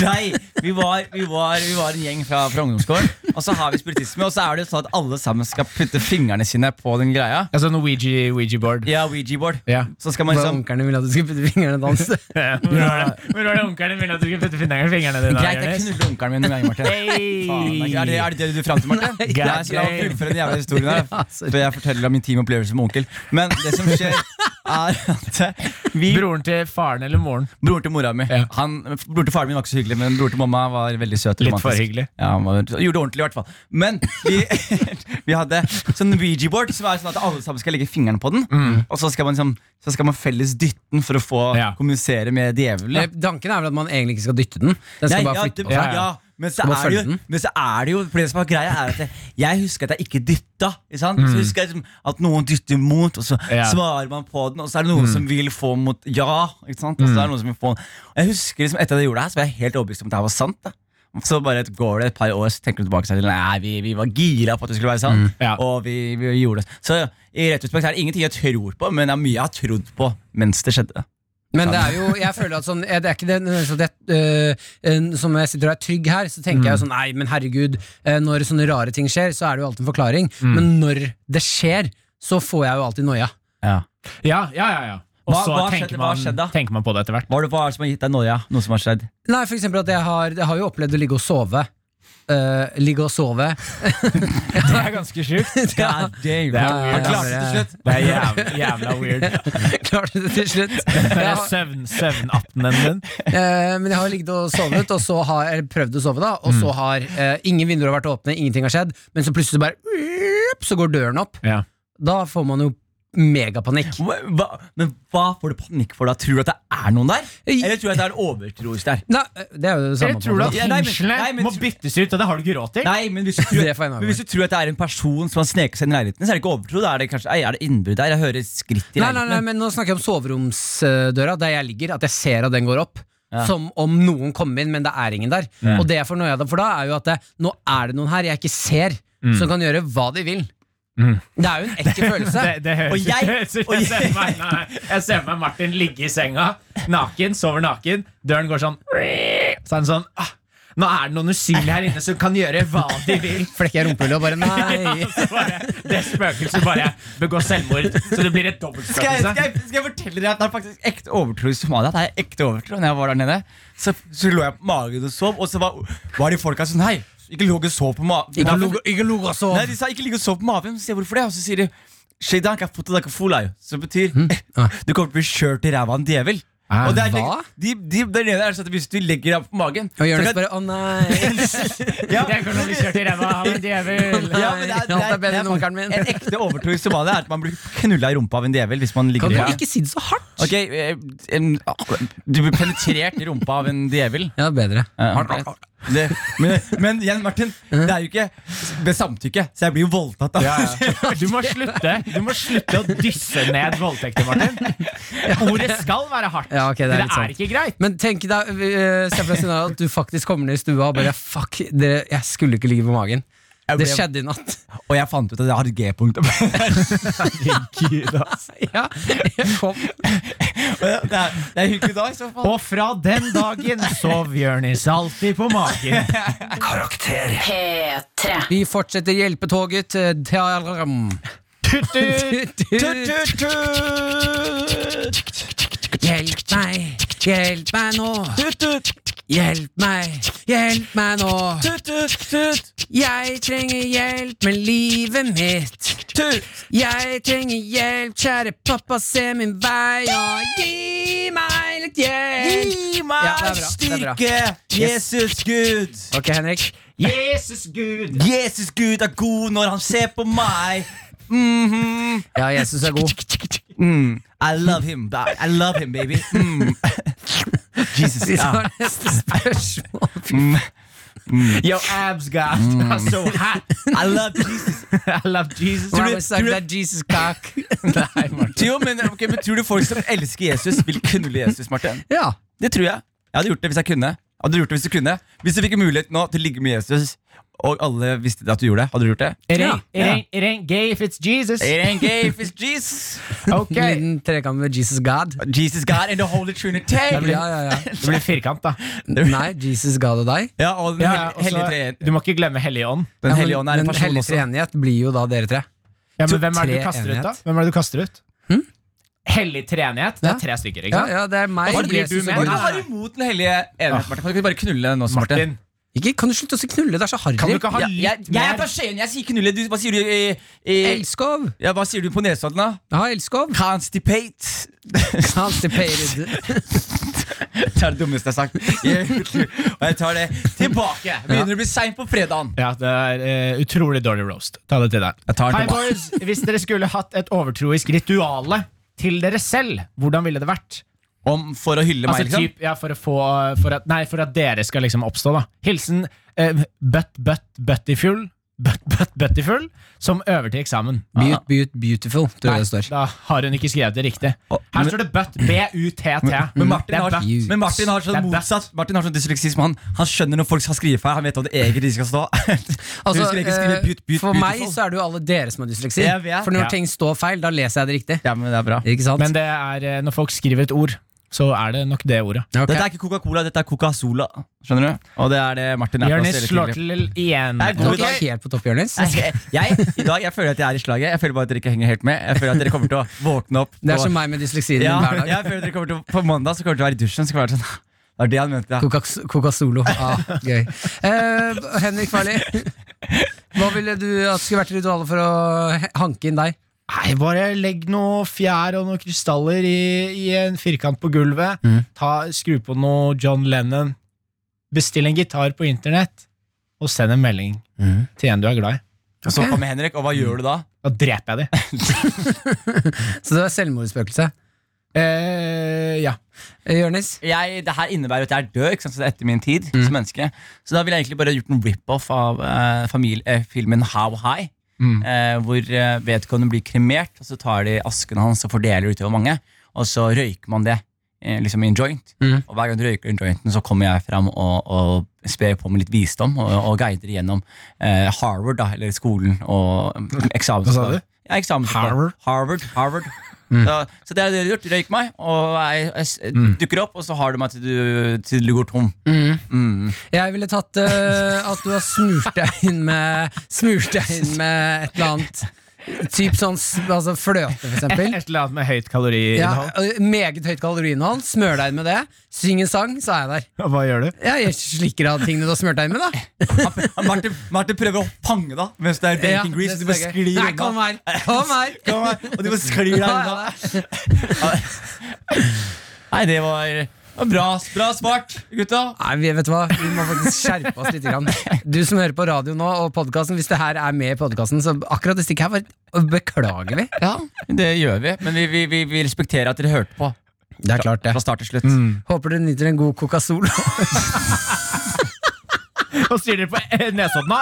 Speaker 5: Nei, vi var, vi var, vi var en gjeng fra, fra ungdomsskolen, og så har vi spiritisme. Og så er det jo sånn at alle sammen skal putte fingrene sine på den greia.
Speaker 2: Altså en Ouija, Ouija board.
Speaker 5: Ja, Ouija-board.
Speaker 2: Ja.
Speaker 5: Så skal man liksom
Speaker 3: Munkerne ville at du skulle putte fingrene i danse.
Speaker 2: Hvor var det, hvor var det onkelen ville at du skulle putte fingrene fingrene dine?
Speaker 5: Greit, jeg knuller onkelen min med en gang, Martin. Faen, det er ikke- Er det, er det det du er fram til, Martin? Nei, jeg skal fullføre den jævla historien her. For jeg forteller om intime opplevelser med onkel. Men det som skjer, er at vi
Speaker 2: Broren til faren eller moren.
Speaker 5: Bror til mora mi.
Speaker 2: Ja.
Speaker 5: Han, bror til faren min var ikke så hyggelig, men bror til mamma var veldig søt. og
Speaker 2: Litt
Speaker 5: romantisk.
Speaker 2: for hyggelig.
Speaker 5: Ja, han var, gjorde det ordentlig, i hvert fall. Men vi, vi hadde sånn Ouija-board, som er sånn at alle sammen skal legge fingeren på den. Og så skal, man, liksom- så skal man felles dytte den for å få
Speaker 2: Mm. Ja.
Speaker 5: kommunisere med djevelen.
Speaker 3: Eh, Tanken er vel at man egentlig ikke skal dytte den. Den skal
Speaker 5: Nei,
Speaker 3: bare
Speaker 5: ja,
Speaker 3: flytte
Speaker 5: det-
Speaker 3: på seg.
Speaker 5: Ja, ja. Men så,
Speaker 3: Skal bare
Speaker 5: er det
Speaker 3: følge
Speaker 5: jo,
Speaker 3: den.
Speaker 5: men så er det jo For det som er greia, er at jeg, jeg husker at jeg ikke dytta. Ikke sant?
Speaker 3: Mm.
Speaker 5: Så husker jeg liksom at noen dytter mot, og så
Speaker 2: Ja.
Speaker 5: svarer man på den, og så er det
Speaker 3: Mm.
Speaker 5: noen som vil få mot ja. Ikke sant? Og så er det noen som vil få Og Jeg husker liksom etter at jeg gjorde det her, så var jeg helt overbevist om at det her var sant. Da. Så bare et- går det et par år, så tenker du tilbake og sier nei, vi, vi var gira på at det skulle være
Speaker 3: Mm.
Speaker 5: sant.
Speaker 2: Ja.
Speaker 5: Og vi, vi gjorde det Så i retrospekt er det ingenting jeg tror på, men det er mye jeg har trodd på mens det skjedde.
Speaker 3: Men det er jo, jeg føler at sånn eh, Det er ikke det nødvendigvis at jeg, eh, eh, Som jeg sitter og er trygg her, så tenker jeg
Speaker 5: Mm.
Speaker 3: jo sånn Nei, men herregud, eh, når sånne
Speaker 5: Mm.
Speaker 3: rare ting skjer, så er det jo alltid en forklaring. Men når det skjer, så får jeg jo alltid noia.
Speaker 5: Ja.
Speaker 2: Ja, ja, ja, ja. Og
Speaker 5: Hva-
Speaker 2: så
Speaker 5: hva skjedde-
Speaker 2: tenker,
Speaker 5: hva skjedde da?
Speaker 2: man- tenker man på det etter hvert.
Speaker 5: Hva er det hva er det som har gitt deg noia? Noe som har skjedd?
Speaker 3: Nei, for eksempel at jeg har, jeg har jo opplevd å ligge og sove. Eh, ligge og sove.
Speaker 2: Det er ganske sjukt.
Speaker 3: Ja.
Speaker 2: Det er
Speaker 3: Han klarte det til slutt.
Speaker 2: weird. Det er jævla, jævla weird.
Speaker 3: Klarte det til slutt.
Speaker 2: Det
Speaker 3: Jeg
Speaker 2: er
Speaker 3: har,
Speaker 2: søvn, søvnappen din.
Speaker 3: eh, men jeg har ligget og sovet, og så har jeg prøvd å sove, da. Og
Speaker 2: Mm.
Speaker 3: så har eh, ingen vinduer har vært åpne, ingenting har skjedd, men så plutselig bare Så går døren opp.
Speaker 2: Ja.
Speaker 3: Da får man jo megapanikk.
Speaker 5: Hva, hva- men hva får du panikk for da? Tror du at det er noen der? Eller tror du at det er en overtro der?
Speaker 3: Nei, eh, det er jo det
Speaker 2: Eller
Speaker 3: samme. på en
Speaker 2: tror du
Speaker 3: måte.
Speaker 2: at
Speaker 5: Ja, nei, men- nei,
Speaker 2: fengselet
Speaker 5: men
Speaker 2: må
Speaker 5: tro-
Speaker 2: byttes ut, og det har du ikke råd til?
Speaker 5: Nei, men hvis du tror,
Speaker 3: Det får jeg navnet.
Speaker 5: men hvis du tror at det er en person som har sneket seg inn i leiligheten, så er det ikke overtro. Da er det kanskje, ei, er det innbrudd der? Jeg hører skritt
Speaker 3: Nei,
Speaker 5: i
Speaker 3: nei, nei,
Speaker 5: leiligheten.
Speaker 3: men nå snakker jeg om soveromsdøra, der jeg ligger, at jeg ser at den går opp. Som om noen kom inn, men det er ingen der. Og det jeg får noe av, for da er jo at det, nå er det noen her jeg ikke ser,
Speaker 2: Mm.
Speaker 3: som kan gjøre hva de vil. Det er jo en ekkel følelse.
Speaker 2: Det, det høres
Speaker 5: Og
Speaker 2: ut
Speaker 5: jeg-
Speaker 2: det høres ut-
Speaker 5: og
Speaker 2: jeg,
Speaker 5: jeg-
Speaker 2: ser for meg- nei, jeg ser for meg Martin ligge i senga, naken, sover naken. Døren går sånn Så er den sånn ah, Nå er det noen usynlige her inne som kan gjøre hva de vil.
Speaker 3: Flekker jeg rumpehullet og bare nei.
Speaker 2: Så bare, det spøkelset bare begår selvmord. Så det blir et
Speaker 5: Skal jeg,
Speaker 2: dobbeltspøkelse.
Speaker 5: skal, jeg, skal jeg fortelle dere at det er faktisk ekte overtro i Somalia? Det er ekte overtro Når jeg var der nede, så, så lå jeg på magen og sov, og så var, var de folka sånn Hei, ikke ligg og sov på magen.
Speaker 3: Ikke log- Ikke log og sov.
Speaker 5: Nei, de sa ikke ligg og sov på magen. Så sier jeg hvorfor det? Og så sier de Shaydank er fotot ikke full av Som betyr «Eh,
Speaker 3: Ah.
Speaker 5: du kommer til å bli kjørt i ræva av en djevel.
Speaker 2: Ah,
Speaker 5: Og det er,
Speaker 3: hva?
Speaker 5: De, de, der nede er det sånn at hvis du legger deg på magen
Speaker 3: Og Jonis
Speaker 5: så kan-
Speaker 3: bare å nei.
Speaker 5: ja,
Speaker 2: Jeg kommer til å bli kjørt i ræva av en djevel.
Speaker 5: ja, men det er,
Speaker 3: Alt er bedre enn onkelen min.
Speaker 5: En ekte overtro i Somalia er at man blir knulla i rumpa av en djevel hvis man ligger
Speaker 3: Kan du
Speaker 5: i
Speaker 3: ikke si det så hardt?
Speaker 5: Ok, eh, en, Du blir penetrert i rumpa av en djevel.
Speaker 3: Ja, bedre. altså.
Speaker 5: Eh, Det, men, men igjen, Martin, det er jo ikke ved samtykke, så jeg blir jo voldtatt. Da.
Speaker 2: Du må slutte Du må slutte å dysse ned voldtekter, Martin. Ordet skal være hardt.
Speaker 3: Ja, ok, det er
Speaker 2: men
Speaker 3: litt
Speaker 2: det
Speaker 3: sant.
Speaker 2: er ikke greit.
Speaker 3: Men tenk deg eh, se for deg scenarioet at du faktisk kommer ned i stua og bare fuck, det, jeg skulle ikke ligge på magen.
Speaker 5: Jeg
Speaker 3: Det
Speaker 5: ble-
Speaker 3: skjedde i natt.
Speaker 5: Og jeg fant ut at jeg har et G-punkt.
Speaker 3: Ja, jeg kom
Speaker 5: Det, er- det er hyggelig dag, i så fall.
Speaker 2: Og fra den dagen sov Jonis alltid på magen.
Speaker 4: Karakter.
Speaker 1: P3.
Speaker 3: Vi fortsetter hjelpetoget eh, til Dram. Hjelp meg, hjelp meg nå. Hjelp meg, hjelp meg nå. Jeg trenger hjelp med livet mitt. Jeg trenger hjelp, kjære pappa, se min vei og gi meg litt hjelp.
Speaker 5: Gi
Speaker 3: Ja,
Speaker 5: meg
Speaker 3: det er bra, det er bra.
Speaker 5: styrke, Jesus Gud.
Speaker 3: Ok, Henrik.
Speaker 2: Jesus Gud!
Speaker 5: Jesus Gud er god når han ser på meg.
Speaker 3: Ja, Jesus er god.
Speaker 5: Mm. I love him, da. I love him, baby. Mm. Jesus,
Speaker 3: Vi
Speaker 5: ja.
Speaker 3: tar neste spørsmål.
Speaker 2: Yo, abs got
Speaker 3: Mm.
Speaker 2: I'm so hot.
Speaker 5: I love Jesus.
Speaker 2: I love Jesus.
Speaker 3: When I
Speaker 5: du-
Speaker 3: was
Speaker 5: tror
Speaker 3: like
Speaker 5: du-
Speaker 3: that Jesus cock. Nei, Martin.
Speaker 5: Jo, men, ok, men tror du folk som elsker Jesus, vil knulle Jesus, Martin?
Speaker 3: Ja.
Speaker 5: Det tror jeg. Jeg hadde gjort det hvis jeg kunne. Jeg Hadde gjort det Hvis du kunne Hvis du fikk en mulighet nå til å ligge med Jesus, og alle visste at du gjorde det, hadde du gjort det?
Speaker 2: It
Speaker 3: Ja.
Speaker 2: ain't, it, ain't, it ain't gay if it's Jesus.
Speaker 5: It ain't gay if it's Jesus.
Speaker 2: Ok.
Speaker 3: En liten trekant med Jesus God.
Speaker 5: Jesus God and the Holy Trinity.
Speaker 3: Ja, ja, ja.
Speaker 2: Det blir firkant, da.
Speaker 3: Nei, Jesus God og deg.
Speaker 5: Ja, og den
Speaker 2: Ja, og
Speaker 5: hel-
Speaker 2: så-
Speaker 5: hellige treen.
Speaker 2: du må ikke glemme Hellig Ånd.
Speaker 5: Den hellige ånd er en
Speaker 3: Den
Speaker 5: person
Speaker 3: hellige
Speaker 5: også.
Speaker 3: treenighet blir jo da dere tre.
Speaker 2: Ja, men
Speaker 3: To-
Speaker 2: hvem er det du
Speaker 3: tre
Speaker 2: kaster ut, da?
Speaker 3: enighet.
Speaker 2: Hvem er det du kaster ut?
Speaker 5: Hm?
Speaker 2: Hellig treenighet? Det
Speaker 3: Ja.
Speaker 2: er tre stykker, ikke
Speaker 3: Ja,
Speaker 2: sant?
Speaker 3: ja, det er meg,
Speaker 2: Og så blir
Speaker 3: Jesus
Speaker 2: du
Speaker 3: og
Speaker 2: med.
Speaker 5: Hva
Speaker 3: Gud.
Speaker 5: har du imot den hellige enhet, Martin? Kan du ikke bare knulle den nå, Ah. Martin?
Speaker 2: Martin,
Speaker 3: Ikke, kan du slutte å knulle? Det er så harry.
Speaker 2: kan du ikke ha
Speaker 5: Ja,
Speaker 2: litt
Speaker 5: jeg, jeg er
Speaker 2: mer
Speaker 5: fra Skien, jeg sier knulle. Du, hva sier du i, i
Speaker 3: Elskov!
Speaker 5: ja, Hva sier du på Nesodden, da?
Speaker 3: Ja, elskov.
Speaker 5: Constipate.
Speaker 3: Constipated.
Speaker 5: Det er det dummeste jeg har sagt. Jeg- Og jeg tar det tilbake. Begynner å bli seint på fredagen.
Speaker 2: Ja, det er eh, utrolig dårlig roast. Ta det til deg.
Speaker 5: tar den
Speaker 2: Hei,
Speaker 5: tilbake.
Speaker 2: boys! Hvis dere skulle hatt et overtroisk rituale til dere selv, hvordan ville det vært?
Speaker 5: Om for å hylle meg,
Speaker 2: Altså
Speaker 5: liksom?
Speaker 2: typ, ja, for, å få, for, at, nei, for at dere skal liksom oppstå, da. Hilsen eh, Butt Butt Buttyfull. Butt Butt Buttyfull, som øver til eksamen.
Speaker 5: Ah.
Speaker 3: Beaut, beaut, beautiful, tror jeg det
Speaker 2: Nei,
Speaker 3: står.
Speaker 2: da har hun ikke skrevet det riktig. Her står det Butt. B-U-T-T.
Speaker 5: Men Martin,
Speaker 2: Det er
Speaker 5: har,
Speaker 2: butt.
Speaker 3: Butt.
Speaker 5: men Martin har
Speaker 2: Det
Speaker 5: sånn
Speaker 2: er butt.
Speaker 5: motsatt Martin har sånn dysleksisme. Han, han skjønner når folk har skrivefeil. Han vet hva det egentlig skal stå.
Speaker 3: Altså,
Speaker 5: du skulle ikke skrive
Speaker 3: eh,
Speaker 5: beaut, beaut,
Speaker 3: for meg
Speaker 5: beautiful.
Speaker 3: så er det jo alle dere som har dysleksi.
Speaker 5: Jeg vet.
Speaker 3: For når
Speaker 2: Ja.
Speaker 3: ting står feil, da leser jeg det riktig.
Speaker 5: Ja, men det er bra.
Speaker 3: Ikke sant?
Speaker 2: Men det er eh, når folk skriver et ord. så er det nok det ordet.
Speaker 3: Ok.
Speaker 5: Dette er ikke Coca-Cola, dette er Coca-Sola. Skjønner du? Og det er det Martin er på
Speaker 2: Jonis
Speaker 5: oss hele
Speaker 2: slår
Speaker 5: tiden.
Speaker 2: til igjen.
Speaker 5: Jeg er god i dag.
Speaker 3: Dere er helt på topp, Jonis.
Speaker 5: Jeg, skal- jeg, I dag jeg føler at jeg er i slaget. Jeg føler bare at dere ikke henger helt med. Jeg føler at dere kommer til å våkne opp
Speaker 3: Det er
Speaker 5: på-
Speaker 3: som meg med dysleksien
Speaker 5: ja,
Speaker 3: min hver dag.
Speaker 5: jeg føler at dere kommer til å, På mandag så kommer dere til å være i dusjen. Så kommer dere til å være sånn Det var det han mente, ja.
Speaker 3: Coca- Coca-Solo. Ah, gøy. Eh, Henrik Farley, hva ville du at skulle vært ritualet for å he- hanke inn deg?
Speaker 2: Nei, bare legg noe fjær og noen krystaller i, i en firkant på gulvet.
Speaker 5: Mm.
Speaker 2: Ta, skru på noe John Lennon. Bestill en gitar på internett, og send en melding
Speaker 5: Mm.
Speaker 2: til en du er glad i.
Speaker 5: Og så kommer Henrik, og hva gjør du da?
Speaker 2: Da dreper jeg dem.
Speaker 3: Så det er selvmordsspøkelse.
Speaker 2: Eh, ja.
Speaker 3: Eh, Jonis?
Speaker 5: jeg, det her innebærer at jeg er død ikke sant? Så det er etter min tid
Speaker 2: Mm.
Speaker 5: som menneske. Så da ville jeg egentlig bare gjort en rip-off av eh, famil- eh, filmen How High.
Speaker 2: Mm.
Speaker 5: eh, hvor eh, vedkommende blir kremert, og så tar de asken hans og fordeler utover mange. Og så røyker man det eh, liksom i en joint.
Speaker 3: Mm.
Speaker 5: Og hver gang du røyker den jointen, så kommer jeg fram og, og sper på med litt visdom og, og guider gjennom eh, Harvard, da, eller skolen, og mm, eksamen.
Speaker 2: Hva sa du?
Speaker 5: Ja, eksamen.
Speaker 2: Harvard?
Speaker 5: Harvard, Harvard.
Speaker 3: Mm.
Speaker 5: Så, så det har dere gjort. Røyk meg, og jeg, jeg s- dukker opp, og så har du meg til du, til du går tom. Mm.
Speaker 3: Jeg ville tatt eh, at du har smurt deg inn med Smurt deg inn med et eller annet. Typ sånn s- altså fløte, for
Speaker 2: Et
Speaker 3: eksempel.
Speaker 2: eller annet med høyt
Speaker 3: Ja,
Speaker 2: kaloriinnhold.
Speaker 3: eh, meget høyt kaloriinnhold. Smør deg inn med det. Syng en sang, så er jeg der.
Speaker 2: Hva gjør du?
Speaker 3: Ja, jeg slikker av tingene du har smurt deg inn med, da.
Speaker 5: Han- Martin, Martin prøver å fange deg mens det er
Speaker 3: Ja,
Speaker 5: bacon grease.
Speaker 3: det synes
Speaker 5: Du bare
Speaker 3: jeg er gøy.
Speaker 5: sklir
Speaker 3: Nei, kom
Speaker 5: unna.
Speaker 3: her! Kom her!
Speaker 5: Kom her, Og du bare sklir deg unna.
Speaker 3: Ja, ja.
Speaker 5: Nei, det var, det var bra, bra svart, gutta.
Speaker 3: Nei, vi- vet du hva? Vi må faktisk skjerpe oss litt. Grann. Du som hører på radio nå og podkasten, hvis det her er med i podkasten, så akkurat det stikket her var beklagelig.
Speaker 5: Ja, det gjør vi. Men vi, vi, vi, vi respekterer at dere hørte på.
Speaker 3: Det er klart,
Speaker 5: Fra start til slutt.
Speaker 3: Håper du nyter en god Coca-Sol.
Speaker 2: Og styrer dere på eh, Nesodden?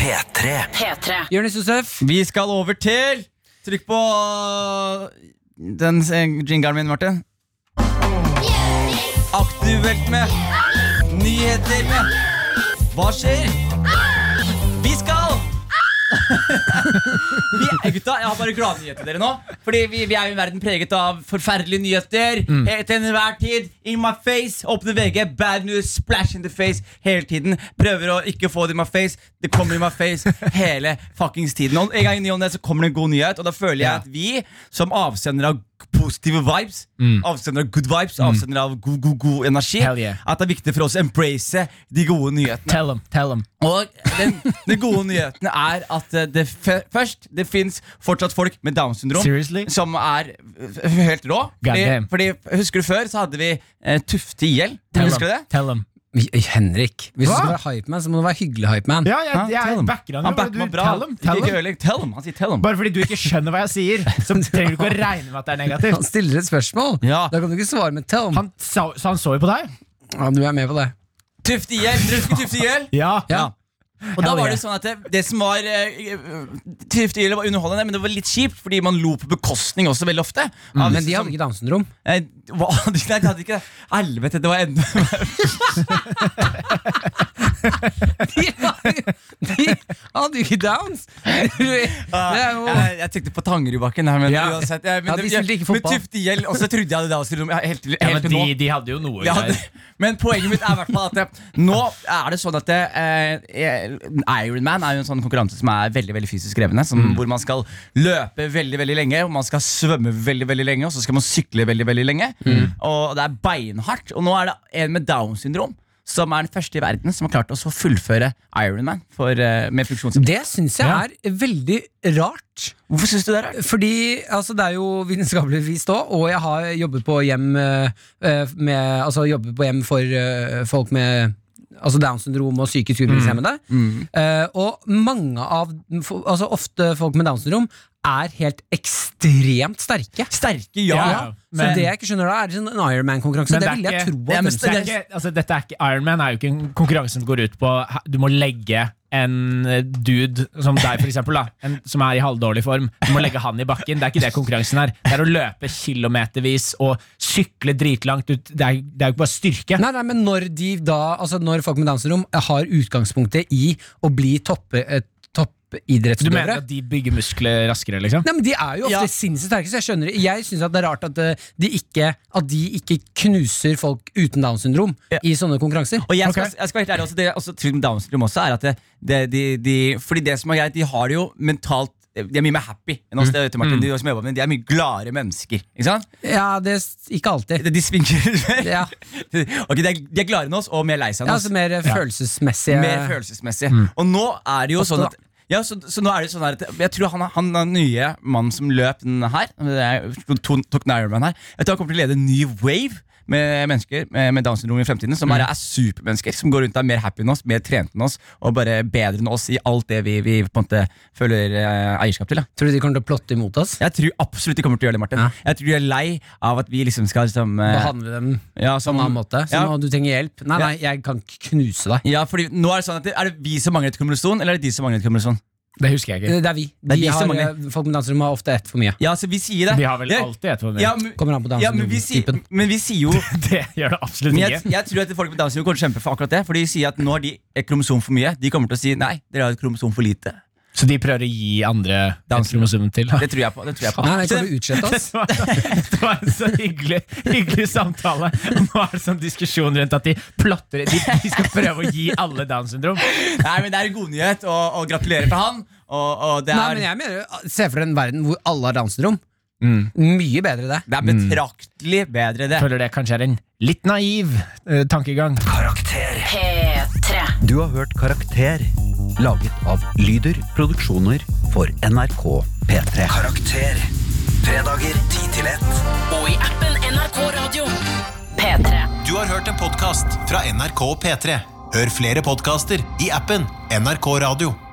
Speaker 4: P3
Speaker 1: P3.
Speaker 3: Jonis Josef,
Speaker 5: Vi skal over til Trykk på uh, den s- jingeren min, Martin. Aktuelt med. Nyheter med. Hva skjer? Vi skal vi, eh, Gutta, jeg har bare gladnyheter til dere nå. Fordi vi, vi er jo en verden preget av forferdelige nyheter.
Speaker 2: Mm.
Speaker 5: eh, Til enhver tid. In my face. Åpne VG. Bad news. Splash in the face. Hele tiden. Prøver å ikke få det in my face. Det kommer in my face hele fuckings tiden. Og en gang i ny og ne så kommer det en god nyhet, og da føler jeg at vi, som avsender av positive vibes, avsender av good vibes, avsender av god, god, god energi,
Speaker 2: Mm. Hell yeah.
Speaker 5: at det er viktig for oss å embrace de gode nyhetene.
Speaker 2: Tell them, tell them.
Speaker 5: Og den, den gode nyheten er at eh, det fe- først, det fins fortsatt folk med Downs syndrom.
Speaker 2: Seriously?
Speaker 5: Som er eh, helt rå. Fordi,
Speaker 2: Goddamn.
Speaker 5: fordi Husker du før så hadde vi eh, Tufte IL.
Speaker 2: Tell
Speaker 5: Husker du det?
Speaker 2: them. Tell them.
Speaker 3: Henrik, hvis du
Speaker 2: Hva?
Speaker 3: skal være hypeman, så må du være hyggelig hypeman.
Speaker 2: Ja, jeg,
Speaker 5: Ja,
Speaker 2: jeg,
Speaker 5: tell 'em.
Speaker 2: backer han jo.
Speaker 5: Han
Speaker 2: men
Speaker 5: backer
Speaker 2: du-
Speaker 5: meg bra.
Speaker 2: Tell them. Tell
Speaker 5: Ikke, ikke
Speaker 2: them.
Speaker 5: ødelegg. Tell them. Han sier tell them.
Speaker 2: Bare fordi du ikke skjønner hva jeg sier, så trenger du ikke å regne med at det er
Speaker 3: Han
Speaker 2: negativt.
Speaker 3: stiller et spørsmål.
Speaker 5: Ja.
Speaker 3: Da kan du ikke svare med Tom.
Speaker 2: Han, sa, så han så jo på deg?
Speaker 3: Ja, du er med på det.
Speaker 5: Tufte IL. Dere husker Tufte IL?
Speaker 2: Ja.
Speaker 3: Ja.
Speaker 5: Og da
Speaker 2: Hell
Speaker 5: var det
Speaker 2: yeah.
Speaker 5: sånn at det, det som var eh, Tufte IL var underholdende, men det var litt kjipt, fordi man lo på bekostning også veldig ofte. Av
Speaker 3: Men
Speaker 5: disse
Speaker 3: de
Speaker 5: som-
Speaker 3: hadde ikke Downs syndrom.
Speaker 5: Nei, hva? Nei, de hadde ikke det. Helvete, det var enda
Speaker 3: De hadde de hadde jo ikke Downs! Det er jo
Speaker 5: jeg, jeg tenkte på Tangerudbakken. her, Men
Speaker 3: Ja.
Speaker 5: uansett jeg, men,
Speaker 3: Ja, de
Speaker 5: jeg-
Speaker 3: spilte ikke
Speaker 5: men
Speaker 3: fotball.
Speaker 5: Tufte Gjell også trodde jeg hadde Downs-syndrom. ja, Helt til,
Speaker 2: Ja,
Speaker 5: helt
Speaker 2: men
Speaker 5: til nå.
Speaker 2: de, de hadde jo noe
Speaker 5: Ja,
Speaker 2: greier.
Speaker 5: det- men poenget mitt er i hvert fall at det, nå er det sånn at det, eh, Ironman er jo en sånn konkurranse som er veldig veldig fysisk krevende. Som, Hvor man skal løpe veldig veldig lenge, og man skal svømme veldig veldig lenge, og så skal man sykle veldig veldig lenge. Og det er beinhardt. Og nå er det en med Downs syndrom. Som er den første i verden som har klart å så fullføre Ironman for, eh, med funksjonshemming.
Speaker 3: Det syns jeg
Speaker 2: Ja.
Speaker 3: er veldig rart.
Speaker 5: Hvorfor syns du det er rart?
Speaker 3: Fordi altså, det er jo vitenskapelig vist òg, og jeg har jobbet på hjem, eh, eh, med, altså, jobbet på hjem for eh, folk med Altså Downs syndrom og psykisk utviklingshemmede. Eh, og mange av for- Altså ofte folk med Downs syndrom er helt ekstremt sterke.
Speaker 5: Sterke ja.
Speaker 2: Ja, ja.
Speaker 3: så
Speaker 2: men-
Speaker 3: det jeg ikke skjønner, da er sånn en Ironman-konkurranse. Det
Speaker 2: Men det er
Speaker 3: ville jeg
Speaker 2: ikke-
Speaker 3: tro at
Speaker 5: Ja, men
Speaker 3: de
Speaker 2: Det er
Speaker 5: det-
Speaker 2: ikke, altså, dette er ikke Ironman er jo ikke en konkurranse som går ut på Du må legge en eh, dude som deg, for eksempel, da, en, som er i halvdårlig form. Du må legge han i bakken. Det er ikke det konkurransen er. Det er å løpe kilometervis og sykle dritlangt. ut. Det er det er jo ikke bare styrke.
Speaker 3: Nei, nei, men når de da Altså når folk med Downs syndrom har utgangspunktet i å bli toppe, eh, topp
Speaker 2: Du mener
Speaker 3: toppidrettsutøvere.
Speaker 2: at de bygger muskler raskere, liksom?
Speaker 3: Nei, men De er jo ofte
Speaker 12: Ja.
Speaker 3: sinnssykt sterke, så jeg skjønner det. Jeg syns det er rart at eh, de ikke, at de ikke knuser folk uten Downs syndrom i sånne konkurranser.
Speaker 5: Og jeg skal,
Speaker 2: Ok.
Speaker 5: jeg skal være helt ærlig også, det er også tvil med Downs syndrom også er at det, det, de, de, Fordi det som er greit, de har det jo mentalt De er mye mer happy enn
Speaker 3: Mm.
Speaker 5: oss. Det, vet du, Martin, de, som jobber med, de er mye gladere mennesker. Ikke sant?
Speaker 3: Ja, det s- Ikke alltid.
Speaker 5: De, de svinker
Speaker 3: Ja.
Speaker 5: Ok, de, er- de er gladere enn oss og mer lei seg
Speaker 3: Ja,
Speaker 5: enn oss.
Speaker 3: altså Mer eh, følelsesmessige
Speaker 5: Mer følelsesmessig.
Speaker 3: Mm.
Speaker 5: Og nå er det jo
Speaker 3: Ofte
Speaker 5: sånn at ja, så, så nå er det sånn her at Jeg tror han, er- han er den nye mannen som løp den her, det er- to- tok den Ironman her Jeg tror han kommer til å lede en ny wave med mennesker med, med Downs syndrom i fremtiden.
Speaker 3: Mm.
Speaker 5: Som bare er supermennesker, som går rundt og er mer happy enn oss, mer trent enn oss og bare bedre enn oss i alt det vi, vi på en måte føler eh, eierskap til. Da.
Speaker 3: Tror du de kommer til å plotte imot oss?
Speaker 5: Jeg tror absolutt de kommer til å gjøre det, Martin.
Speaker 3: Ja.
Speaker 5: Jeg tror de er lei av at vi liksom skal liksom, eh,
Speaker 3: Behandle dem
Speaker 5: ja,
Speaker 3: på
Speaker 5: som,
Speaker 2: Mm.
Speaker 3: en annen måte? Så
Speaker 5: ja.
Speaker 3: nå du trenger hjelp? Nei,
Speaker 5: Ja.
Speaker 3: nei, jeg kan knuse deg.
Speaker 5: Ja, fordi nå Er det sånn at det, Er det vi som mangler et kumulosjon, eller er det de som mangler et kumulosjon?
Speaker 2: Det husker jeg ikke.
Speaker 3: Det er vi.
Speaker 5: er
Speaker 3: De
Speaker 5: de som
Speaker 3: har, eh,
Speaker 5: mangler.
Speaker 3: folk med Downs syndrom har ofte ett for mye.
Speaker 5: Ja, så vi sier det.
Speaker 2: De har vel
Speaker 5: Ja.
Speaker 2: alltid et problem.
Speaker 5: Eh, Ja, men,
Speaker 3: Kommer an på Downs
Speaker 5: ja, men, vi sier,
Speaker 3: syndrom-typen.
Speaker 5: men vi sier jo
Speaker 2: Det gjør det absolutt
Speaker 5: men
Speaker 2: ikke.
Speaker 5: jeg, jeg tror at folk med Downs syndrom kommer til å kjempe for akkurat det. For de sier at nå har de et kromosom for mye. De kommer til å si nei, dere har et kromosom for lite.
Speaker 2: Så de prøver å gi andre
Speaker 5: Downs
Speaker 2: et kromosom til? da?
Speaker 5: Det tror jeg på. Det tror jeg på.
Speaker 3: Nei, nei,
Speaker 5: Så
Speaker 3: kommer du utslette oss?
Speaker 2: Det var, det var en så hyggelig, hyggelig samtale. Og Nå er det sånn diskusjon rundt at de plotter De, de skal prøve å gi alle Downs syndrom.
Speaker 5: nei, men det er en godnyhet, og, og gratulerer til han. Og, og det,
Speaker 3: Nei,
Speaker 5: er,
Speaker 3: men jeg mener, Se for deg en verden hvor alle har Downs syndrom.
Speaker 5: Mm.
Speaker 3: Mye bedre det.
Speaker 5: det er betraktelig bedre, det.
Speaker 2: Føler det kanskje er en litt naiv eh, tankegang.
Speaker 4: Karakter.
Speaker 1: P3.
Speaker 4: Du har hørt Karakter, laget av Lyder Produksjoner for NRK P3. Karakter. Fredager 10 til 1.
Speaker 1: Og i appen NRK Radio. P3.
Speaker 13: Du har hørt en podcast fra NRK P3. Hør flere podcaster i appen NRK Radio.